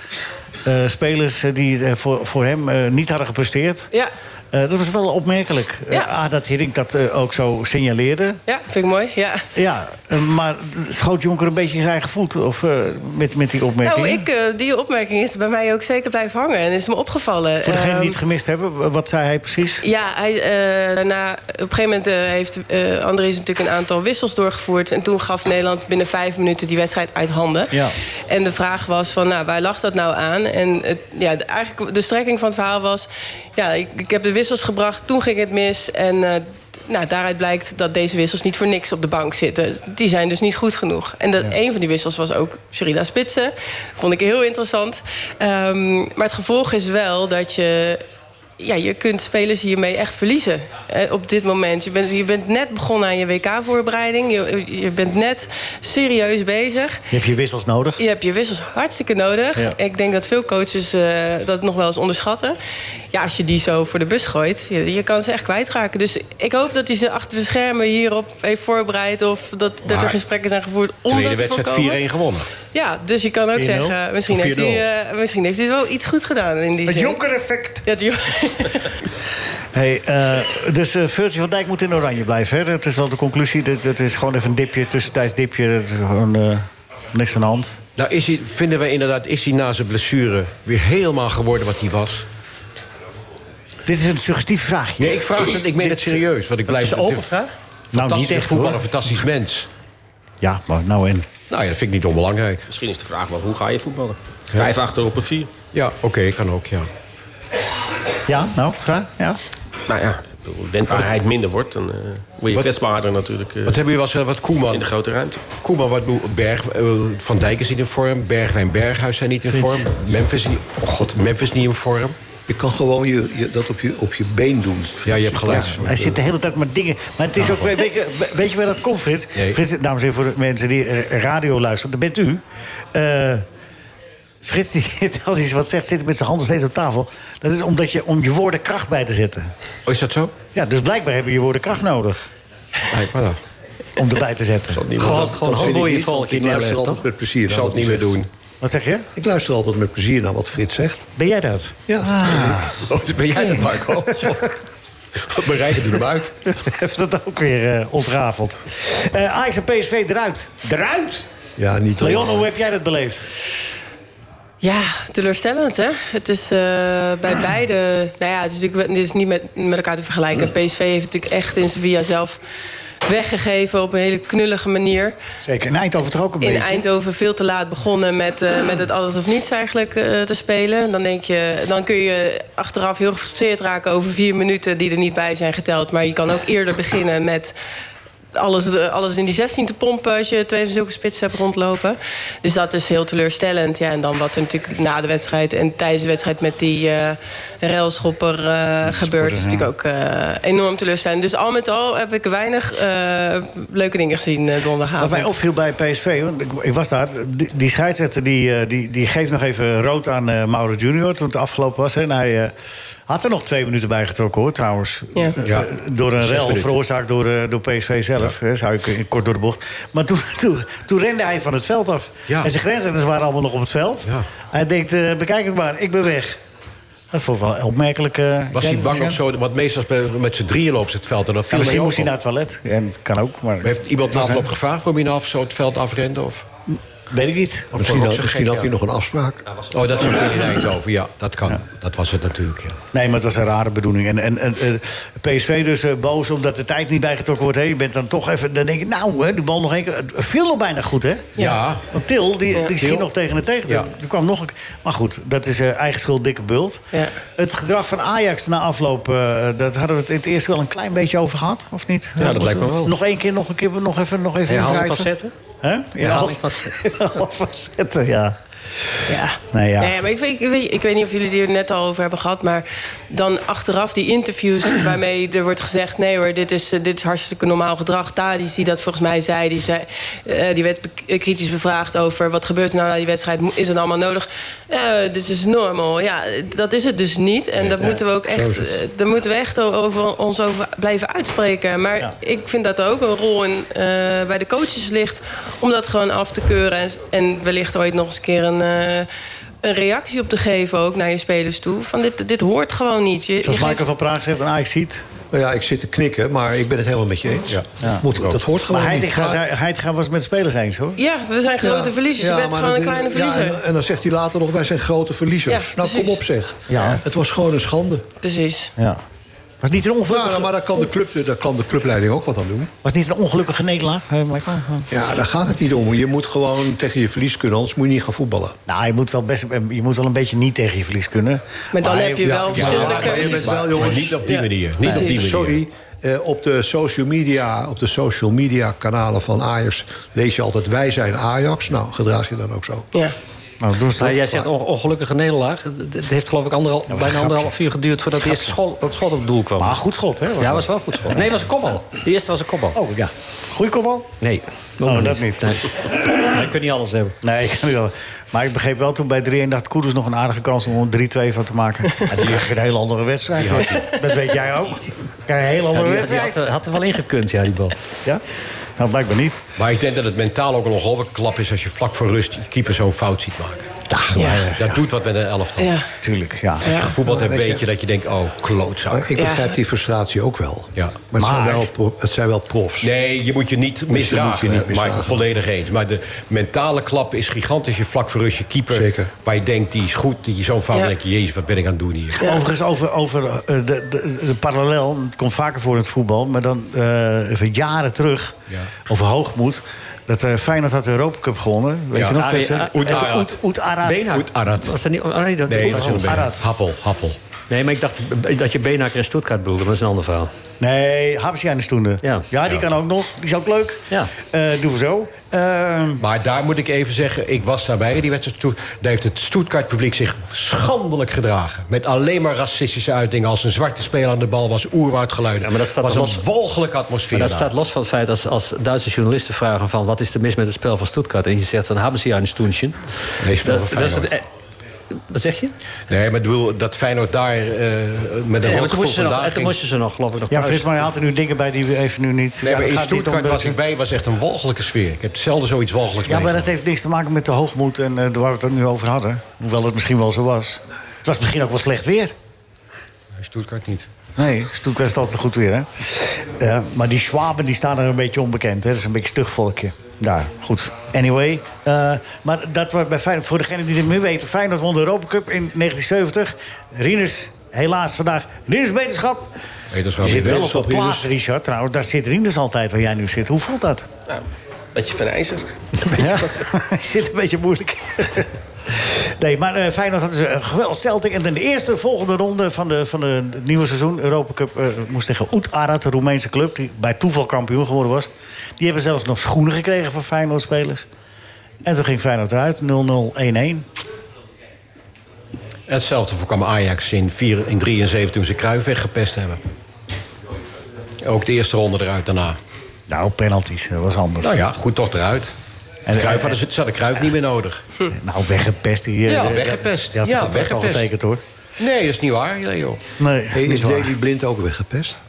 Speaker 1: eh, spelers... eh, die het, eh, voor, voor hem eh, niet hadden gepresteerd.
Speaker 6: Ja.
Speaker 1: Eh, dat was wel opmerkelijk.
Speaker 6: Ja.
Speaker 1: Eh, A, dat Hiddink dat eh, ook zo signaleerde.
Speaker 6: ja, vind ik mooi. Ja.
Speaker 1: Ja, eh, maar schoot Jonker een beetje in zijn eigen voet of, eh, met, met die opmerking?
Speaker 6: Nou, ik, eh, die opmerking is bij mij ook zeker blijven hangen. En is me opgevallen.
Speaker 1: Voor degenen die
Speaker 6: Ehm,
Speaker 1: het gemist hebben, wat zei hij precies?
Speaker 6: Ja, hij, eh, daarna, op een gegeven moment eh, heeft eh Andries natuurlijk een aantal wissels doorgevoerd. En toen gaf Nederland binnen vijf minuten die wedstrijd uit handen.
Speaker 1: Ja.
Speaker 6: En de vraag was van, nou, waar lag dat nou aan? En het, ja, de, eigenlijk de strekking van het verhaal was... ja, ik, ik heb de wissels gebracht, toen ging het mis. En eh, nou, daaruit blijkt dat deze wissels niet voor niks op de bank zitten. Die zijn dus niet goed genoeg. En dat, een van die wissels was ook Sherida Spitsen. Vond ik heel interessant. Ehm, maar het gevolg is wel dat je ja, je kunt spelers hiermee echt verliezen eh, op dit moment. Je bent, je bent net begonnen aan je WK-voorbereiding. Je, je bent net serieus bezig.
Speaker 1: Je hebt je wissels nodig.
Speaker 6: Je hebt je wissels hartstikke nodig.
Speaker 1: Ja.
Speaker 6: Ik denk dat veel coaches eh, dat nog wel eens onderschatten. Ja, als je die zo voor de bus gooit, je, je kan ze echt kwijtraken. Dus ik hoop dat hij ze achter de schermen hierop heeft voorbereid... of dat, dat er
Speaker 2: Maar
Speaker 6: gesprekken zijn gevoerd om
Speaker 2: Tweede
Speaker 6: dat te voorkomen.
Speaker 2: wedstrijd 4-1 gewonnen.
Speaker 6: Ja, dus je kan ook
Speaker 1: 4-0.
Speaker 6: zeggen, misschien
Speaker 2: Of
Speaker 6: heeft, hij,
Speaker 2: 4-0.
Speaker 6: eh, misschien heeft hij wel iets goed gedaan in die zin.
Speaker 1: Jonker-effect.
Speaker 6: Ja, het Jonker.
Speaker 1: Hey, eh, dus eh Virgil van Dijk moet in oranje blijven. Hè? Dat is wel de conclusie. Dat, dat is gewoon even een dipje, tussentijds dipje. Dat is gewoon eh, niks aan de hand.
Speaker 2: Nou, is hij, vinden wij inderdaad, is hij na zijn blessure weer helemaal geworden wat hij was?
Speaker 1: Dit is een suggestief vraagje.
Speaker 2: Nee, ik vraag het, ik meen het serieus. Want ik blijf
Speaker 5: eh, Is een open vraag?
Speaker 1: nou, niet
Speaker 2: Fantastische
Speaker 1: echt
Speaker 2: voetballer,
Speaker 1: hoor.
Speaker 2: fantastisch mens.
Speaker 1: Ja, maar nou en.
Speaker 2: Nou ja, dat vind ik niet onbelangrijk.
Speaker 4: Misschien is de vraag wel, hoe ga je voetballen? Vijf achter op een vier.
Speaker 2: Ja, oké, kan ook, ja.
Speaker 1: Ja, nou, graag. Ja.
Speaker 4: Nou ja, ik bedoel, wendbaarheid minder wordt, dan eh word je
Speaker 2: Wat-
Speaker 4: kwetsbaarder natuurlijk eh,
Speaker 2: Wat hebben jullie wel eens, eh, wat
Speaker 4: in de
Speaker 2: Koeman?
Speaker 4: grote ruimte.
Speaker 2: Koeman, wat doe- Berg, eh, Van Dijk is niet in vorm. Bergwijn, Berghuis zijn niet in vorm. Memphis, is niet- oh god, Memphis niet in vorm.
Speaker 3: Je kan gewoon je, je- dat op je, op je been doen.
Speaker 2: Ja, je hebt gelijk.
Speaker 1: Hij zit de hele tijd met dingen. Maar het is ook, weet, je, weet je waar dat komt, Frits?
Speaker 2: Nee.
Speaker 1: Frits, dames en heren, voor de mensen die eh, radio luisteren, dat bent u. Eh, Frits, die zit, als hij wat zegt, zit hij met zijn handen steeds op tafel. Dat is omdat je, om je woorden kracht bij te zetten.
Speaker 2: Oh, is dat zo?
Speaker 1: Ja, dus blijkbaar hebben je woorden kracht nodig
Speaker 2: Blijkbaar wel.
Speaker 1: om erbij te zetten.
Speaker 5: Gewoon, gewoon
Speaker 3: Dat vind ik
Speaker 5: handboeien
Speaker 3: niet, want
Speaker 5: vallen
Speaker 3: Ik luister
Speaker 5: neerleggen,
Speaker 3: altijd
Speaker 5: toch?
Speaker 3: met plezier
Speaker 2: Ik
Speaker 3: naar
Speaker 2: zal
Speaker 3: wat
Speaker 2: het niet
Speaker 3: hij
Speaker 2: meer
Speaker 3: zegt.
Speaker 2: doen.
Speaker 1: Wat zeg je?
Speaker 3: Ik luister altijd met plezier naar wat Frits zegt.
Speaker 1: Ben jij dat?
Speaker 3: Ja.
Speaker 2: Oh, ben jij dat, Marco? God. Wat bereiken doet hem uit.
Speaker 1: Heeft dat ook weer eh, ontrafeld. Eh Ajax en PSV eruit. Eruit?
Speaker 3: Ja, niet
Speaker 1: Leon,
Speaker 3: alleen.
Speaker 1: hoe heb jij dat beleefd?
Speaker 6: Ja, teleurstellend hè. Het is eh, bij beide. Nou ja, het is natuurlijk het is niet met, met elkaar te vergelijken. PSV heeft natuurlijk echt in Sevilla zelf weggegeven op een hele knullige manier.
Speaker 1: Zeker, in Eindhoven toch ook een
Speaker 6: In
Speaker 1: beetje.
Speaker 6: Eindhoven veel te laat begonnen met, eh, met het alles of niets eigenlijk eh, te spelen. Dan, denk je, dan kun je achteraf heel gefrustreerd raken over vier minuten die er niet bij zijn geteld. Maar je kan ook eerder beginnen met alles, eh, alles in die 16 te pompen als je twee van zulke spitsen hebt rondlopen. Dus dat is heel teleurstellend. Ja, en dan wat er natuurlijk na de wedstrijd en tijdens de wedstrijd met die eh railschopper eh, gebeurt, is natuurlijk ook eh, enorm teleurstellend. Dus al met al heb ik weinig eh, leuke dingen gezien eh,
Speaker 1: Wat
Speaker 6: donderdagavond.
Speaker 1: mij opviel bij PSV, want ik, ik was daar. Die, die scheidsrechter die, eh, die, die geeft nog even rood aan eh Mauro Junior toen het afgelopen was. hè. En hij eh, had er nog twee minuten bij getrokken hoor, trouwens.
Speaker 6: Ja.
Speaker 1: Eh,
Speaker 2: Ja.
Speaker 1: eh, door een
Speaker 2: Zes
Speaker 1: rel
Speaker 2: minuten.
Speaker 1: veroorzaakt door, eh, door PSV zelf. hè, zou ik in- kort door de bocht. Maar toen, toen, toen rende hij van het veld af.
Speaker 2: Ja.
Speaker 1: En zijn grensrechters waren allemaal nog op het veld.
Speaker 2: Ja.
Speaker 1: Hij denkt, eh, bekijk het maar, ik ben weg. Dat vond ik wel opmerkelijk. eh,
Speaker 2: Was hij
Speaker 1: kijk,
Speaker 2: bang
Speaker 1: ja.
Speaker 2: of zo? Want meestal spelen we met z'n drieën loopt ze het veld. En dan
Speaker 1: Ja,
Speaker 2: viel
Speaker 1: misschien
Speaker 2: hij
Speaker 1: moest
Speaker 2: ook
Speaker 1: hij naar
Speaker 2: op.
Speaker 1: het toilet. En kan ook, maar
Speaker 2: Heeft iemand
Speaker 1: Was
Speaker 2: na
Speaker 1: hij-
Speaker 2: op gevraagd waarom hij nou af zo het veld afrende? Of?
Speaker 1: weet ik niet.
Speaker 3: Misschien,
Speaker 2: Ook
Speaker 3: had,
Speaker 2: zo
Speaker 3: misschien
Speaker 2: gek,
Speaker 3: had hij
Speaker 2: ja.
Speaker 3: nog een afspraak.
Speaker 2: Oh, dat is ook in Eindhoven. Ja, dat kan. Dat was het natuurlijk, ja.
Speaker 1: Nee, maar het was een rare bedoeling. En, en, en eh, PSV dus eh, boos omdat de tijd niet bijgetrokken wordt. Hé, je bent dan toch even... Dan denk je, nou, hè, de bal nog één keer... Het viel nog bijna goed, hè?
Speaker 2: Ja.
Speaker 1: Want Til, die, die schiet nog tegen de tegen.
Speaker 2: Ja.
Speaker 1: Er kwam nog een... Maar goed, dat is eh, eigen schuld, dikke bult.
Speaker 6: Ja.
Speaker 1: Het gedrag van Ajax na afloop... eh, dat hadden we het in het eerst wel een klein beetje over gehad, of niet?
Speaker 2: dat lijkt me wel.
Speaker 1: Nog één keer, nog een keer, nog even, nog even
Speaker 5: Herhaalde
Speaker 1: invrijven.
Speaker 5: facetten?
Speaker 1: Hè? Hè? Ja,
Speaker 5: half-
Speaker 1: half facetten, ja.
Speaker 11: Ja.
Speaker 1: Nee, ja.
Speaker 11: Nee, maar ik weet, ik, weet, ik weet niet of jullie het hier net al over hebben gehad... maar dan achteraf die interviews waarmee er wordt gezegd... nee hoor, dit is, eh, dit is hartstikke normaal gedrag. Thadis, die dat volgens mij zei, die, zei, eh, die werd be- eh, kritisch bevraagd over... wat gebeurt er nou na die wedstrijd, Mo- is het allemaal nodig? Eh, dit is normal. Ja, dat is het dus niet. En dat moeten we ook echt, eh, daar moeten we echt o- over, ons over blijven uitspreken. Maar ik vind dat er ook een rol in, eh, bij de coaches ligt... om dat gewoon af te keuren en, en wellicht ooit nog eens een keer een... eh, een reactie op te geven ook naar je spelers toe. Van dit, dit hoort gewoon niet. Je, je
Speaker 1: Zoals
Speaker 11: geeft-
Speaker 1: Michael van Praag zegt, een ajax ziet.
Speaker 3: Nou ja, ik zit te knikken, maar ik ben het helemaal met je eens.
Speaker 1: Ja.
Speaker 3: Moet, dat hoort gewoon
Speaker 1: Maar
Speaker 3: niet.
Speaker 1: Heitinga,
Speaker 3: Maar-
Speaker 1: zei- Heitinga was met spelers eens, hoor.
Speaker 11: Ja, we zijn grote
Speaker 3: Ja,
Speaker 11: verliezers.
Speaker 3: ja,
Speaker 11: je bent
Speaker 3: maar
Speaker 11: gewoon een
Speaker 3: dat-
Speaker 11: kleine
Speaker 3: ja,
Speaker 11: verliezer.
Speaker 3: en, en dan zegt hij later nog, wij zijn grote verliezers.
Speaker 11: Ja,
Speaker 3: nou, kom
Speaker 11: precies.
Speaker 3: op zeg.
Speaker 1: Ja.
Speaker 3: Het was gewoon een schande.
Speaker 11: Precies.
Speaker 1: Ja. Was niet een
Speaker 3: Nou,
Speaker 1: ongelukkige,
Speaker 3: nou, maar daar kan, de club, daar kan de clubleiding ook wat aan doen.
Speaker 1: was niet een ongelukkige nederlaag, hè, Michael?
Speaker 3: Ja, daar gaat het niet om. Je moet gewoon tegen je verlies kunnen, anders moet je niet gaan voetballen.
Speaker 1: Nou, je moet, wel best, je moet wel een beetje niet tegen je verlies kunnen.
Speaker 11: Maar dan heb je wel verschillende
Speaker 3: maar-
Speaker 11: keuzes.
Speaker 3: je bent wel,
Speaker 2: Maar
Speaker 3: jongens,
Speaker 2: niet op die manier. Niet op die manier.
Speaker 3: Sorry. eh, op de social media, op de social media kanalen van Ajax lees je altijd wij zijn Ajax. Nou, gedraag je dan ook zo.
Speaker 11: Ja.
Speaker 1: Nou, doen ze
Speaker 5: Maar
Speaker 1: dat.
Speaker 5: jij zegt on- ongelukkige nederlaag. Het- Het heeft geloof ik anderhal, bijna anderhalf uur geduurd voordat het eerste schot, dat schot op het doel kwam.
Speaker 1: Maar goed schot, hè?
Speaker 5: ja, was wel goed schot. Nee, het was een kopbal. De eerste was een kopbal.
Speaker 1: Oh, ja. Goeie kopbal?
Speaker 5: Nee.
Speaker 1: Oh,
Speaker 5: nog
Speaker 1: dat niet.
Speaker 5: Nee. Nee, je kunt niet alles hebben.
Speaker 1: Nee, ik kan niet wel. Maar ik begreep wel toen bij 3-1 dacht Koeders nog een aardige kans om er 3-2 van te maken. En die had een hele andere wedstrijd. Dat weet jij ook. Ja, een hele andere
Speaker 5: Die had, die
Speaker 1: wedstrijd.
Speaker 5: had, er- had er wel ingekund, ja, die bal.
Speaker 1: Ja? Nou, blijkbaar niet.
Speaker 2: Maar ik denk dat het mentaal ook een ongelooflijke klap is... als je vlak voor rust je keeper zo'n fout ziet maken.
Speaker 11: Ja.
Speaker 2: Dat doet wat met een elftal.
Speaker 11: Ja.
Speaker 1: Tuurlijk, ja.
Speaker 2: Als je gevoetbald hebt,
Speaker 3: Weet je-
Speaker 2: weet je dat je denkt... oh, klootzak.
Speaker 3: Maar ik
Speaker 11: Ja.
Speaker 3: begrijp die frustratie ook wel.
Speaker 2: Ja.
Speaker 3: Maar, het, zijn
Speaker 1: Maar-
Speaker 3: wel, pro- het zijn wel profs.
Speaker 2: Nee, je moet je niet misdragen.
Speaker 3: niet
Speaker 2: hè, Maar ik ben
Speaker 3: misdragen.
Speaker 2: volledig eens. Maar de mentale klap is gigantisch. Je vlak voor rust je keeper.
Speaker 3: Zeker.
Speaker 2: Waar je denkt, die is goed. Die je zo'n fout
Speaker 11: Ja.
Speaker 2: denkt, jezus, wat ben ik aan het doen hier.
Speaker 1: Overigens, over, over eh, de, de, de parallel, het komt vaker voor in het voetbal... maar dan eh, even jaren terug,
Speaker 2: Ja.
Speaker 1: over hoogmoed... dat eh Feyenoord had de Europa Cup gewonnen. Weet
Speaker 2: Ja.
Speaker 1: je nog?
Speaker 2: Ah,
Speaker 1: tegen
Speaker 5: ja.
Speaker 1: ze-
Speaker 2: Oet
Speaker 1: Eh,
Speaker 2: Arad.
Speaker 1: Oet- Oet Arad.
Speaker 5: Beenhakker.
Speaker 2: Goed, Arad.
Speaker 5: Was dat niet, oh, nee, dat,
Speaker 2: Nee, dat is een
Speaker 1: Hans
Speaker 2: beetje-
Speaker 1: Arad.
Speaker 2: Happel, happel.
Speaker 5: nee, maar ik dacht dat je Benaker en Stuttgart bedoelde. maar Dat is een ander verhaal.
Speaker 1: Nee, Habsjijn is toen er.
Speaker 5: Ja.
Speaker 1: die kan ook nog. Die is ook leuk.
Speaker 5: Ja.
Speaker 1: Eh, doen we zo. Ehm,
Speaker 2: Maar daar moet ik even zeggen, ik was daarbij. Die wedstrijd toen, daar heeft het Stuttgart publiek zich schandelijk gedragen. Met alleen maar racistische uitingen. Als een zwarte speler aan de bal was, oerwoudgeluiden.
Speaker 5: Ja, maar dat staat
Speaker 2: was
Speaker 5: er
Speaker 2: een
Speaker 5: los-
Speaker 2: walgelijke atmosfeer.
Speaker 5: Maar dat
Speaker 2: daar.
Speaker 5: staat los van het feit als, als Duitse journalisten vragen van... wat is er mis met het spel van Stuttgart? En je zegt, dan hebben ze ja een stoentje.
Speaker 2: Nee, spel van
Speaker 5: Dat, dat is het,
Speaker 2: Feyenoord.
Speaker 5: eh, wat zeg je?
Speaker 2: Nee, maar ik bedoel, dat Feyenoord daar eh, met een
Speaker 5: En
Speaker 2: rood
Speaker 5: toen
Speaker 2: gevoel
Speaker 5: moesten ze, nog- en
Speaker 2: vandaag
Speaker 5: toen
Speaker 2: ging.
Speaker 5: moesten ze nog, geloof ik, nog
Speaker 1: ja,
Speaker 5: thuis.
Speaker 1: Frits, maar je haalt er nu dingen bij die we even nu niet...
Speaker 2: Nee,
Speaker 1: ja, dat
Speaker 2: maar in
Speaker 1: gaat niet
Speaker 2: Stuttgart
Speaker 1: om-
Speaker 2: was ik bij, was echt een walgelijke sfeer. Ik heb zelden zoiets walgelijks
Speaker 1: Ja, maar dat
Speaker 2: meegemaakt.
Speaker 1: heeft niks te maken met de hoogmoed en eh, waar we het ook nu over hadden. Hoewel het misschien wel zo was. Het was misschien ook wel slecht weer.
Speaker 2: Stuttgart niet.
Speaker 1: Nee, Stuttgart is altijd goed weer, hè? Ja, maar die Schwaben die staan er een beetje onbekend, hè? Dat is een beetje stug volkje. Daar, goed. Anyway, eh, maar dat was bij Feyenoord... Voor degenen die dit meer weten, Feyenoord won de Europa Cup in 1970. Rinus, helaas vandaag, Rinus Beterschap.
Speaker 2: Wetenschap
Speaker 1: Je zit wel op
Speaker 3: Beterschap,
Speaker 1: een plaats,
Speaker 3: Rinus.
Speaker 1: Richard. Trouwens, daar zit Rinus altijd waar jij nu zit. Hoe voelt dat?
Speaker 6: Nou, beetje van ijzer.
Speaker 1: Ja, het zit een beetje moeilijk. Nee, maar eh Feyenoord had dus een geweldig Celtic. En in de eerste volgende ronde van, de, van de, het nieuwe seizoen... Europa Cup eh, moest tegen Oet Arad, de Roemeense club... die bij toeval kampioen geworden was. Die hebben zelfs nog schoenen gekregen van Feyenoord-spelers. En toen ging Feyenoord eruit, 0-0-1-1.
Speaker 2: Hetzelfde voorkwam Ajax in 4 in 73 toen ze Cruijff weggepest hebben. Ook de eerste ronde eruit daarna.
Speaker 1: Nou, penalties, dat was anders.
Speaker 2: Nou ja, goed toch eruit.
Speaker 1: En- eh,
Speaker 2: En Cruijff hadden ze, ze hadden Cruijff niet meer nodig.
Speaker 1: Nou, weggepest. Die, eh,
Speaker 2: Ja,
Speaker 1: de-
Speaker 2: weggepest.
Speaker 1: Die had
Speaker 2: Ja,
Speaker 1: ja, contract al
Speaker 2: weggepest.
Speaker 1: getekend, hoor.
Speaker 2: Nee, dat is niet waar. Nee, joh.
Speaker 1: Nee,
Speaker 3: Hey,
Speaker 1: niet
Speaker 3: is
Speaker 1: waar.
Speaker 3: Daily Blind ook weggepest?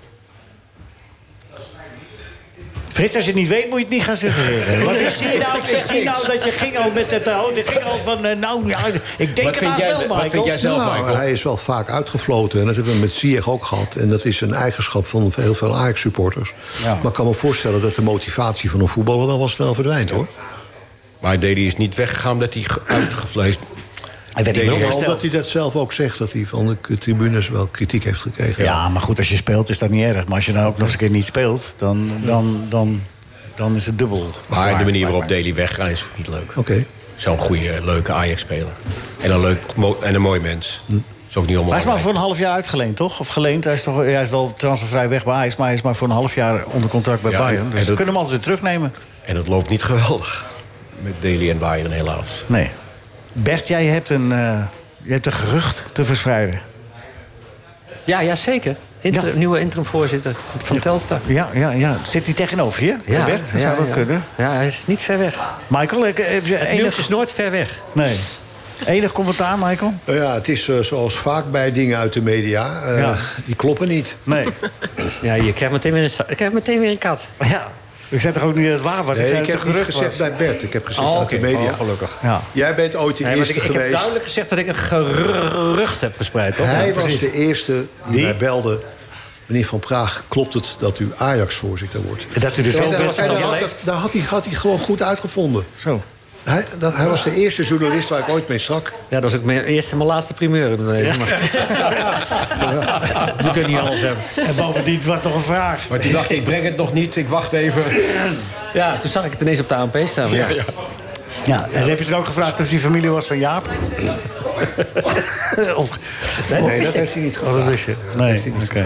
Speaker 1: Frits, als je het niet weet, moet je het niet gaan suggereren. Want ik zie nou, ik zie nou dat je ging al met het hout. Ik ging al van, eh, nou ja, ik denk
Speaker 2: Wat
Speaker 1: het
Speaker 2: vind
Speaker 1: haast
Speaker 2: jij-
Speaker 1: wel,
Speaker 2: wat
Speaker 1: Michael.
Speaker 2: vind jij zelf?
Speaker 3: Nou,
Speaker 2: Michael.
Speaker 3: hij is wel vaak uitgefloten. En dat hebben we met Ziyech ook gehad. En dat is een eigenschap van heel veel Ajax-supporters. Maar ik kan me voorstellen dat de motivatie van een voetballer... wel wel snel verdwijnt, hoor.
Speaker 2: Maar Deli is niet weggegaan omdat hij ge- uitgevleesd...
Speaker 1: Hij werd in
Speaker 2: Denk
Speaker 1: beeld
Speaker 2: ik
Speaker 3: Wel
Speaker 1: gesteld.
Speaker 3: dat hij dat zelf ook zegt, dat hij van de tribunes wel kritiek heeft gekregen.
Speaker 1: Ja, maar goed, als je speelt is dat niet erg. Maar als je dan ook nog eens een keer niet speelt, dan, dan, dan, dan is het dubbel.
Speaker 2: Maar de manier waarop Deli weggaat is niet leuk.
Speaker 3: Oké.
Speaker 2: Zo'n goede, leuke Ajax-speler. En een, leuk, mo- en een mooi mens.
Speaker 5: Hm.
Speaker 2: Is ook niet
Speaker 1: Hij is
Speaker 2: onbelangrijk.
Speaker 1: maar voor een half jaar uitgeleend, toch? Of geleend. Hij is, toch, hij is wel transfervrij weg bij Ajax, maar hij is maar voor een half jaar onder contract bij
Speaker 2: Ja, en-
Speaker 1: Bayern.
Speaker 2: en
Speaker 1: Dus we
Speaker 2: dat-
Speaker 1: kunnen hem altijd weer terugnemen.
Speaker 2: En het loopt niet geweldig. Met Daly en Bayern helaas.
Speaker 1: Nee. Bert, jij hebt een, eh, je hebt een gerucht te verspreiden.
Speaker 5: Ja, ja zeker. Inter-
Speaker 1: Ja.
Speaker 5: Nieuwe interimvoorzitter van Telstar.
Speaker 1: Ja, ja, ja. Zit die tegenover je?
Speaker 5: Ja,
Speaker 1: Bert,
Speaker 5: ja,
Speaker 1: zou dat
Speaker 5: ja.
Speaker 1: kunnen?
Speaker 5: Ja, hij is niet ver weg.
Speaker 1: Michael, heb heb je
Speaker 5: Het nieuws
Speaker 1: enig...
Speaker 5: is nooit ver weg.
Speaker 1: Nee. Enig commentaar, Michael?
Speaker 3: Nou ja, het is eh, zoals vaak bij dingen uit de media. eh,
Speaker 1: Ja.
Speaker 3: Die kloppen niet.
Speaker 1: Nee.
Speaker 5: Ja, je krijgt meteen weer een, sa- je krijgt meteen weer een kat.
Speaker 1: ja. Ik zei toch ook niet dat het waar was?
Speaker 3: Nee,
Speaker 1: ik zei
Speaker 3: ik
Speaker 1: dat
Speaker 3: heb
Speaker 1: het
Speaker 3: niet
Speaker 1: een
Speaker 3: gezegd
Speaker 1: gerucht was.
Speaker 3: bij Bert. Ik heb gezegd
Speaker 5: Oh,
Speaker 3: uit
Speaker 5: oké.
Speaker 3: de media.
Speaker 5: Oh, gelukkig.
Speaker 1: Ja.
Speaker 3: Jij bent ooit de
Speaker 5: Nee, want
Speaker 3: eerste
Speaker 5: ik, ik heb
Speaker 3: geweest.
Speaker 5: duidelijk gezegd dat ik een gerucht heb verspreid, toch?
Speaker 3: Hij
Speaker 5: Ja,
Speaker 3: was
Speaker 5: precies.
Speaker 3: de eerste die,
Speaker 1: Die?
Speaker 3: mij belde. Meneer Van Praag, klopt het dat u Ajax-voorzitter wordt?
Speaker 1: Dat u dus
Speaker 3: En
Speaker 1: wel
Speaker 3: daar-
Speaker 5: best
Speaker 3: en
Speaker 5: wel
Speaker 3: daar had
Speaker 5: beleefd.
Speaker 3: dat- daar had hij, had hij gewoon goed uitgevonden.
Speaker 1: Zo.
Speaker 3: Hij, dat, hij was de eerste journalist waar ik ooit mee strak.
Speaker 5: Ja, dat was ook mijn eerste en mijn laatste primeur. in mijn leven, maar- Ja. We kunnen niet alles hebben.
Speaker 1: En bovendien het was nog een vraag.
Speaker 2: Maar toen dacht ik, ik breng het nog niet, ik wacht even.
Speaker 5: Ja, toen zag ik het ineens op de ANP staan. Ja.
Speaker 1: Ja, en heb je toen ook gevraagd of die familie was van Jaap? of,
Speaker 3: Nee, dat heeft hij
Speaker 1: oh,
Speaker 3: niet gevraagd.
Speaker 1: dat is je. Nee, oké.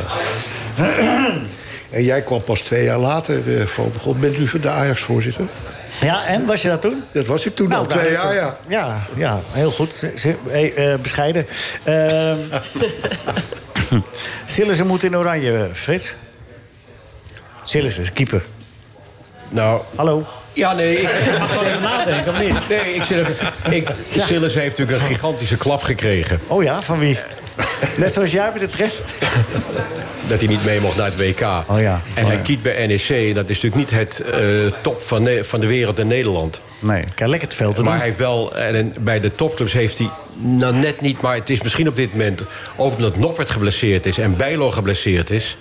Speaker 3: En jij kwam pas twee jaar later eh, van... God, bent u de Ajax-voorzitter?
Speaker 1: Ja, en was je dat toen?
Speaker 3: Dat was ik toen al,
Speaker 1: Nou, daar
Speaker 3: twee
Speaker 1: heb je
Speaker 3: jaar,
Speaker 1: het
Speaker 3: ja.
Speaker 1: op. ja. Ja, heel goed. Ze- ze- hey, eh, bescheiden. Ehm Sillissen moet in oranje, Frits. Sillissen is keeper.
Speaker 2: Nou,
Speaker 1: Hallo.
Speaker 2: ja, nee. ik-
Speaker 5: Mag wel even nadenken, of niet?
Speaker 2: Nee, ik zit even... Ik, Sillis heeft natuurlijk een gigantische klap gekregen.
Speaker 1: Oh ja, van wie? Net zoals jij bij de tref.
Speaker 2: dat hij niet mee mocht naar het WK.
Speaker 1: Oh ja.
Speaker 2: En
Speaker 1: Oh
Speaker 2: hij
Speaker 1: ja.
Speaker 2: kiet bij NEC. Dat is natuurlijk niet het eh, top van, ne- van de wereld in Nederland.
Speaker 1: Nee, kijk, lekker het veld te
Speaker 2: Maar
Speaker 1: doen.
Speaker 2: hij heeft wel, en en bij de topclubs heeft hij nou net niet... maar het is misschien op dit moment, ook omdat Noppert geblesseerd is... en Bijlo geblesseerd is...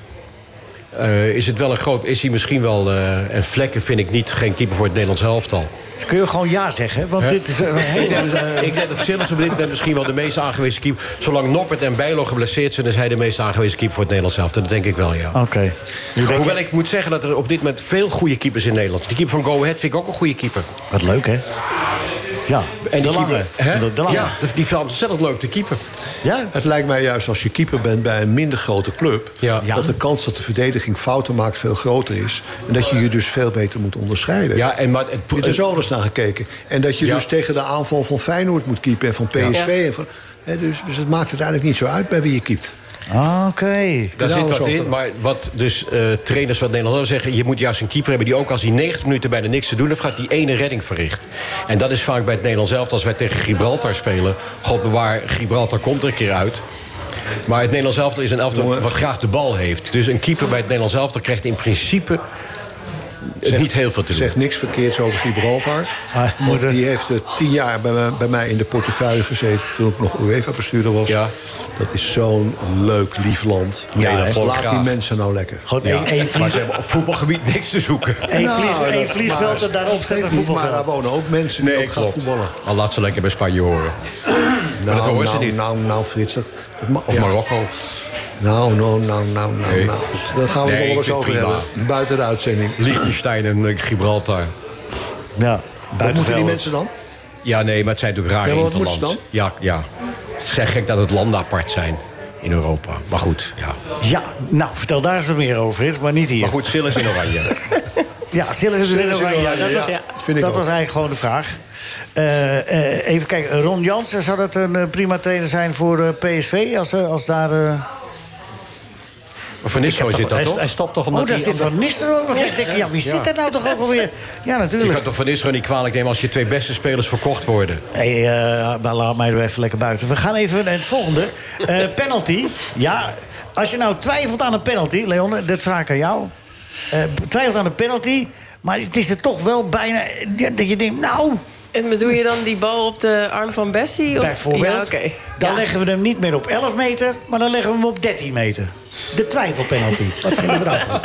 Speaker 2: eh, is, het wel een groot, is hij misschien wel... eh, en Vlekken vind ik niet geen keeper voor het Nederlands elftal.
Speaker 1: Dus kun je gewoon ja zeggen, want dit is een
Speaker 2: Ik
Speaker 1: hele...
Speaker 2: denk, ik denk dat Sillers op dit moment misschien wel de meest aangewezen keeper... zolang Noppert en Bijlo geblesseerd zijn... is hij de meest aangewezen keeper voor het Nederlands elftal. Dat denk ik wel, ja.
Speaker 1: Oké.
Speaker 2: Hoewel ik moet zeggen dat er op dit moment veel goede keepers in Nederland. Die keeper van Go Ahead vind ik ook een goede keeper.
Speaker 1: Wat leuk, hè? Ja, de,
Speaker 2: die
Speaker 1: lange.
Speaker 2: keeper- hè?
Speaker 1: de, de lange.
Speaker 2: Ja,
Speaker 1: Ja.
Speaker 2: die vind ik ontzettend leuk te keeper.
Speaker 3: Het lijkt mij juist als je keeper bent bij een minder grote club...
Speaker 2: Ja.
Speaker 3: dat de kans dat de verdediging fouten maakt veel groter is. En dat je je dus veel beter moet onderscheiden.
Speaker 2: Ja, en maar het,
Speaker 3: Er is alles naar gekeken. En dat je
Speaker 2: Ja.
Speaker 3: dus tegen de aanval van Feyenoord moet keepen en van PSV. En van, hè, dus, dus het maakt het eigenlijk niet zo uit bij wie je keept.
Speaker 1: Oké.
Speaker 2: daar
Speaker 3: Ja,
Speaker 2: Ah. zit
Speaker 3: dat
Speaker 2: wat
Speaker 3: is
Speaker 2: in.
Speaker 3: ook-
Speaker 2: Maar wat dus eh, trainers van Nederland zeggen... je moet juist een keeper hebben die ook als hij 90 minuten bijna niks te doen heeft... gaat die ene redding verricht. En dat is vaak bij het Nederlands zelf. Als wij tegen Gibraltar spelen... God bewaar, Gibraltar komt er een keer uit... Maar het Nederlands elftal is een elftal
Speaker 3: Jongen.
Speaker 2: wat graag de bal heeft. Dus een keeper bij het Nederlands elftal krijgt in principe eh, niet heel veel te doen.
Speaker 3: Zegt niks verkeerds over Gibraltar.
Speaker 1: Ah,
Speaker 3: Want
Speaker 1: moet er-
Speaker 3: die heeft eh, tien jaar bij, mij- bij mij in de portefeuille gezeten... toen ik nog UEFA-bestuurder was.
Speaker 2: Ja.
Speaker 3: Dat is zo'n leuk, lief land.
Speaker 2: Nee, dat
Speaker 3: hè?
Speaker 2: geloof ik
Speaker 3: Laat die
Speaker 2: graag.
Speaker 3: mensen nou lekker.
Speaker 1: Gewoon één, één vlie-
Speaker 2: Maar ze hebben op voetbalgebied niks te zoeken.
Speaker 1: één vlieg-
Speaker 3: Nou,
Speaker 1: één
Speaker 3: dat-
Speaker 1: vliegveld
Speaker 3: maar-
Speaker 1: en daarop zet
Speaker 3: geeft
Speaker 1: een
Speaker 3: niet, Maar daar
Speaker 1: voetbalveld.
Speaker 3: wonen ook mensen die ook gaan voetballen.
Speaker 2: Al laat ze lekker bij Spanje horen.
Speaker 3: Nou,
Speaker 2: dat horen ze
Speaker 3: nou,
Speaker 2: niet.
Speaker 3: Nou, nou, Frits. Dat, dat ma-
Speaker 2: Of
Speaker 3: ja.
Speaker 2: Marokko.
Speaker 3: Nou, nou, nou, nou, nou,
Speaker 2: Nee.
Speaker 3: nou. Goed, Daar gaan we
Speaker 2: Nee,
Speaker 3: het nog wel
Speaker 2: ik
Speaker 3: eens
Speaker 2: vind
Speaker 3: over
Speaker 2: prima.
Speaker 3: hebben. Buiten de uitzending.
Speaker 2: Liechtenstein en eh, Gibraltar.
Speaker 1: Ja,
Speaker 3: Wat moeten die
Speaker 1: buitenvelden.
Speaker 3: mensen dan?
Speaker 2: Ja, nee, maar het zijn natuurlijk rare
Speaker 3: Ja, maar wat moeten
Speaker 2: interlands. Ja, ja. Het is echt gek dat het landen apart zijn in Europa. Maar goed, ja.
Speaker 1: Ja, nou, vertel daar eens wat meer over, Frits, maar niet hier.
Speaker 2: Maar goed, Sillis in Oranje.
Speaker 1: Ja, Sillis is in
Speaker 3: Sillis in
Speaker 1: oranje. Ja,
Speaker 3: oranje,
Speaker 1: dat was,
Speaker 3: ja.
Speaker 1: ja,
Speaker 3: Vind ik
Speaker 1: dat
Speaker 3: ook.
Speaker 1: was eigenlijk gewoon de vraag. Eh, eh, even kijken, Ron Jansen, zou dat een eh, prima trainer zijn voor eh, PSV? Als, eh, als daar... eh,
Speaker 2: Maar Van Nistelrooy zit dat
Speaker 5: Hij,
Speaker 2: toch?
Speaker 5: hij stopt toch
Speaker 1: Oh,
Speaker 5: omdat
Speaker 1: daar
Speaker 5: hij...
Speaker 1: zit Van Nistelrooy nog. Ik denk, ja, wie zit er nou toch ook alweer? Ja,
Speaker 2: Je
Speaker 1: natuurlijk.
Speaker 2: kan toch Van Nistelrooy niet kwalijk nemen als je twee beste spelers verkocht worden?
Speaker 1: Hey, eh, maar laat mij er even lekker buiten. We gaan even naar het volgende. Eh, penalty. Ja, als je nou twijfelt aan een penalty, Leon, dat vraag ik aan jou. Eh, twijfelt aan een penalty, maar het is er toch wel bijna... ja, Dat je denkt, nou,
Speaker 11: En bedoel je dan die bal op de arm van Bessie? Of? Ja,
Speaker 1: bijvoorbeeld.
Speaker 11: oké.
Speaker 1: Dan
Speaker 11: Ja.
Speaker 1: leggen we hem niet meer op 11 meter, maar dan leggen we hem op 13 meter. De twijfelpenalty. Wat vinden we daarvan?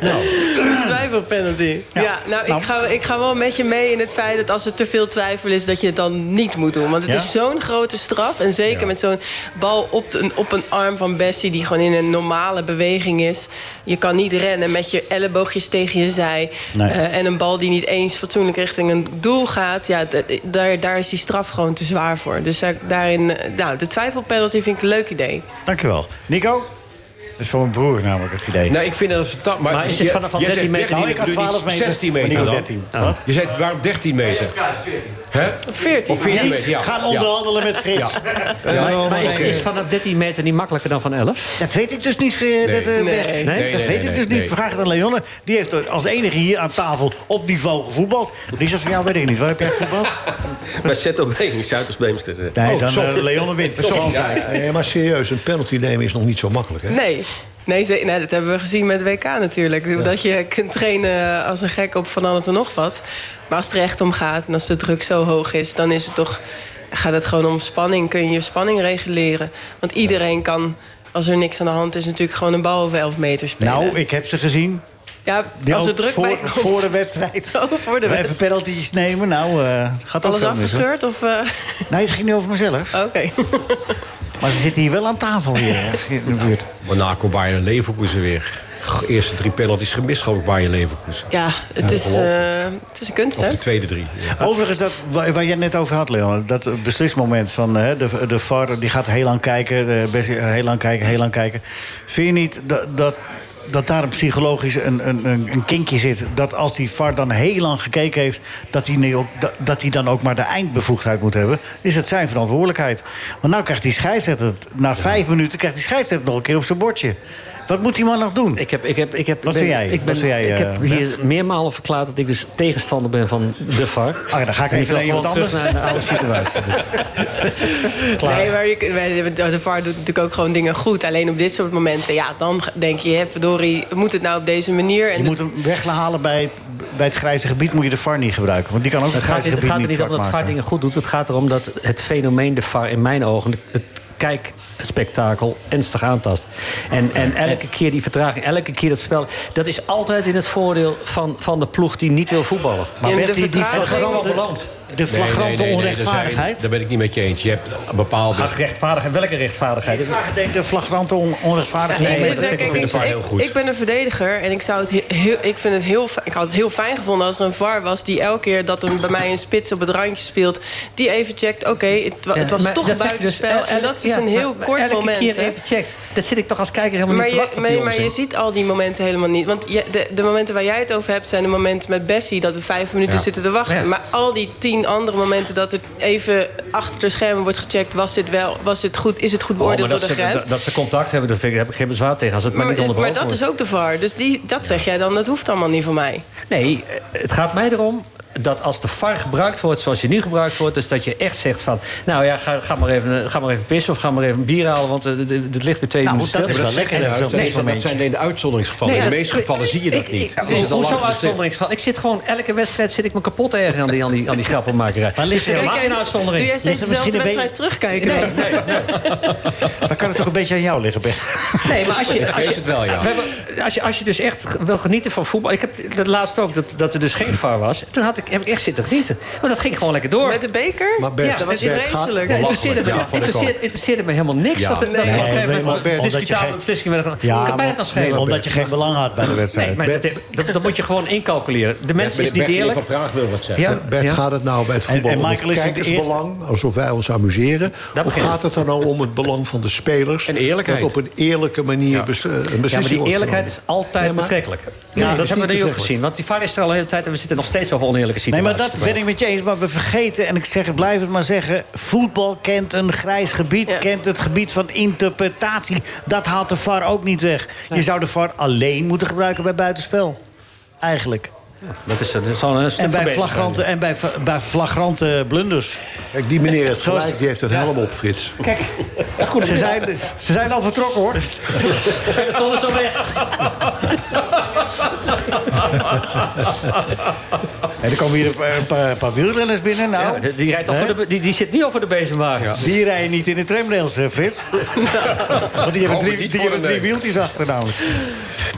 Speaker 11: Een twijfelpenalty.
Speaker 1: Ja.
Speaker 11: Ja, nou,
Speaker 1: Nou.
Speaker 11: Ik, ga, ik ga wel met je mee in het feit dat als er te veel twijfel is... dat je het dan niet moet doen. Want het
Speaker 1: Ja?
Speaker 11: is zo'n grote straf. En zeker met zo'n bal op, de- op een arm van Bessie... die gewoon in een normale beweging is. Je kan niet rennen met je elleboogjes tegen je zij.
Speaker 1: Nee.
Speaker 11: Eh, en een bal die niet eens fatsoenlijk richting een doel gaat... Ja, d- daar, daar is die straf gewoon te zwaar voor. Dus daar- daarin, eh, nou, de twijfelpenalty vind ik een leuk idee.
Speaker 1: Dankjewel. Nico? is voor mijn broer namelijk het idee.
Speaker 2: Nou, ik vind dat het... Maar,
Speaker 5: Maar is het
Speaker 2: je-
Speaker 5: vanaf al
Speaker 2: jij
Speaker 5: 13
Speaker 2: zegt
Speaker 5: meter?
Speaker 1: Nou, ik had
Speaker 2: 13,
Speaker 1: 12 meter.
Speaker 2: 16
Speaker 1: maar
Speaker 2: meter
Speaker 1: Nico
Speaker 2: dan.
Speaker 1: 13. Wat?
Speaker 2: Je zegt, waarom 13 meter? Hè?
Speaker 6: Of 14.
Speaker 2: Of 14
Speaker 1: Niet
Speaker 2: meter, ja.
Speaker 1: gaan
Speaker 2: Ja.
Speaker 1: onderhandelen met Frits.
Speaker 5: maar Oh, maar is, is vanaf 13 meter niet makkelijker dan van 11?
Speaker 1: Dat weet ik dus niet, eh, dat, eh,
Speaker 2: Nee.
Speaker 1: Bert.
Speaker 2: Nee, nee,
Speaker 1: dat
Speaker 2: nee,
Speaker 1: weet
Speaker 2: nee,
Speaker 1: ik dus
Speaker 2: nee.
Speaker 1: niet. Vraag het aan Leonne. Die heeft er als enige hier aan tafel op niveau gevoetbald. Richard, van jou weet ik niet. Waar heb jij gevoetbald?
Speaker 4: Bij ZOB, in Zuiders-Beemster. eh.
Speaker 1: Nee, dan eh, Leonne wint. Zoals zij.
Speaker 3: Nee, maar serieus, een penalty nemen is nog niet zo makkelijk. Hè?
Speaker 6: Nee. Nee, ze- nee, dat hebben we gezien met WK natuurlijk. Dat je kunt trainen als een gek op van alles en nog wat. Maar als het er echt om gaat en als de druk zo hoog is... dan is het toch, gaat het gewoon om spanning. Kun je je spanning reguleren. Want iedereen kan, als er niks aan de hand is... natuurlijk gewoon een bal over 11 meter spelen.
Speaker 1: Nou, ik heb ze gezien.
Speaker 6: ja,
Speaker 1: Die
Speaker 6: als er
Speaker 1: ook
Speaker 6: druk
Speaker 1: voor,
Speaker 6: bij komt,
Speaker 1: voor de wedstrijd.
Speaker 6: Oh, voor de
Speaker 1: Even
Speaker 6: wedstrijd.
Speaker 1: penalty's nemen. Nou, eh, gaat ook
Speaker 6: alles
Speaker 1: veel mis. hoor.
Speaker 6: afgescheurd? Oh. Of, eh,
Speaker 1: Nee, het ging niet over mezelf.
Speaker 6: Oké.
Speaker 1: Maar ze zitten hier wel aan tafel hier ergens in de buurt.
Speaker 2: Monaco, Bayern, Leverkusen weer. Goh, Eerste drie penalties gemist, geloof ik, Bayern, Leverkusen.
Speaker 6: Ja, het, is, eh, het is een kunst,
Speaker 2: Of
Speaker 6: hè?
Speaker 2: de tweede drie. Ja.
Speaker 1: Overigens, dat, waar, waar jij net over had, Leon, dat beslismoment van hè, de, de VAR die gaat heel lang kijken, eh, best- eh, heel lang kijken, heel lang kijken. Vind je niet dat, dat, dat daar een psychologisch een, een, een een kinkje zit? Dat als die VAR dan heel lang gekeken heeft, dat hij niet ook- dat- dat hij dan ook maar de eindbevoegdheid moet hebben? Is het zijn verantwoordelijkheid? Want nou krijgt die scheidsrechter, het- na vijf minuten, krijgt die scheidsrechter nog een keer op zijn bordje. Wat moet die man nog doen?
Speaker 5: Ik heb, ik heb, ik heb,
Speaker 1: Wat
Speaker 5: ben-
Speaker 1: vind jij?
Speaker 5: Ik, ben,
Speaker 1: Wat vind jij,
Speaker 5: ik
Speaker 1: eh,
Speaker 5: heb hier meermalen verklaard dat ik dus tegenstander ben van de VAR.
Speaker 1: Ah, ja, dan ga ik
Speaker 5: En
Speaker 1: even
Speaker 5: wil
Speaker 1: naar iemand
Speaker 5: gewoon
Speaker 1: anders.
Speaker 5: terug naar de oude situatie. dus.
Speaker 6: Nee, maar je, wij- de VAR doet natuurlijk ook gewoon dingen goed. Alleen op dit soort momenten, ja, dan denk je, hè, verdorie, moet het nou op deze manier? En
Speaker 1: Je moet hem weghalen bij, bij het grijze gebied. Moet je de VAR niet gebruiken. Want die kan ook het,
Speaker 5: Het gaat,
Speaker 1: grijze
Speaker 5: het
Speaker 1: gebied
Speaker 5: gaat er
Speaker 1: niet
Speaker 5: niet om
Speaker 1: zwart
Speaker 5: dat VAR
Speaker 1: maken.
Speaker 5: dingen goed doet. Het gaat erom dat het fenomeen de VAR in mijn ogen... het kijkspektakel ernstig aantast. En, en elke keer die vertraging, elke keer dat spel... dat is altijd in het voordeel van, van de ploeg die niet wil voetballen.
Speaker 1: Maar
Speaker 6: Ja,
Speaker 1: werd
Speaker 6: de
Speaker 1: die, die
Speaker 6: vertraging-
Speaker 1: flagrante,
Speaker 5: beland.
Speaker 1: de
Speaker 2: Nee, nee,
Speaker 1: flagrante
Speaker 2: nee, nee, daar zijn-
Speaker 1: onrechtvaardigheid...
Speaker 2: Daar ben ik niet met je eens. Je hebt een bepaalde...
Speaker 5: Ach, rechtvaardigheid. Welke rechtvaardigheid?
Speaker 1: Ik vraag, denk de flagrante on- onrechtvaardigheid.
Speaker 6: ik
Speaker 5: nee,
Speaker 6: moet
Speaker 5: dat
Speaker 6: zeggen,
Speaker 5: vind ik
Speaker 6: kijk,
Speaker 2: de VAR heel goed.
Speaker 6: ik, ik ben een verdediger en ik, zou het he- heel, ik, vind het heel, fi- ik had het heel fijn gevonden als er een VAR was... die elke keer dat er bij mij een spits op het randje speelt... die even checkt, oké, het, wa- het was
Speaker 5: Maar
Speaker 6: toch
Speaker 5: dat zeg je dus
Speaker 6: buitenspel.
Speaker 5: el-
Speaker 6: en
Speaker 5: el-
Speaker 6: dat is dus
Speaker 5: ja,
Speaker 6: een heel
Speaker 5: maar-
Speaker 6: kort
Speaker 5: elke
Speaker 6: moment.
Speaker 5: keer
Speaker 6: hè.
Speaker 5: even checkt. Daar zit ik toch als kijker helemaal
Speaker 6: Maar
Speaker 5: niet
Speaker 6: je,
Speaker 5: te wachten op
Speaker 6: maar-
Speaker 5: die
Speaker 6: maar je
Speaker 5: onzin.
Speaker 6: ziet al die momenten helemaal niet. Want je- de, de momenten waar jij het over hebt zijn de momenten met Bessie... dat we vijf minuten
Speaker 2: Ja.
Speaker 6: zitten te wachten.
Speaker 5: Ja.
Speaker 6: Maar al die tien andere momenten dat er even achter de schermen wordt gecheckt... was dit wel, was dit goed, is het goed
Speaker 5: Oh, maar
Speaker 6: beoordeeld
Speaker 5: dat,
Speaker 6: door de
Speaker 5: ze,
Speaker 6: grens?
Speaker 5: dat, dat ze contact hebben, daar vind ik- heb ik geen bezwaar tegen. Als het maar,
Speaker 6: maar,
Speaker 5: niet
Speaker 6: is-
Speaker 5: onderbroken
Speaker 6: maar dat
Speaker 5: wordt.
Speaker 6: is ook de VAR. Dus die, dat zeg jij dan, dat hoeft allemaal niet voor mij.
Speaker 5: Nee, eh, het gaat mij erom dat als de VAR gebruikt wordt zoals je nu gebruikt wordt... dus dat je echt zegt van, nou ja, ga, ga, maar, even, eh, ga maar even pissen... of ga maar even bier halen, want eh, d- d- het ligt weer twee
Speaker 1: Nou,
Speaker 5: minuten
Speaker 1: dat is
Speaker 5: stil.
Speaker 1: wel lekker.
Speaker 2: Nee,
Speaker 1: hè, zo'n
Speaker 2: dat, nee, dat
Speaker 1: momentje.
Speaker 2: zijn de uitzonderingsgevallen.
Speaker 5: Nee,
Speaker 2: in de
Speaker 5: ja,
Speaker 2: meeste gevallen zie je dat
Speaker 5: ik-
Speaker 2: niet.
Speaker 5: ik-
Speaker 2: Het is het al
Speaker 5: Hoezo
Speaker 2: lang gestipt.
Speaker 5: uitzonderingsgeval? Ik zit gewoon elke wedstrijd zit ik me kapot te ergeren aan die, aan die, aan die grappenmakerij.
Speaker 1: Maar ligt
Speaker 5: Dus
Speaker 1: er-
Speaker 5: helemaal
Speaker 6: Kijk,
Speaker 5: geen
Speaker 6: jij- Doe
Speaker 5: uitzondering.
Speaker 6: jij steeds
Speaker 1: Ligt er misschien
Speaker 6: dezelfde
Speaker 1: een
Speaker 6: wedstrijd terugkijken? Nee.
Speaker 1: Dan kan het ook een beetje aan jou liggen, Bert.
Speaker 5: Nee, maar als je, als
Speaker 2: Wees
Speaker 5: je,
Speaker 2: het wel, ja.
Speaker 5: We hebben- als, je, als je dus echt wil genieten van voetbal... Ik heb dat laatst ook, dat, dat er dus geen VAR was. Toen had ik, heb ik echt zitten genieten. Want dat ging gewoon lekker door.
Speaker 6: Met de beker?
Speaker 3: Maar Bert,
Speaker 5: Ja,
Speaker 6: dat was
Speaker 3: Bert,
Speaker 6: niet
Speaker 3: gaat-
Speaker 6: vreselijk.
Speaker 5: Ja, interesseerde, me, interesseerde, interesseerde me helemaal niks.
Speaker 2: Ja.
Speaker 5: Dat, er- dat
Speaker 6: Nee,
Speaker 5: er op een
Speaker 1: nee,
Speaker 5: gegeven
Speaker 1: omdat-
Speaker 5: moment
Speaker 1: omdat je
Speaker 5: een
Speaker 1: geen-
Speaker 5: discutabele beslissingen werden genomen. Kan mij dat dan schelen?
Speaker 1: omdat je geen belang had bij de
Speaker 5: Nee,
Speaker 1: wedstrijd.
Speaker 5: maar dat, dat, dat moet je gewoon incalculeren. De mens is niet
Speaker 2: Bertien
Speaker 5: eerlijk.
Speaker 2: van Praag wil wat zeggen.
Speaker 5: Ja,
Speaker 3: Bert,
Speaker 5: ja.
Speaker 3: gaat het nou bij het voetbal
Speaker 1: En- en
Speaker 3: om het
Speaker 1: Michael is het de
Speaker 3: kijkersbelang, alsof wij ons amuseren?
Speaker 5: Daar
Speaker 3: Of
Speaker 5: begint
Speaker 3: gaat het er nou om het belang van de spelers?
Speaker 2: En eerlijkheid.
Speaker 3: Dat op een eerlijke manier bes- eh, een beslissing
Speaker 5: Ja, maar die
Speaker 3: wordt
Speaker 5: eerlijkheid is
Speaker 3: genomen.
Speaker 5: altijd
Speaker 3: Nee, maar-
Speaker 5: betrekkelijk.
Speaker 3: Nee,
Speaker 5: Ja,
Speaker 3: het
Speaker 5: dat
Speaker 3: is
Speaker 5: hebben we
Speaker 3: niet
Speaker 5: nu ook
Speaker 3: betrekkelijk.
Speaker 5: gezien. Want die VAR is er al de hele tijd en we zitten nog steeds over oneerlijke
Speaker 1: Nee,
Speaker 5: situaties.
Speaker 1: maar dat ben ik met je eens. Maar we vergeten, en ik zeg, ik blijf het maar zeggen... voetbal kent een grijs gebied,
Speaker 6: Ja.
Speaker 1: kent het gebied van interpretatie. Dat haalt de VAR ook niet weg. Je zou de VAR alleen moeten gebruiken bij buitenspel. Eigenlijk.
Speaker 5: Dat is, dat is al een stuk
Speaker 1: En bij
Speaker 5: verbeterd.
Speaker 1: flagrante, en bij, va- bij flagrante blunders.
Speaker 3: Kijk, die meneer heeft
Speaker 1: Zoals-
Speaker 3: gelijk, die heeft een helm op, Frits.
Speaker 5: Kijk, ja, goed,
Speaker 1: Ze zijn, ze zijn al vertrokken, hoor.
Speaker 5: Ton is al weg.
Speaker 1: En er komen hier een paar, een paar, een paar wielrenners binnen. Nou,
Speaker 5: Ja, die, die rijdt al
Speaker 1: Hè?
Speaker 5: voor de, die, die zit nu al voor de bezemwagen.
Speaker 1: Die rijden niet in de tramrails, hè, Frits. Want die hebben
Speaker 2: Komen
Speaker 1: drie,
Speaker 2: niet
Speaker 1: die
Speaker 2: voor
Speaker 1: hebben
Speaker 2: de
Speaker 1: drie
Speaker 2: neus.
Speaker 1: wieltjes achter namelijk.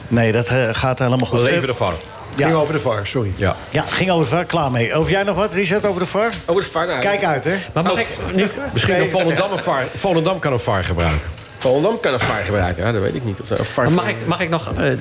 Speaker 1: Nee, dat eh, gaat helemaal goed.
Speaker 2: Leven
Speaker 1: Eh,
Speaker 2: ervan.
Speaker 3: Ging
Speaker 1: ja.
Speaker 3: over de VAR, sorry.
Speaker 2: Ja.
Speaker 6: Oh,
Speaker 1: ja, ging over de VAR. Klaar mee. Over jij nog wat, Richard, over de VAR?
Speaker 4: Over de VAR nou,
Speaker 1: Kijk uit, hè.
Speaker 5: Maar mag ik nu...
Speaker 2: Misschien een Volendam, een VAR Volendam kan een VAR gebruiken.
Speaker 6: Volendam kan een VAR gebruiken. Ja, dat weet ik niet. Of, of VAR
Speaker 5: Mag ik, mag ik nog, eh,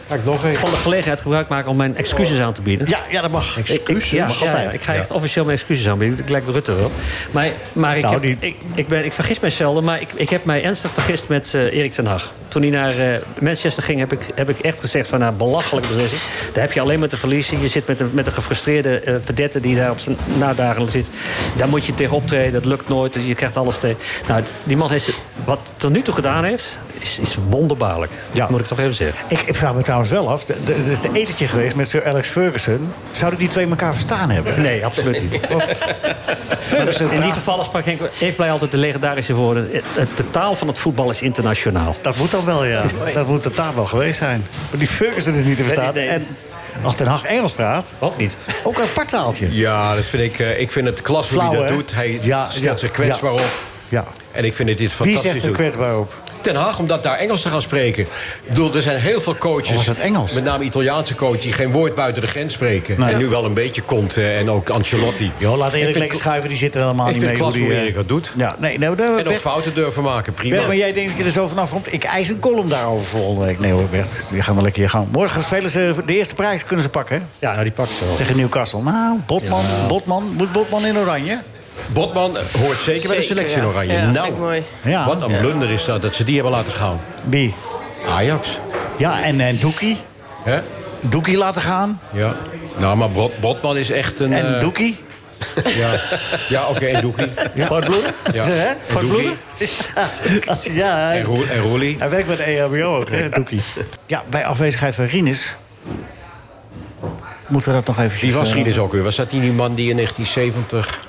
Speaker 5: van de gelegenheid gebruik maken om mijn excuses aan te bieden?
Speaker 1: Ja, ja dat mag.
Speaker 5: Ik- ja, ja, ja, ik ga echt officieel mijn excuses aanbieden. Ik lijk Rutte wel. Maar, maar ik,
Speaker 1: Nou,
Speaker 5: heb-
Speaker 1: die-
Speaker 5: ik, ik, ben, ik vergis mij zelden, maar ik, ik heb mij ernstig vergist met eh, Erik ten Hag. Toen hij naar eh, Manchester ging, heb ik, heb ik echt gezegd van... nou, belachelijke beslissing. Daar heb je alleen maar te verliezen. Je zit met een, met een gefrustreerde eh verdette die daar op zijn nadagen zit. Daar moet je tegen optreden. Dat lukt nooit. Je krijgt alles tegen. Nou, die man heeft... Wat tot nu toe gedaan heeft, is, is wonderbaarlijk.
Speaker 1: Ja.
Speaker 5: Dat moet ik toch even zeggen.
Speaker 1: Ik, ik vraag me trouwens wel af, d- d- er is een etentje geweest met Sir Alex Ferguson. Zouden die twee elkaar verstaan hebben?
Speaker 5: Nee, absoluut niet.
Speaker 1: Ferguson
Speaker 5: In die
Speaker 1: praat,
Speaker 5: gevallen sprak Henk Evenblij altijd de legendarische woorden... "Het- het- de taal van het voetbal is internationaal.
Speaker 1: dat moet dan wel, ja. Dat moet de taal wel geweest zijn. Maar die Ferguson is niet te verstaan.
Speaker 5: Nee, nee, nee.
Speaker 1: En als Ten Hag Engels praat,
Speaker 5: Ook niet.
Speaker 1: ook een apart taaltje.
Speaker 2: Ja, dat vind ik, eh, ik vind het klas hoe hij
Speaker 1: Flauw,
Speaker 2: dat
Speaker 1: hè?
Speaker 2: doet. Hij
Speaker 1: Ja,
Speaker 2: stelt
Speaker 1: ja,
Speaker 2: zich kwetsbaar op.
Speaker 1: Ja.
Speaker 2: En ik vind het dit
Speaker 1: Wie
Speaker 2: fantastisch
Speaker 1: zegt er
Speaker 2: doet.
Speaker 1: kwetsbaar op?
Speaker 2: Ten Haag om dat daar Engels te gaan spreken. Ik bedoel, er zijn heel veel coaches,
Speaker 1: Oh, was het Engels?
Speaker 2: met name Italiaanse coaches, die geen woord buiten de grens spreken.
Speaker 1: Nee.
Speaker 2: En nu wel een beetje komt eh, en ook Ancelotti.
Speaker 1: Joh, laat Erik
Speaker 2: vind-
Speaker 1: lekker schuiven, die zit er helemaal
Speaker 2: ik
Speaker 1: niet
Speaker 2: vind
Speaker 1: mee.
Speaker 2: het klas
Speaker 1: die,
Speaker 2: hoe
Speaker 1: eh,
Speaker 2: Erik dat doet.
Speaker 1: Ja, nee, nou, daar-
Speaker 2: En ook
Speaker 1: Bert-
Speaker 2: fouten durven maken, prima.
Speaker 1: Bert, maar jij denkt dat je er zo vanaf komt. Ik eis een column daarover volgende week. Nee hoor, Bert. Je gaat maar lekker je gang. Morgen spelen ze de eerste prijs. Kunnen ze pakken, hè?
Speaker 5: Ja, nou, die pakt ze wel.
Speaker 1: Tegen Newcastle. Nou, Botman, Botman. Moet Botman in oranje?
Speaker 2: Botman eh, hoort zeker, bij de selectie in oranje.
Speaker 11: Ja, vind ik
Speaker 2: nou,
Speaker 11: mooi.
Speaker 1: Ja.
Speaker 2: wat een blunder is dat, dat ze die hebben laten gaan.
Speaker 1: Wie?
Speaker 2: Ajax.
Speaker 1: Ja, en, en Doekie.
Speaker 2: Hè?
Speaker 1: Doekie laten gaan.
Speaker 2: Ja. Nou, maar Brot- Botman is echt een...
Speaker 1: En
Speaker 2: eh,
Speaker 1: Doekie.
Speaker 2: Ja, ja oké, en Doekie. Ja.
Speaker 5: Voor het bloeden?
Speaker 2: Ja.
Speaker 1: Hè?
Speaker 2: En Doekie.
Speaker 1: Als- ja,
Speaker 2: En,
Speaker 1: hij,
Speaker 2: Roel- en Roelie.
Speaker 1: hij werkt E met EHBO ook, hè, Doekie. Ja, bij afwezigheid van Rinus... Moeten we dat nog eh, even...
Speaker 2: Die was Rieders ook weer. Was dat die, die man die in 1970...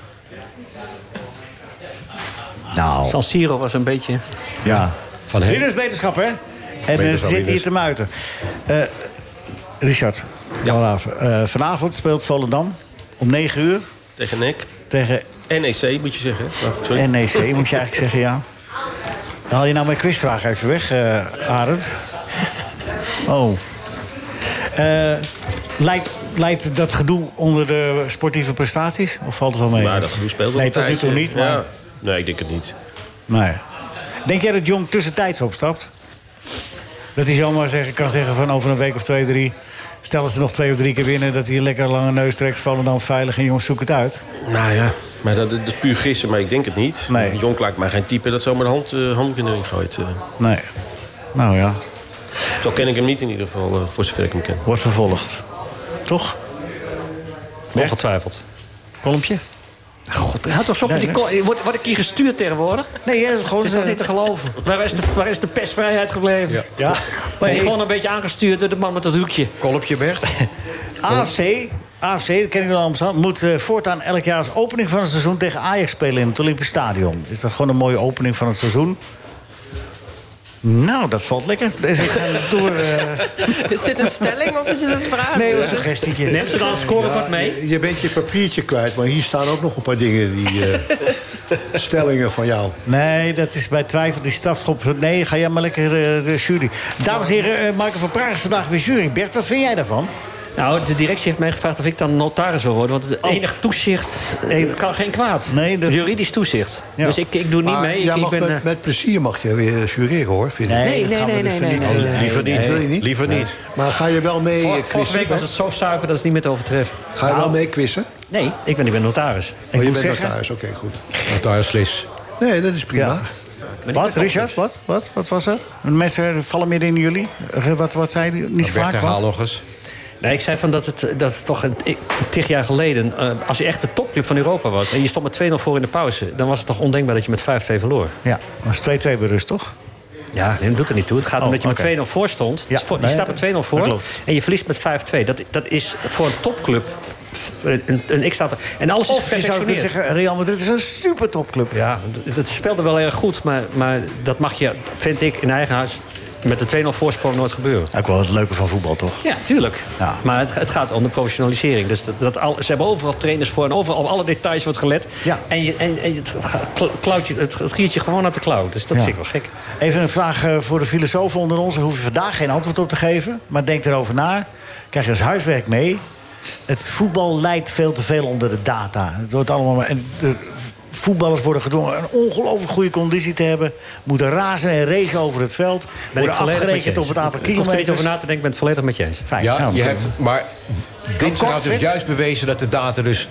Speaker 1: Nou,
Speaker 5: San Siro was een beetje...
Speaker 1: ja.
Speaker 2: Van hem?
Speaker 1: Rinus beterschap, hè? En eh,
Speaker 2: Beterschap,
Speaker 1: ze zit hier
Speaker 2: Rinus.
Speaker 1: te muiten. Eh, Richard, Van Raven, eh, vanavond speelt Volendam om 9 uur
Speaker 6: Tegen E NEC.
Speaker 1: tegen
Speaker 6: NEC E moet je zeggen. Maar, sorry.
Speaker 1: NEC, E moet je eigenlijk zeggen, ja. Dan haal je nou mijn quizvraag even weg, eh Arend. Oh. Eh, leidt, leidt dat gedoe onder de sportieve prestaties? Of valt het wel mee?
Speaker 6: maar Nou, dat gedoe speelt al
Speaker 1: Nee,
Speaker 6: een
Speaker 1: tot nu toe
Speaker 6: tijdje.
Speaker 1: niet, maar...
Speaker 6: Ja. Nee, ik denk het niet.
Speaker 1: Nee. Denk jij dat Jong tussentijds opstapt? Dat hij zomaar zeggen, kan zeggen van over een week of twee, drie... stel dat ze nog twee of drie keer winnen... dat hij een lekker lange neus trekt, Volendam veilig en jongens, zoek het uit.
Speaker 6: Nou ja, maar dat, dat is puur gissen, maar ik denk het niet.
Speaker 1: Nee.
Speaker 6: Jonk lijkt mij geen type dat zomaar de hand, eh, handdoek in de ring gooit. eh.
Speaker 1: Nee. Nou ja,
Speaker 6: Zo ken ik hem niet in ieder geval, eh, voor zover ik hem ken.
Speaker 1: wordt vervolgd. Toch?
Speaker 5: Ongetwijfeld. Kolompje? God, houd toch op met
Speaker 1: Nee,
Speaker 5: die... kol- Word, word ik hier gestuurd tegenwoordig?
Speaker 1: Nee, ja, gewoon...
Speaker 5: Het is toch
Speaker 1: eh,
Speaker 5: niet te geloven? Waar is de, waar is de persvrijheid gebleven?
Speaker 2: Ja.
Speaker 1: Ja.
Speaker 5: Wordt hier gewoon een beetje aangestuurd door de man met dat hoekje.
Speaker 2: Kolopje Bert.
Speaker 1: AFC, AFC, dat ken ik wel Amsterdam, moet eh, voortaan elk jaar als opening van het seizoen tegen Ajax spelen in het Olympisch Stadion. Is dat gewoon een mooie opening van het seizoen? Nou, dat valt lekker. Dus ik ga het door. eh,
Speaker 11: Is dit een stelling of is het een vraag?
Speaker 1: nee, een suggestietje.
Speaker 5: Neemt ze dan een scoren wat mee?
Speaker 3: Je, je bent je papiertje kwijt, maar hier staan ook nog een paar dingen, die eh, stellingen van jou.
Speaker 1: Nee, dat is bij twijfel die strafschop. Nee, ga jij maar lekker eh, de jury. Dames en heren, eh Michael van Praag is vandaag weer jury. Bert, wat vind jij daarvan?
Speaker 5: Nou, de directie heeft mij gevraagd of ik dan notaris wil worden. Want het enig toezicht eh,
Speaker 1: Enig-
Speaker 5: kan geen kwaad.
Speaker 1: Nee, dat-
Speaker 5: Juridisch toezicht.
Speaker 1: Ja.
Speaker 5: Dus ik, ik doe niet
Speaker 3: Maar
Speaker 5: mee.
Speaker 3: jij
Speaker 5: Ik, ik
Speaker 3: mag
Speaker 5: ben,
Speaker 3: met,
Speaker 5: eh,
Speaker 3: met plezier mag je weer jureren, hoor, vind ik.
Speaker 5: Nee,
Speaker 1: dat
Speaker 5: nee,
Speaker 1: gaan we
Speaker 5: nee,
Speaker 1: liever
Speaker 5: nee,
Speaker 1: niet eh,
Speaker 5: nee,
Speaker 1: doen.
Speaker 5: nee, nee.
Speaker 2: Liever niet.
Speaker 3: Nee. Wil je niet?
Speaker 2: Liever niet.
Speaker 3: Maar ga je wel mee eh,
Speaker 5: Vor- Vorige
Speaker 3: quizzen?
Speaker 5: week was het zo zuiver dat is niet meer te overtreffen.
Speaker 3: Ga je wel mee quizzen?
Speaker 5: Nee, ik ben, ik ben notaris.
Speaker 3: Oh, je
Speaker 1: moet
Speaker 3: bent
Speaker 1: zeggen-
Speaker 3: notaris, oké, goed.
Speaker 2: Notaris Lis.
Speaker 3: Nee, dat is prima.
Speaker 1: Ja. Wat, Richard? Wat? Wat, wat was er? Mensen vallen midden in jullie? Eh, Wat, wat zei die? Niet zo
Speaker 2: Bert,
Speaker 1: vaak,
Speaker 2: herhaal
Speaker 1: wat?
Speaker 2: nog eens.
Speaker 5: Nee, ik zei van dat het, dat het toch een, ik- tig jaar geleden... eh, als je echt de topclub van Europa was... en je stond met 2-0 voor in de pauze... dan was het toch ondenkbaar dat je met 5-2 verloor.
Speaker 1: Ja, dat was 2-2 bij rust, toch?
Speaker 5: Ja, nee, dat doet er niet toe. Het gaat
Speaker 1: Oh,
Speaker 5: om dat je
Speaker 1: oké.
Speaker 5: met 2-0 voor stond.
Speaker 1: Ja,
Speaker 5: Dus voor- je
Speaker 1: nee,
Speaker 5: staat met 2-0 voor
Speaker 1: dat klopt.
Speaker 5: en je verliest met 5-2. Dat, dat is voor een topclub... Een, een, ik sta er, en alles is
Speaker 1: Of je zou kunnen
Speaker 5: geperfectioneerd.
Speaker 1: zeggen, Real Madrid is een super topclub.
Speaker 5: Ja, het- het speelde wel erg goed, maar, maar dat mag je, vind ik, in eigen huis met de 2-0 voorsprong nooit gebeuren.
Speaker 1: Ook wel het leuke van voetbal, toch?
Speaker 5: Ja, tuurlijk.
Speaker 1: Ja.
Speaker 5: Maar het, het gaat om de professionalisering. Dus dat, dat al, ze hebben overal trainers voor en overal op alle details wordt gelet.
Speaker 1: Ja.
Speaker 5: En, je, en, en het, ga- kla- klauwt je, het, het giert je gewoon uit de klauw. Dus
Speaker 1: Ja.
Speaker 5: dat vind ik wel gek.
Speaker 1: Even een vraag eh, voor de filosofen onder ons. Daar hoef je vandaag geen antwoord op te geven. Maar denk erover na. Krijg je als huiswerk mee. Het voetbal leidt veel te veel onder de data. Het wordt allemaal maar... En de voetballers worden gedwongen een ongelooflijk goede conditie te hebben. Moeten razen en racen over het veld. worden afgerekend op het aantal
Speaker 5: Ik hoef er niet
Speaker 1: kilometers.
Speaker 5: over na te denken, ik ben het volledig met je eens.
Speaker 1: Fijn.
Speaker 2: Ja,
Speaker 1: nou,
Speaker 2: je
Speaker 1: dat-
Speaker 2: hebt, maar dinsdag had dus
Speaker 1: Frits?
Speaker 2: juist bewezen dat de data dus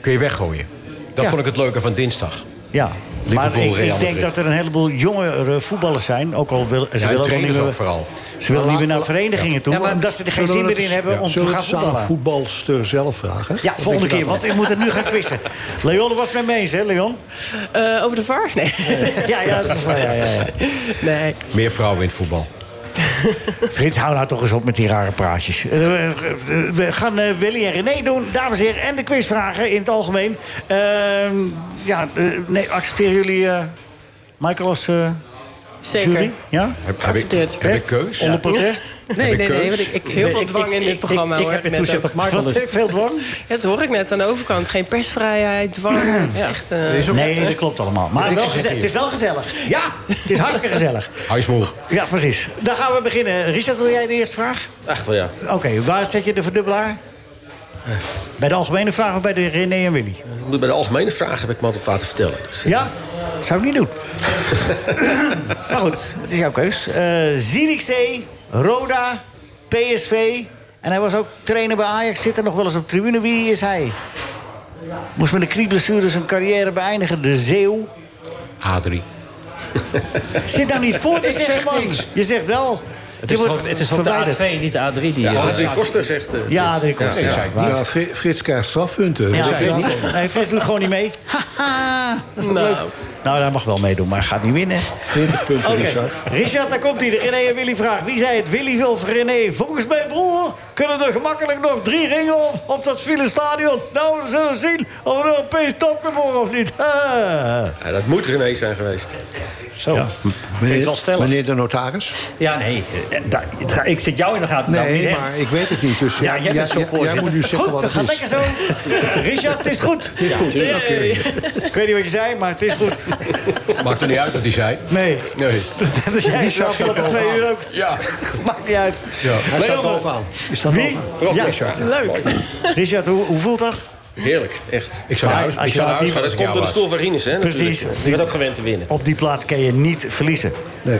Speaker 2: kun je weggooien. Dat
Speaker 1: Ja.
Speaker 2: vond ik het leuke van dinsdag.
Speaker 1: ja. Maar
Speaker 2: Liverpool,
Speaker 1: ik,
Speaker 2: Real
Speaker 1: ik denk
Speaker 2: Madrid.
Speaker 1: dat er een heleboel jongere voetballers zijn. Ook al wil, ze
Speaker 2: Ja, en
Speaker 1: willen ook wel niet
Speaker 2: trainers
Speaker 1: meer,
Speaker 2: ook vooral.
Speaker 1: Ze willen niet meer naar verenigingen toe. omdat ze er geen zin meer in hebben om te
Speaker 3: Zullen we
Speaker 1: gaan
Speaker 3: het aan
Speaker 1: voetballen.
Speaker 3: voetbalster zelf vragen?
Speaker 1: Ja, volgende keer, want ik moet het nu gaan quizzen. Leon, dat was het met me eens, hè, Leon?
Speaker 11: Eh, over de VAR? Nee.
Speaker 1: Ja, ja, dat is waar, ja, ja, ja.
Speaker 11: nee.
Speaker 2: Meer vrouwen in het voetbal.
Speaker 1: Frits, hou nou toch eens op met die rare praatjes. Eh, eh, eh, we gaan eh, Willy en René doen, dames en heren. En de quizvragen in het algemeen. Ehm, ja, eh, nee, accepteren jullie eh, Michael als eh,
Speaker 11: Zeker.
Speaker 1: jury? Ja?
Speaker 2: Heb, heb ik,
Speaker 11: Geaccepteerd.
Speaker 2: heb ik
Speaker 1: Bert?
Speaker 2: keus?
Speaker 1: Onder protest?
Speaker 11: Nee,
Speaker 2: ik
Speaker 11: nee, nee.
Speaker 2: keus?
Speaker 11: Want ik, ik heel veel dwang in dit programma.
Speaker 5: Ik, ik
Speaker 11: hoor,
Speaker 5: heb weer
Speaker 11: net
Speaker 5: toezicht
Speaker 11: ook.
Speaker 5: op Marco.
Speaker 1: Was
Speaker 5: dus-
Speaker 1: er veel dwang?
Speaker 11: Ja, dat hoor ik net aan de overkant. Geen persvrijheid, dwang. Het is echt... eh,
Speaker 2: Is ook-
Speaker 1: Nee, dat klopt allemaal. Maar
Speaker 2: Ik
Speaker 1: wel
Speaker 2: zeg
Speaker 1: geze-
Speaker 2: hier.
Speaker 1: het is wel gezellig. Ja, het is hartstikke gezellig.
Speaker 2: Hou je smoel.
Speaker 1: Ja, precies. Dan gaan we beginnen. Richard, wil jij de eerste vraag?
Speaker 6: Echt wel, ja.
Speaker 1: Oké, waar zet je de verdubbelaar? Bij de algemene vraag of bij de René en Willy?
Speaker 6: Ik moet Bij de algemene vraag heb ik me altijd laten vertellen. Dus, eh,
Speaker 1: Ja? Zou ik niet doen. maar goed, het is jouw keus. Eh Zierikzee, Roda, PSV. En hij was ook trainer bij Ajax, zit er nog wel eens op tribune. Wie is hij? Moest met een knieblessure zijn carrière beëindigen. De Zeeuw.
Speaker 2: A3.
Speaker 1: Zit daar niet voor te zeggen, man. Je zegt wel.
Speaker 5: Het is, ook, het is ook de A2, niet de A3. Die, eh,
Speaker 6: Ah, Adrie Koster zegt... eh,
Speaker 1: Ja,
Speaker 6: dit.
Speaker 1: dat komt.
Speaker 6: Ja,
Speaker 1: Ja,
Speaker 3: Ja, Fri- Frits krijgt strafpunten.
Speaker 1: Ja,
Speaker 3: Dus
Speaker 1: Frits. Nee, Frits doet gewoon niet mee. Haha, dat is ook
Speaker 11: Nou.
Speaker 1: leuk. Nou, hij mag wel meedoen, maar hij gaat niet winnen.
Speaker 3: 20 punten,
Speaker 1: Oké,
Speaker 3: Richard.
Speaker 1: Richard, daar komt hij. De René en Willy vraag. Wie zei het? Willy of René? Volgens mijn broer kunnen er gemakkelijk nog drie ringen op, op dat file stadion. Nou, we zullen zien of we een Europees top kunnen worden of niet. Ah.
Speaker 6: Ja, dat moet René zijn geweest.
Speaker 5: Zo. Klinkt wel stellig.
Speaker 3: meneer de notaris?
Speaker 5: Ja, nee. eh, daar- het ga- ik zit jou in de gaten. nou, niet hem.
Speaker 3: maar ik weet het niet. Dus
Speaker 5: Ja, jij bent zo
Speaker 3: jij
Speaker 5: voorzitter.
Speaker 3: moet nu zeggen
Speaker 1: Goed,
Speaker 3: wat
Speaker 1: dat
Speaker 3: het
Speaker 1: gaat
Speaker 3: is.
Speaker 1: lekker zo. Richard, het is goed. Het is goed. Ik weet niet wat je zei, maar het is goed.
Speaker 2: Maakt er niet uit wat hij zei.
Speaker 1: Nee.
Speaker 2: Nee.
Speaker 1: Dus net als jij, zo elke twee uur ook.
Speaker 2: Ja.
Speaker 1: Maakt niet uit.
Speaker 3: Hij staat
Speaker 1: Leon,
Speaker 3: bovenaan. Hij staat
Speaker 1: Wie?
Speaker 3: bovenaan.
Speaker 1: Ja,
Speaker 11: Leuk.
Speaker 1: Richard, hoe, hoe voelt dat?
Speaker 6: Heerlijk, echt.
Speaker 2: Ik zou
Speaker 1: Maar
Speaker 2: naar huis,
Speaker 1: als
Speaker 2: ik
Speaker 1: je
Speaker 2: zou naar
Speaker 1: aan
Speaker 2: huis
Speaker 1: die-
Speaker 6: Maar
Speaker 2: gaan als
Speaker 6: dat
Speaker 2: ik
Speaker 6: komt
Speaker 2: jou
Speaker 6: door de
Speaker 2: was.
Speaker 6: stoel van Rinus, hè?
Speaker 1: Precies.
Speaker 6: natuurlijk. Die was ook gewend te winnen.
Speaker 1: Op die plaats kan je niet verliezen.
Speaker 3: Nee,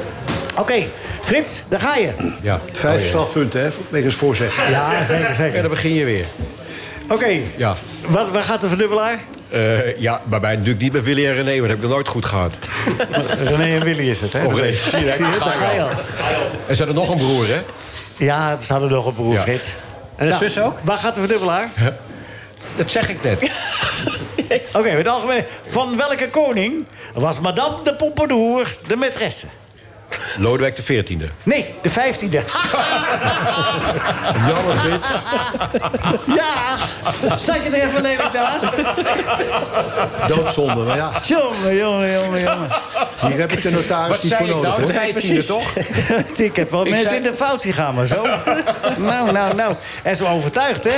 Speaker 1: Oké, Frits, daar ga je.
Speaker 2: Ja.
Speaker 3: vijf strafpunten, hè, wegens voorzeggen.
Speaker 1: Ja, zeker,
Speaker 2: Ja,
Speaker 1: zeker.
Speaker 2: dan begin je weer.
Speaker 1: Oké,
Speaker 2: Ja.
Speaker 1: wat, waar gaat de verdubbelaar?
Speaker 2: Eh, ja, maar bij natuurlijk niet met Willy en René, want dat heb ik nog nooit goed gehad.
Speaker 1: René en Willy is het, hè?
Speaker 2: Of René.
Speaker 1: Zie je, Oh, daar ga je al.
Speaker 2: En zijn er nog een broer, hè?
Speaker 1: Ja, ze hadden nog een broer,
Speaker 2: Ja.
Speaker 1: Frits.
Speaker 5: En de
Speaker 1: Nou,
Speaker 5: zus ook?
Speaker 1: Waar gaat de verdubbelaar?
Speaker 2: Dat zeg ik net.
Speaker 1: Oké, met het algemeen. Van welke koning was Madame de Pompadour de maîtresse?
Speaker 2: Lodewijk de 14e.
Speaker 1: Nee, de vijftiende.
Speaker 3: Jammer, Frits.
Speaker 1: Ja, zat je er even lelijk naast?
Speaker 3: Doodzonde, maar ja.
Speaker 1: Jongen, jongen, jongen, jongen.
Speaker 3: Hier heb ik de notaris
Speaker 2: Wat
Speaker 3: niet voor
Speaker 2: zei ik
Speaker 3: nodig,
Speaker 2: nou? De
Speaker 3: hoor.
Speaker 2: 15e, toch?
Speaker 1: Ik heb wel
Speaker 2: Ik
Speaker 1: mensen
Speaker 2: zei-
Speaker 1: in de fout zien gaan, maar zo. nou, nou, nou. En zo overtuigd, hè?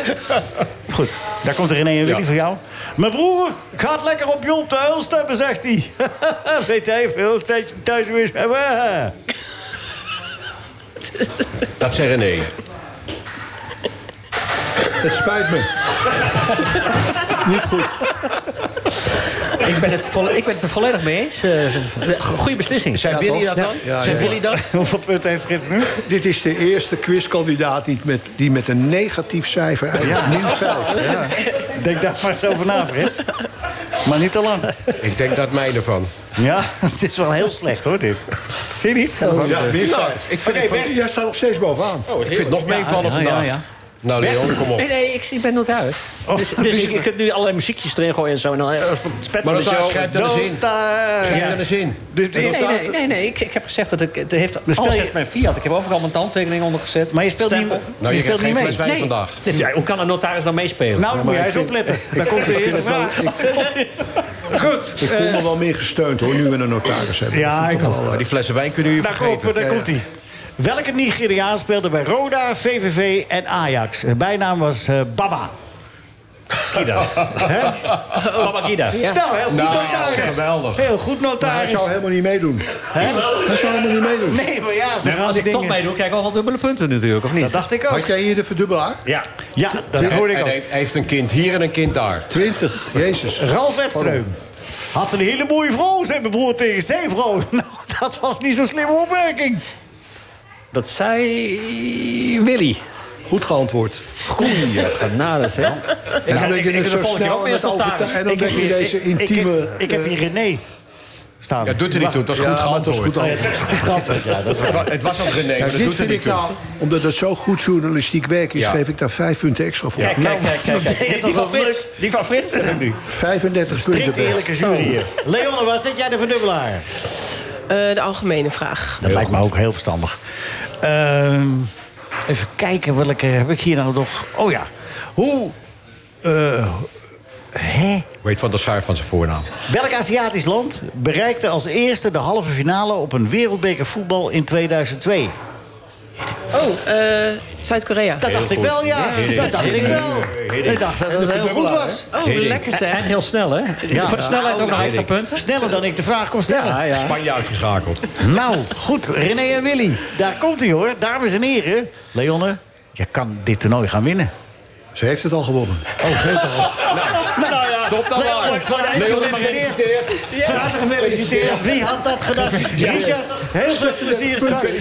Speaker 1: Goed, daar komt er René en Willy
Speaker 2: Ja.
Speaker 1: voor jou. Mijn broer gaat lekker op Job de Uil stemmen, zegt hij. Weet hij veel tijd thuis Eh, weer zwemmen.
Speaker 2: Dat zei René.
Speaker 3: Het spijt me. niet goed.
Speaker 5: Ik ben, het volle- ik ben het er volledig mee eens. Eh, de- go- Goede beslissing.
Speaker 2: Zijn Willy dat dan?
Speaker 3: Ja,
Speaker 2: Zijn
Speaker 3: ja.
Speaker 2: Willy dat?
Speaker 1: Hoeveel punten heeft Frits nu?
Speaker 3: Dit is de eerste quizkandidaat die met, die met een negatief cijfer uit nieuw vijf.
Speaker 1: Denk daar maar eens over na, Frits. Maar niet te lang.
Speaker 2: Ik denk dat mij ervan.
Speaker 1: Ja, het is wel heel slecht, hoor, dit. Vind je niet? Zo.
Speaker 3: Ja, meer
Speaker 2: Nou,
Speaker 3: vijf.
Speaker 2: ik vind,
Speaker 1: Oké,
Speaker 2: het van-
Speaker 1: Bert.
Speaker 3: Jij staat nog steeds bovenaan.
Speaker 2: ik vind het nog meevallen
Speaker 1: ja, ja,
Speaker 2: vandaag.
Speaker 1: ja.
Speaker 2: Nou, Leon, kom op.
Speaker 5: Nee, nee, ik, ik ben nooit thuis.
Speaker 1: Oh,
Speaker 5: dus dus ik, ik heb nu allerlei muziekjes erin gooien en zo. En dan eh, spet
Speaker 2: Maar
Speaker 5: me
Speaker 2: dat
Speaker 5: zo.
Speaker 2: schrijft er zin.
Speaker 1: Nota-
Speaker 2: Geef er eens in.
Speaker 1: Dus de
Speaker 5: Nee,
Speaker 1: eerste-
Speaker 5: nee, nee, nee, ik, ik heb gezegd dat ik... Het heeft
Speaker 1: speel
Speaker 5: alles
Speaker 1: je-
Speaker 5: heeft mijn fiat. Ik heb overal mijn handtekening onder gezet.
Speaker 1: Maar je speelt niet,
Speaker 5: Stempel.
Speaker 2: Nou, je,
Speaker 1: je
Speaker 2: krijgt
Speaker 1: speelt niet
Speaker 2: geen
Speaker 1: mee.
Speaker 2: fles wijn
Speaker 5: Nee.
Speaker 2: vandaag.
Speaker 5: Nee, ja, hoe kan een notaris dan meespelen?
Speaker 1: Nou, moet jij
Speaker 3: ik
Speaker 1: eens
Speaker 3: vind-
Speaker 1: opletten. Daar komt de eerste
Speaker 3: het wel-
Speaker 1: vraag. Goed. eh,
Speaker 3: Ik voel me wel meer gesteund hoor, nu we een notaris hebben.
Speaker 1: Ja,
Speaker 3: Dat vind
Speaker 1: ik
Speaker 3: toch wel,
Speaker 2: Maar
Speaker 3: eh,
Speaker 2: die flessen wijn kunnen jullie
Speaker 1: Daar, komt,
Speaker 2: vergeten.
Speaker 1: daar komt hij. Welke Nigeriaan speelde bij Roda, VVV en Ajax? Zijn bijnaam was eh, Baba.
Speaker 5: Guida.
Speaker 1: Hè?
Speaker 5: Baba Guida.
Speaker 1: Nou, heel goed
Speaker 2: Nou,
Speaker 1: notaris.
Speaker 2: geweldig.
Speaker 1: Heel goed
Speaker 3: maar hij
Speaker 1: notaris.
Speaker 3: zou helemaal niet meedoen. Hij zou helemaal niet meedoen.
Speaker 1: Nee, maar ja, ze
Speaker 5: Nee, maar
Speaker 1: gaan
Speaker 5: als
Speaker 1: die
Speaker 5: ik toch
Speaker 1: dingen...
Speaker 5: meedoe, krijg ik al wel dubbele punten natuurlijk, of niet?
Speaker 1: Dat dacht ik ook.
Speaker 3: Had jij hier de verdubbelaar?
Speaker 5: Ja.
Speaker 1: Ja, dat
Speaker 2: En-
Speaker 1: hoorde ik
Speaker 2: en
Speaker 1: ook.
Speaker 2: hij heeft een kind hier en een kind daar.
Speaker 3: Twintig, jezus.
Speaker 1: Ralf Edström. Had een hele mooie vrouw, zei mijn broer tegen zijn vrouw. Nou, dat was niet zo'n slimme opmerking.
Speaker 5: Dat zei Willy.
Speaker 3: Goed geantwoord.
Speaker 5: Goeie genade, zeg.
Speaker 3: En dan ben je
Speaker 5: ik-
Speaker 3: er
Speaker 5: ik-
Speaker 3: zo
Speaker 5: dan val ik jou
Speaker 3: snel
Speaker 5: ook
Speaker 3: aan het
Speaker 5: meestal thuis.
Speaker 3: overtuigen. En dan
Speaker 1: Ik
Speaker 3: ben
Speaker 1: heb
Speaker 3: je
Speaker 1: hier-
Speaker 3: deze
Speaker 1: ik- ik-
Speaker 3: intieme... eh,
Speaker 1: Ik, heb hier René staan.
Speaker 2: Ja, doet er niet toe. Het was goed
Speaker 3: maar het was
Speaker 2: geantwoord.
Speaker 3: goed
Speaker 1: Ja, het
Speaker 3: antwoord.
Speaker 1: is echt grappig, ja. Dat is
Speaker 2: Het wa- Het was al René, maar
Speaker 3: Kijk,
Speaker 2: dat
Speaker 3: dit
Speaker 2: doet er
Speaker 3: vind
Speaker 2: niet
Speaker 3: ik
Speaker 2: toe.
Speaker 3: nou, omdat het zo goed journalistiek werk is,
Speaker 2: Ja.
Speaker 3: geef ik daar vijf punten extra voor. Nou,
Speaker 5: Kijk, kijk, kijk, kijk. kijk. Die,
Speaker 1: toch
Speaker 5: van
Speaker 1: wel
Speaker 5: Frits. Die van Frits heb ik nu.
Speaker 3: 35 punten.
Speaker 1: strikt
Speaker 3: Bert.
Speaker 1: eerlijke jury hier. Leonne, waar zit jij de verdubbelaar?
Speaker 11: Eh, de algemene vraag.
Speaker 1: Dat lijkt me ook heel verstandig. Ehm, even kijken, welke heb ik hier nou nog? Oh ja, hoe... eh, hè?
Speaker 2: Weet van de Saar van zijn voornaam.
Speaker 1: Welk Aziatisch land bereikte als eerste de halve finale... op een wereldbeker voetbal in 2002?
Speaker 11: Oh, eh, Zuid-Korea.
Speaker 1: Dat dacht ik wel, ja. Dat dacht ik wel. Ik dacht dat het heel goed was.
Speaker 11: Oh, lekker
Speaker 5: En
Speaker 11: zeg.
Speaker 5: heel snel, hè?
Speaker 1: Ja.
Speaker 5: Voor de snelheid ook nog extra punten.
Speaker 1: Sneller dan ik de vraag kon stellen.
Speaker 5: Ja, Ah, ja.
Speaker 2: Spanje uitgeschakeld.
Speaker 1: Nou, goed. René en Willy. Daar komt hij hoor. Dames en heren. Leonne, je kan dit toernooi gaan winnen.
Speaker 3: Ze heeft het al gewonnen.
Speaker 2: Stop dan
Speaker 1: Leonne,
Speaker 2: maar.
Speaker 1: van harte gefeliciteerd. Van harte gefeliciteerd. Wie had dat gedacht? Richard, heel veel plezier straks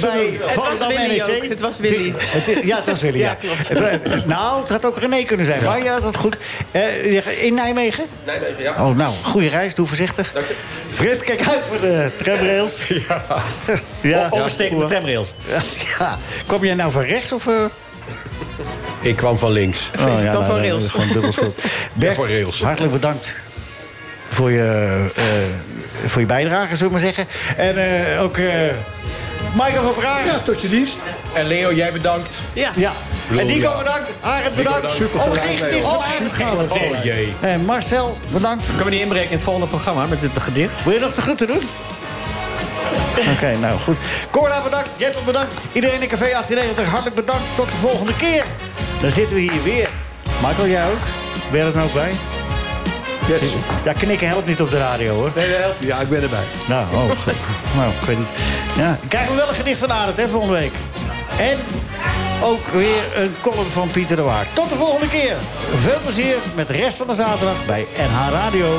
Speaker 1: bij Volendam
Speaker 11: Willy ook.
Speaker 1: NEC.
Speaker 11: Het was Willy.
Speaker 1: E Het is- het is- ja, het was Willy, ja.
Speaker 11: Ja, klopt.
Speaker 1: Het, wa- nou, het had ook René kunnen zijn. Maar ja, dat goed. Eh, je- in Nijmegen?
Speaker 6: Nijmegen, ja.
Speaker 1: Oh, nou, goede reis. Doe voorzichtig.
Speaker 6: Dank je.
Speaker 1: Frits, kijk uit voor de tramrails. Ja. ja.
Speaker 5: Oversteken de tramrails.
Speaker 1: Ja. Kom jij nou van rechts of... eh?
Speaker 2: Ik kwam van links.
Speaker 1: Oh, ja,
Speaker 11: van
Speaker 1: dat
Speaker 11: rails.
Speaker 1: is Gewoon dubbel schuld. Bert,
Speaker 2: van rails.
Speaker 1: hartelijk bedankt voor je, eh, voor je bijdrage, zullen we maar zeggen. En eh, ook eh, Michael van Praag. Ja.
Speaker 3: tot je dienst.
Speaker 2: En Leo, jij bedankt.
Speaker 1: En Nico bedankt. Arend bedankt.
Speaker 3: Super
Speaker 1: oh,
Speaker 3: gedaan,
Speaker 1: geen
Speaker 3: Leo.
Speaker 1: gedicht. Oh, Arend gaat het.
Speaker 2: Oh jee.
Speaker 1: En Marcel, bedankt.
Speaker 5: Kunnen we niet inbreken in het volgende programma met het gedicht?
Speaker 1: Wil je nog de groeten doen? Oké, nou goed. Corda bedankt, Jettel bedankt. Iedereen in Café 1890 hartelijk bedankt. Tot de volgende keer. Dan zitten we hier weer. Michael, jij ook? Ben je er nou ook bij?
Speaker 3: Yes.
Speaker 1: Ja, knikken helpt niet op de radio hoor.
Speaker 3: Nee, dat helpt. Ja, ik ben erbij.
Speaker 1: Nou, oh, goed. nou, ik weet niet. Ja, krijgen we wel een gedicht van Arend, hè, volgende week. En ook weer een column van Pieter de Waard. Tot de volgende keer. Veel plezier met de rest van de zaterdag bij NH Radio.